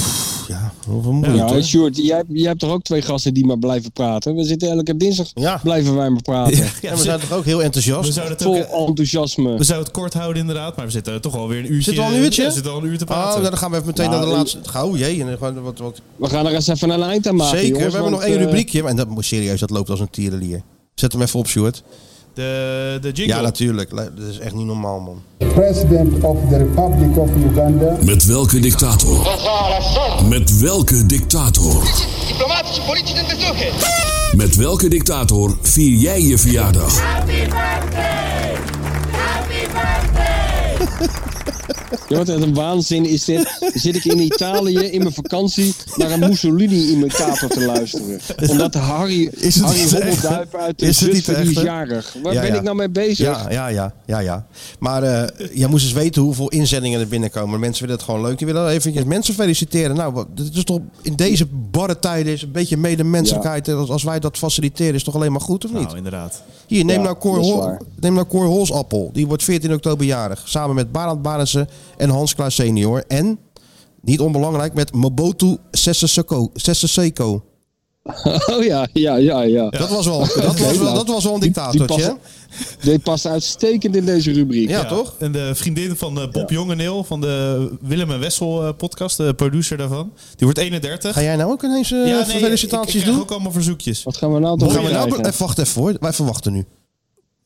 [SPEAKER 3] Ja, hoe vermoeiend,
[SPEAKER 5] Ja,
[SPEAKER 3] hoor.
[SPEAKER 5] Sjoerd, jij, jij hebt toch ook twee gasten die maar blijven praten? We zitten elke dinsdag,
[SPEAKER 3] Ja.
[SPEAKER 5] blijven wij maar praten.
[SPEAKER 3] En we zijn toch ook heel enthousiast?
[SPEAKER 4] we zouden het ook,
[SPEAKER 5] Vol
[SPEAKER 4] eh,
[SPEAKER 5] enthousiasme.
[SPEAKER 3] Dus-
[SPEAKER 4] we zouden het kort houden inderdaad, maar we zitten toch alweer een uurtje.
[SPEAKER 3] Zit al een uurtje?
[SPEAKER 4] Ja, we zitten al een uur te
[SPEAKER 3] Oh,
[SPEAKER 4] praten.
[SPEAKER 3] nou, dan gaan we even meteen
[SPEAKER 5] Nou,
[SPEAKER 3] naar de
[SPEAKER 5] en-
[SPEAKER 3] laatste. Gauw, jee. En gewoon wat, wat...
[SPEAKER 5] We gaan er eens even een eind aan maken.
[SPEAKER 3] Zeker, we
[SPEAKER 5] jongens,
[SPEAKER 3] hebben nog
[SPEAKER 5] want,
[SPEAKER 3] één
[SPEAKER 5] eh,
[SPEAKER 3] rubriekje. En dat moet serieus, dat loopt als een tierenlier. Zet hem even op, Stuart.
[SPEAKER 4] De, de jingle.
[SPEAKER 3] Ja, natuurlijk. Le- Dat is echt niet normaal, man.
[SPEAKER 8] President of the Republic of Uganda.
[SPEAKER 9] Met welke dictator? Met welke dictator?
[SPEAKER 8] Diplomatische politieke bezoeken.
[SPEAKER 9] Met welke dictator vier jij je verjaardag?
[SPEAKER 5] Ja, wat een waanzin is dit.
[SPEAKER 3] *laughs*
[SPEAKER 5] Dan Zit ik in Italië in mijn vakantie naar een Mussolini-imitator
[SPEAKER 3] *laughs*
[SPEAKER 5] te luisteren. Omdat Harry,
[SPEAKER 3] Is het
[SPEAKER 5] Harry
[SPEAKER 3] niet echt?
[SPEAKER 5] Hobbelduif uit de
[SPEAKER 3] Is het niet
[SPEAKER 5] Zutphen, die
[SPEAKER 3] echt,
[SPEAKER 5] is
[SPEAKER 3] hè?
[SPEAKER 5] jarig. Waar
[SPEAKER 3] Ja,
[SPEAKER 5] ben
[SPEAKER 3] ja.
[SPEAKER 5] ik nou mee bezig?
[SPEAKER 3] Ja, ja, ja, ja, ja. Maar eh, jij moest eens weten hoeveel inzendingen er binnenkomen. Mensen willen het gewoon leuk. Die willen eventjes mensen feliciteren. Nou, wat- dit is toch in deze barre tijden is een beetje medemenselijkheid. En Als, als wij dat faciliteren, is toch alleen maar goed, of niet?
[SPEAKER 4] Nou, inderdaad.
[SPEAKER 3] Hier, neem,
[SPEAKER 5] Ja,
[SPEAKER 3] nou Cor
[SPEAKER 5] dat is
[SPEAKER 3] Hol-
[SPEAKER 5] waar.
[SPEAKER 3] neem nou Cor Holsappel. Die wordt 14 oktober jarig. Samen met Barend Barense en Hans Klaas senior. En, niet onbelangrijk, met Mobotu Seseseko. Seseseko.
[SPEAKER 5] *laughs* Oh ja, ja, ja, ja.
[SPEAKER 3] Dat, was wel, dat, was wel, dat was wel een
[SPEAKER 5] Die- die
[SPEAKER 3] dictatortje.
[SPEAKER 5] passen- Die past uitstekend in deze rubriek.
[SPEAKER 3] ja, toch?
[SPEAKER 4] En de vriendin van eh, Bob Jongeneel van de Willem en Wessel eh, podcast, de producer daarvan. Die wordt 31.
[SPEAKER 3] Ga jij nou ook ineens eh,
[SPEAKER 4] ja,
[SPEAKER 3] felicitaties
[SPEAKER 4] ik, ik krijg
[SPEAKER 3] doen?
[SPEAKER 4] ook allemaal verzoekjes.
[SPEAKER 5] Wat gaan we nou toch
[SPEAKER 3] Gaan we nou
[SPEAKER 5] krijgen?
[SPEAKER 3] be- even, wacht even hoor. Wij verwachten nu.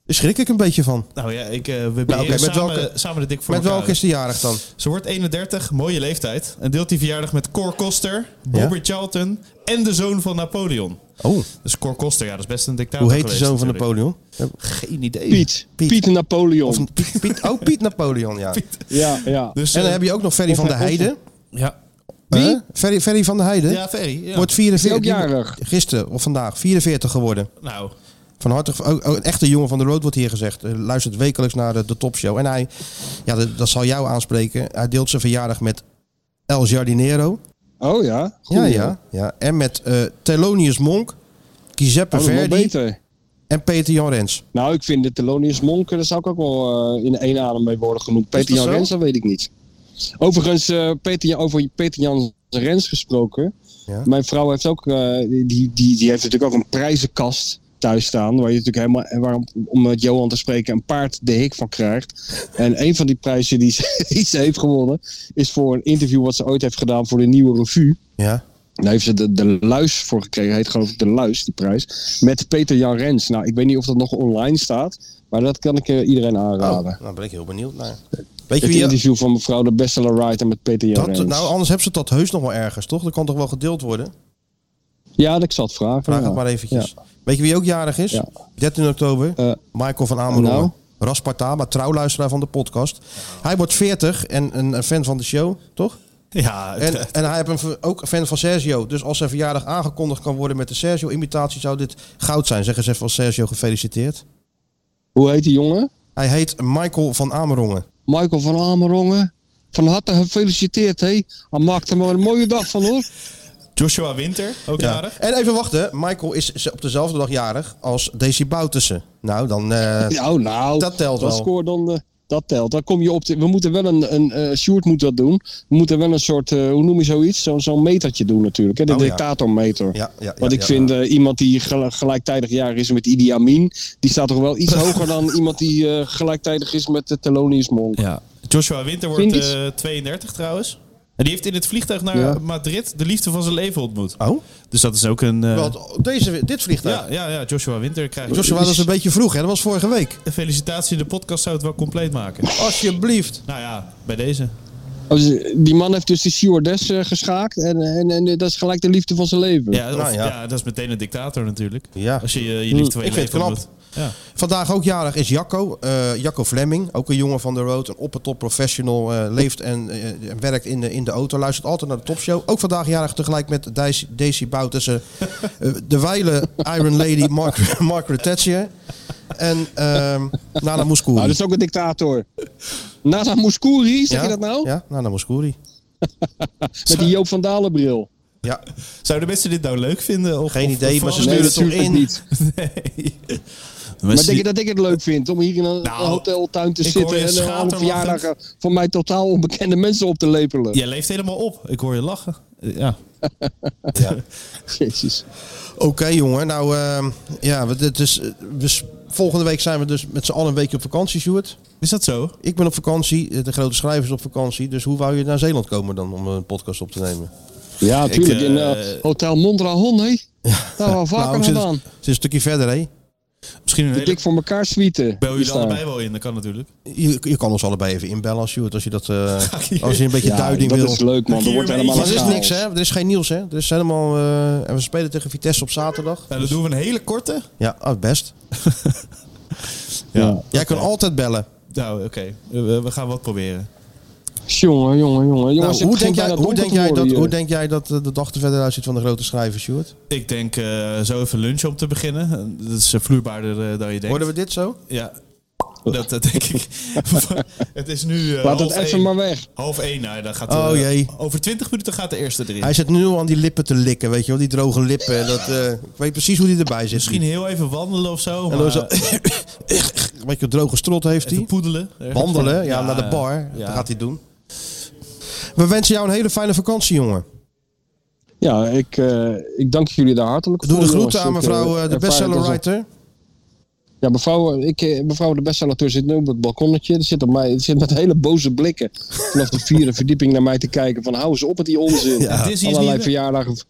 [SPEAKER 3] Daar schrik ik een beetje van.
[SPEAKER 4] Nou ja, ik, eh, we
[SPEAKER 3] oké, met
[SPEAKER 4] beheren samen,
[SPEAKER 3] welke-
[SPEAKER 4] samen de dik voor
[SPEAKER 3] Met
[SPEAKER 4] elkaar.
[SPEAKER 3] welke is de jarig dan?
[SPEAKER 4] Ze wordt 31, mooie leeftijd. En deelt die verjaardag met Cor Koster, Bobby Charlton en de zoon van Napoleon.
[SPEAKER 3] Oh,
[SPEAKER 4] Dus Cor Koster, ja, Nou, dat is best een dictator
[SPEAKER 3] hoe heet de
[SPEAKER 4] geweest
[SPEAKER 3] zoon van
[SPEAKER 4] natuurlijk.
[SPEAKER 3] Napoleon?
[SPEAKER 4] Geen idee.
[SPEAKER 5] Piet.
[SPEAKER 3] Piet.
[SPEAKER 5] Piet, Napoleon.
[SPEAKER 3] Of Piet, Piet, oh, Piet Napoleon, ja.
[SPEAKER 5] Ja, ja.
[SPEAKER 4] *laughs* Dus,
[SPEAKER 3] En dan
[SPEAKER 4] eh,
[SPEAKER 3] heb je ook nog Ferry van der Heijden.
[SPEAKER 4] Ja,
[SPEAKER 3] Wie? Ferry, Ferry van der Heijden.
[SPEAKER 4] ja Ferry. Ja.
[SPEAKER 3] Wordt 44.
[SPEAKER 5] Is die ook jarig?
[SPEAKER 3] Gisteren of vandaag, 44 geworden.
[SPEAKER 4] Nou,
[SPEAKER 3] Van harte, ook- ook een echte jongen van de road wordt hier gezegd. Eh, Luistert wekelijks naar de, de topshow. En hij, ja, dat, dat zal jou aanspreken. Hij deelt zijn verjaardag met El Jardinero.
[SPEAKER 5] Oh ja. Goed,
[SPEAKER 3] Ja, ja, ja. En met eh Thelonious Monk, Giuseppe
[SPEAKER 5] Oh, dat is wel
[SPEAKER 3] Verdi
[SPEAKER 5] beter.
[SPEAKER 3] en Peter Jan Rens.
[SPEAKER 5] Nou, ik vind de Thelonious Monk, daar zou ik ook wel eh, in één adem mee worden genoemd. Peter
[SPEAKER 3] dat
[SPEAKER 5] Jan
[SPEAKER 3] zo?
[SPEAKER 5] Rens, dat weet ik niet. Overigens, eh, Peter, Jan- over Peter Jan Rens gesproken.
[SPEAKER 3] Ja.
[SPEAKER 5] Mijn vrouw heeft ook, eh, die, die, die heeft natuurlijk ook een prijzenkast. thuis staan. Waar je natuurlijk helemaal, en waarom, om met Johan te spreken, een paard de hik van krijgt. En een van die prijzen die ze, *laughs* die ze heeft gewonnen, is voor een interview wat ze ooit heeft gedaan voor de nieuwe revue.
[SPEAKER 3] Ja.
[SPEAKER 5] Daar heeft ze de, de Luis voor gekregen. Heet geloof ik de Luis, die prijs. Met Peter Jan Rens. Nou, ik weet niet of dat nog online staat. Maar dat kan ik eh, iedereen aanraden.
[SPEAKER 3] Oh, nou ben ik heel benieuwd naar.
[SPEAKER 5] Weet je
[SPEAKER 3] wie-
[SPEAKER 5] Het interview van mevrouw de bestseller writer met Peter Jan
[SPEAKER 3] Dat,
[SPEAKER 5] Rens.
[SPEAKER 3] nou, anders hebben ze dat heus nog wel ergens, toch? Dat kan toch wel gedeeld worden?
[SPEAKER 5] Ja, ik zal het vragen.
[SPEAKER 3] Vraag
[SPEAKER 5] ja.
[SPEAKER 3] het maar eventjes.
[SPEAKER 5] Ja. Eh,
[SPEAKER 3] Weet je wie ook jarig is? 13 oktober. Michael van Amerongen.
[SPEAKER 5] nou?
[SPEAKER 3] Rasparta, maar trouwluisteraar van de podcast. Hij wordt 40 en een, een fan van de show, toch?
[SPEAKER 4] Ja, het- eh, *laughs*
[SPEAKER 3] En, en hij heeft een, ver- ook een fan van Sergio. Dus als zijn verjaardag aangekondigd kan worden met de Sergio-imitatie, zou dit goud zijn. Zeg eens even als Sergio gefeliciteerd.
[SPEAKER 5] Hoe heet die jongen?
[SPEAKER 3] Hij heet Michael van Amerongen.
[SPEAKER 5] Michael van Amerongen. Van harte gefeliciteerd, hé. Hij maakt er maar een mooie dag van, hoor.
[SPEAKER 4] Joshua Winter, ook jarig.
[SPEAKER 3] En even wachten, Michael is op dezelfde dag jarig als Desi Boutussen. Nou, dan... eh,
[SPEAKER 5] Nou, nou.
[SPEAKER 3] dat telt
[SPEAKER 5] dat
[SPEAKER 3] wel.
[SPEAKER 5] scoort dan... eh, dat telt. Dan kom je op... de- we moeten wel een... een eh, Sjoerd moet dat doen. We moeten wel een soort... eh, hoe noem je zoiets? Zo- Zo'n metertje doen natuurlijk. Hè? De
[SPEAKER 3] Oh, ja.
[SPEAKER 5] dictatormeter.
[SPEAKER 3] Ja, ja,
[SPEAKER 5] Want
[SPEAKER 3] ja,
[SPEAKER 5] ik
[SPEAKER 3] ja.
[SPEAKER 5] vind eh, iemand die gel- gelijktijdig jarig is met Idi Amin... die staat toch
[SPEAKER 3] *laughs*
[SPEAKER 5] wel iets hoger dan iemand die eh, gelijktijdig is met de Thelonious Monk.
[SPEAKER 4] Ja. Joshua Winter wordt
[SPEAKER 5] Vind je-
[SPEAKER 4] eh, 32 trouwens. En die heeft in het vliegtuig naar
[SPEAKER 5] Ja.
[SPEAKER 4] Madrid de liefde van zijn leven ontmoet.
[SPEAKER 3] Oh?
[SPEAKER 4] Dus dat is ook een... eh,
[SPEAKER 3] Wat, deze, dit vliegtuig?
[SPEAKER 4] ja, ja, ja, Joshua Winter krijgt...
[SPEAKER 3] Joshua, dat is een beetje vroeg, hè? Dat was vorige week.
[SPEAKER 4] Felicitatie, de podcast zou het wel compleet maken.
[SPEAKER 3] Alsjeblieft.
[SPEAKER 4] Nou ja, bij deze.
[SPEAKER 5] Dus, eh, Die man heeft dus die stewardess eh, geschaakt en, en, en eh, dat is gelijk de liefde van zijn leven.
[SPEAKER 4] Ja, of-
[SPEAKER 3] Nou
[SPEAKER 4] ja.
[SPEAKER 3] ja.
[SPEAKER 4] dat is meteen een dictator natuurlijk.
[SPEAKER 3] Ja.
[SPEAKER 4] Als je eh, je, je liefde van je
[SPEAKER 3] Ik vind het
[SPEAKER 4] leven
[SPEAKER 3] knap.
[SPEAKER 4] ontmoet. Ja.
[SPEAKER 3] Vandaag ook jarig is Jacco. eh, Jacco Flemming, ook een jongen van de road. Een oppertop professional. eh, leeft en eh, en werkt in de, in de auto. Luistert altijd naar de topshow. Ook vandaag jarig tegelijk met Dijs- Daisy Boutussen. eh, de wijle Iron Lady Mark, *laughs* Margaret Thatcher. En ehm Nana Mouskouri.
[SPEAKER 5] Nou, dat is ook een
[SPEAKER 3] *laughs*
[SPEAKER 5] dictator. Nasa Mouskouri, zeg
[SPEAKER 3] Ja?
[SPEAKER 5] je dat nou?
[SPEAKER 3] Ja, Nana Mouskouri.
[SPEAKER 5] Met die Joop van Dalen bril.
[SPEAKER 3] Ja,
[SPEAKER 4] Zouden mensen dit nou leuk vinden? Of,
[SPEAKER 3] geen
[SPEAKER 4] of-
[SPEAKER 3] idee,
[SPEAKER 4] of
[SPEAKER 3] maar ze
[SPEAKER 4] alles?
[SPEAKER 3] sturen Dus het toch
[SPEAKER 5] natuurlijk
[SPEAKER 3] in.
[SPEAKER 5] niet.
[SPEAKER 4] Nee. *laughs* De
[SPEAKER 5] Maar
[SPEAKER 4] mensen
[SPEAKER 3] Dus
[SPEAKER 5] denk je
[SPEAKER 4] die-
[SPEAKER 5] dat ik het leuk vind om hier in een
[SPEAKER 4] Nou,
[SPEAKER 5] hoteltuin te
[SPEAKER 4] ik hoor
[SPEAKER 5] zitten
[SPEAKER 4] je
[SPEAKER 5] en een halve
[SPEAKER 4] schaterlachend.
[SPEAKER 5] verjaardag van mij totaal onbekende mensen op te lepelen?
[SPEAKER 4] Jij leeft helemaal op. Ik hoor je lachen. Eh, Ja.
[SPEAKER 5] *laughs* Jezus.
[SPEAKER 3] Oké jongen, nou ehm, ja, we- dit is, eh, we s- volgende week zijn we dus met z'n allen een weekje op vakantie, Stuart.
[SPEAKER 4] Is dat zo?
[SPEAKER 3] Ik ben op vakantie, eh, de grote schrijver is op vakantie, dus hoe wou je naar Zeeland komen dan om een podcast op te nemen?
[SPEAKER 5] Ja, natuurlijk.
[SPEAKER 4] eh,
[SPEAKER 5] in eh, Hotel Mondragon, hé. Daar waren we vaker
[SPEAKER 3] ik zit,
[SPEAKER 5] gedaan.
[SPEAKER 3] zit een stukje verder, hè?
[SPEAKER 4] Misschien een
[SPEAKER 5] Die
[SPEAKER 4] hele...
[SPEAKER 5] dik voor elkaar suiten.
[SPEAKER 4] Bel
[SPEAKER 5] Die
[SPEAKER 4] jullie
[SPEAKER 5] staan.
[SPEAKER 4] allebei wel in, dat kan natuurlijk.
[SPEAKER 3] Je, je kan ons allebei even inbellen als Stuart, als je dat, eh,
[SPEAKER 4] hier.
[SPEAKER 3] als je een beetje
[SPEAKER 5] *laughs* Ja,
[SPEAKER 3] duiding
[SPEAKER 5] dat
[SPEAKER 3] wil.
[SPEAKER 5] is leuk, man.
[SPEAKER 4] Hier
[SPEAKER 5] Er wordt
[SPEAKER 4] mee.
[SPEAKER 5] helemaal
[SPEAKER 3] Maar er is
[SPEAKER 5] chaos.
[SPEAKER 3] niks, hè? Er is geen nieuws, hè? Er is helemaal, eh, en we spelen tegen Vitesse op zaterdag.
[SPEAKER 4] Nou, dan doen we een hele korte.
[SPEAKER 3] Ja, oh, best.
[SPEAKER 5] *laughs* Ja.
[SPEAKER 3] Jij kan altijd bellen.
[SPEAKER 4] Nou, oké. We, we gaan wat proberen.
[SPEAKER 5] Jongen, jongen, jongen.
[SPEAKER 3] Nou,
[SPEAKER 5] Jongens, het
[SPEAKER 3] hoe, denk
[SPEAKER 5] begint
[SPEAKER 3] jij,
[SPEAKER 5] bijna
[SPEAKER 3] hoe,
[SPEAKER 5] donker
[SPEAKER 3] denk
[SPEAKER 5] te
[SPEAKER 3] jij
[SPEAKER 5] worden
[SPEAKER 3] dat,
[SPEAKER 5] hier.
[SPEAKER 3] hoe denk jij dat eh, de dag er verder uitziet van de grote schrijver, Stuart?
[SPEAKER 4] Ik denk eh, zo even lunchen om te beginnen. Eh, Dat is eh, vloeibaarder eh, dan je denkt.
[SPEAKER 3] Hoorden we dit zo?
[SPEAKER 4] Ja, dat, dat denk ik. *laughs* het is nu eh,
[SPEAKER 5] Laat
[SPEAKER 4] half,
[SPEAKER 5] het even
[SPEAKER 4] één.
[SPEAKER 5] maar weg.
[SPEAKER 4] half één. Nou, dan gaat
[SPEAKER 3] Oh,
[SPEAKER 4] eh,
[SPEAKER 3] jee.
[SPEAKER 4] Over twintig minuten gaat de eerste erin.
[SPEAKER 3] Hij zit nu al aan die lippen te likken, weet je wel, die droge lippen. En Dat, eh, ik weet precies hoe die erbij zit.
[SPEAKER 4] Misschien heel even wandelen of zo.
[SPEAKER 3] En
[SPEAKER 4] maar
[SPEAKER 3] dan zo, *coughs* een beetje droge strot heeft
[SPEAKER 4] eh, even
[SPEAKER 3] hij.
[SPEAKER 4] poedelen. Ergens
[SPEAKER 3] Wandelen,
[SPEAKER 4] van-
[SPEAKER 3] ja, naar de bar.
[SPEAKER 4] ja.
[SPEAKER 3] Dat gaat hij doen. We wensen jou een hele fijne vakantie, jongen.
[SPEAKER 5] Ja, ik, eh, ik dank jullie daar hartelijk
[SPEAKER 3] Doe
[SPEAKER 5] voor.
[SPEAKER 3] de groeten aan
[SPEAKER 5] jongens. Ik, eh,
[SPEAKER 3] mevrouw eh,
[SPEAKER 5] ervaar
[SPEAKER 3] de
[SPEAKER 5] het
[SPEAKER 3] bestseller
[SPEAKER 5] als een-
[SPEAKER 3] writer.
[SPEAKER 5] Ja, mevrouw, ik, eh, mevrouw de bestsellateur zit nu op het balkonnetje. Die zit, op mij, die zit met *laughs* hele boze blikken vanaf de vierde verdieping naar mij te kijken. Van hou eens op met
[SPEAKER 4] *laughs*
[SPEAKER 5] die onzin.
[SPEAKER 4] Dizzy is niet
[SPEAKER 5] Allerlei
[SPEAKER 4] weg.
[SPEAKER 5] verjaardagen v-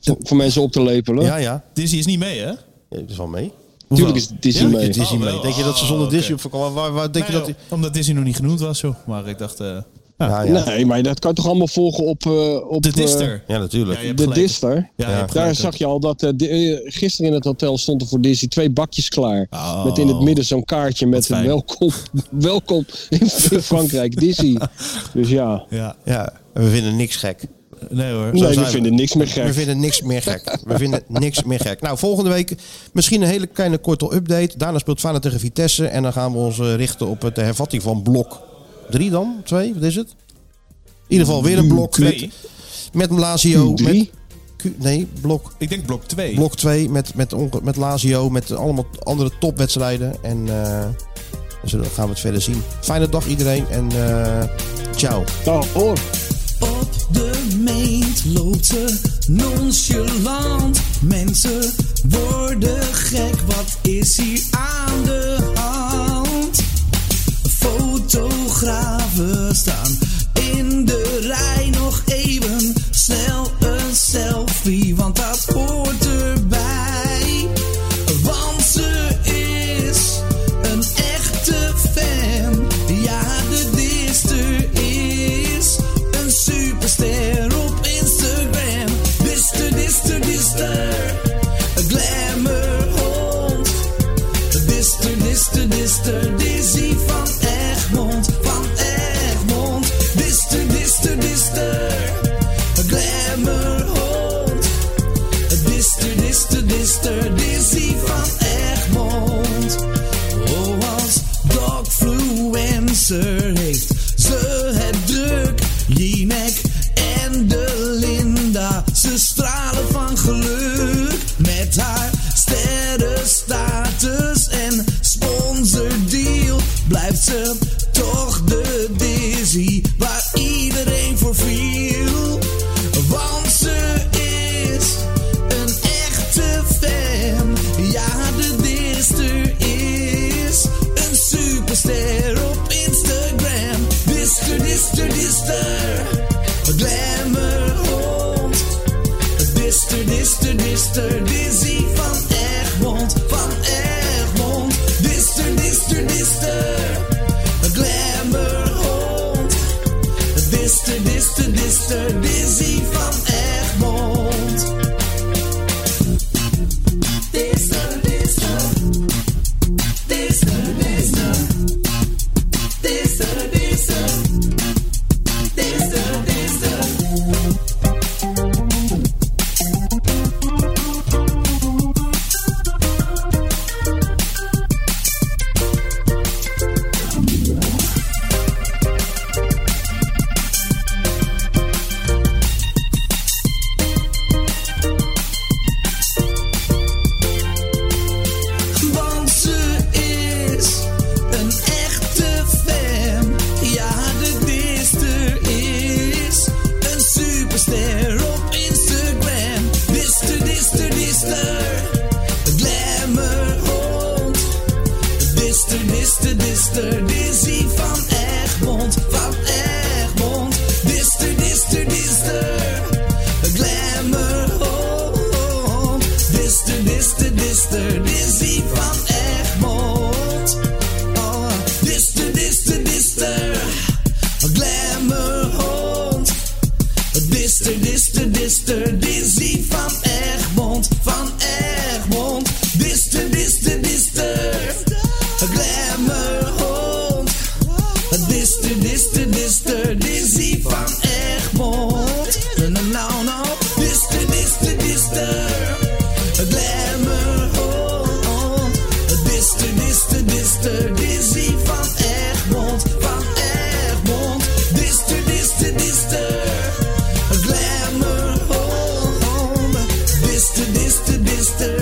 [SPEAKER 5] voor, voor mensen op te lepelen.
[SPEAKER 3] Ja, ja.
[SPEAKER 4] Dizzy is niet mee, hè?
[SPEAKER 3] Dat is wel mee.
[SPEAKER 5] Tuurlijk is Dizzy
[SPEAKER 4] Ja?
[SPEAKER 5] mee.
[SPEAKER 3] Het is
[SPEAKER 4] Oh,
[SPEAKER 3] niet mee.
[SPEAKER 4] wel.
[SPEAKER 3] Denk je dat ze zonder
[SPEAKER 4] Oh,
[SPEAKER 3] Disney
[SPEAKER 4] oké.
[SPEAKER 3] op vakantie... Waar, waar denk je
[SPEAKER 4] Nou
[SPEAKER 3] dat...
[SPEAKER 4] ja,
[SPEAKER 3] die-
[SPEAKER 4] Omdat Dizzy nog niet genoemd was, joh. Maar ik dacht... eh,
[SPEAKER 3] Ja, ja.
[SPEAKER 5] Nee, maar dat kan je toch allemaal volgen op... eh, op
[SPEAKER 4] de
[SPEAKER 5] eh,
[SPEAKER 4] Dister.
[SPEAKER 3] Ja, natuurlijk.
[SPEAKER 4] Ja, je hebt
[SPEAKER 5] de
[SPEAKER 4] gelijk.
[SPEAKER 5] Dister.
[SPEAKER 4] Ja, je hebt
[SPEAKER 5] Daar
[SPEAKER 4] gelijk, hè.
[SPEAKER 5] zag je al dat eh, di- eh, gisteren in het hotel stonden voor Dizzy twee bakjes klaar.
[SPEAKER 4] Oh.
[SPEAKER 5] Met in het midden zo'n kaartje met
[SPEAKER 4] fijn.
[SPEAKER 5] welkom, *laughs* welkom
[SPEAKER 4] *laughs*
[SPEAKER 5] in Frankrijk, Dizzy. Dus ja,
[SPEAKER 4] Ja.
[SPEAKER 3] Ja, en we vinden niks gek.
[SPEAKER 4] Nee hoor.
[SPEAKER 5] nee,
[SPEAKER 3] zijn
[SPEAKER 5] we
[SPEAKER 3] we.
[SPEAKER 5] vinden niks meer gek.
[SPEAKER 3] We vinden niks meer gek. We vinden niks meer gek. Nou, volgende week misschien een hele kleine korte update. Daarna speelt Feyenoord tegen Vitesse. En dan gaan we ons eh, richten op het, de hervatting van blok 3 dan? 2? Wat is het? In ieder geval weer een blok met,
[SPEAKER 4] Twee.
[SPEAKER 3] met Lazio. Met,
[SPEAKER 5] Drie?
[SPEAKER 3] Q- nee, blok,
[SPEAKER 4] Ik denk blok 2.
[SPEAKER 3] blok 2 met, met, onge- met Lazio. Met allemaal andere topwedstrijden. En eh dus dan gaan we het verder zien. Fijne dag iedereen en eh, ciao.
[SPEAKER 5] Oh, hoor.
[SPEAKER 2] Op de meent loopt ze nonchalant. Mensen worden gek, want Wat is hier aan de hand? Fotografen staan in de rij nog even. Snel een selfie, want dat hoort erbij. Want ze is een echte fan. Ja, de dister is een superster op Instagram. Dister, dister, dister. Glamour hond. Dister, dister, dister. Dizzy van Egmond. Van Egmond. Dister, dister, dister. Glamour hond. Dister, dister, dister. Dizzy van Egmond. Oh, als dogfluencer heeft ze het druk. Jinek en de Linda. Ze stralen van geluk met haar sterrenstatus en sponsordeal. Blijft ze toch de Dizzy waar iedereen voor viel. Want ze is een echte fan. Ja, de Dister is een superster op Instagram. Dister, Dister, Dister. Glamour hond. Dister, Dister, Dister. Dizzy van Egmond. Van Egmond. Dister, Dister, Dister. Glamour hond. Dister, Dister, Dister. Dizzy van Egmond. Dister, Dister. Dister, Dister. Dister, Dister. Dister, Dister. Want ze is een echte fan. Ja, de dister is een superster op Instagram. Dister, dister, dister. Glamour hond. Dister, dister, dister. Dizzy van Egmond. Van Egmond. Dister, dister, dister. Glamour oh, hond. Dister, dister, dister. Dizzy van Egmond. Oh, dister, dister, dister. Glamour oh. hond. Dister, dister, dister. Dizzy van Egmond. Van Egmond. Dister, dister, dister. Glamour hond. Dister, dister, dister, Dizzy van Egmond. Nou, nou, nou. Dister, dister, dister. Glamour hond. Dister, dister, dister, Dizzy van Egmond. Van Egmond. Dister, dister, dister. Glamour hond. Dister, dister, dister,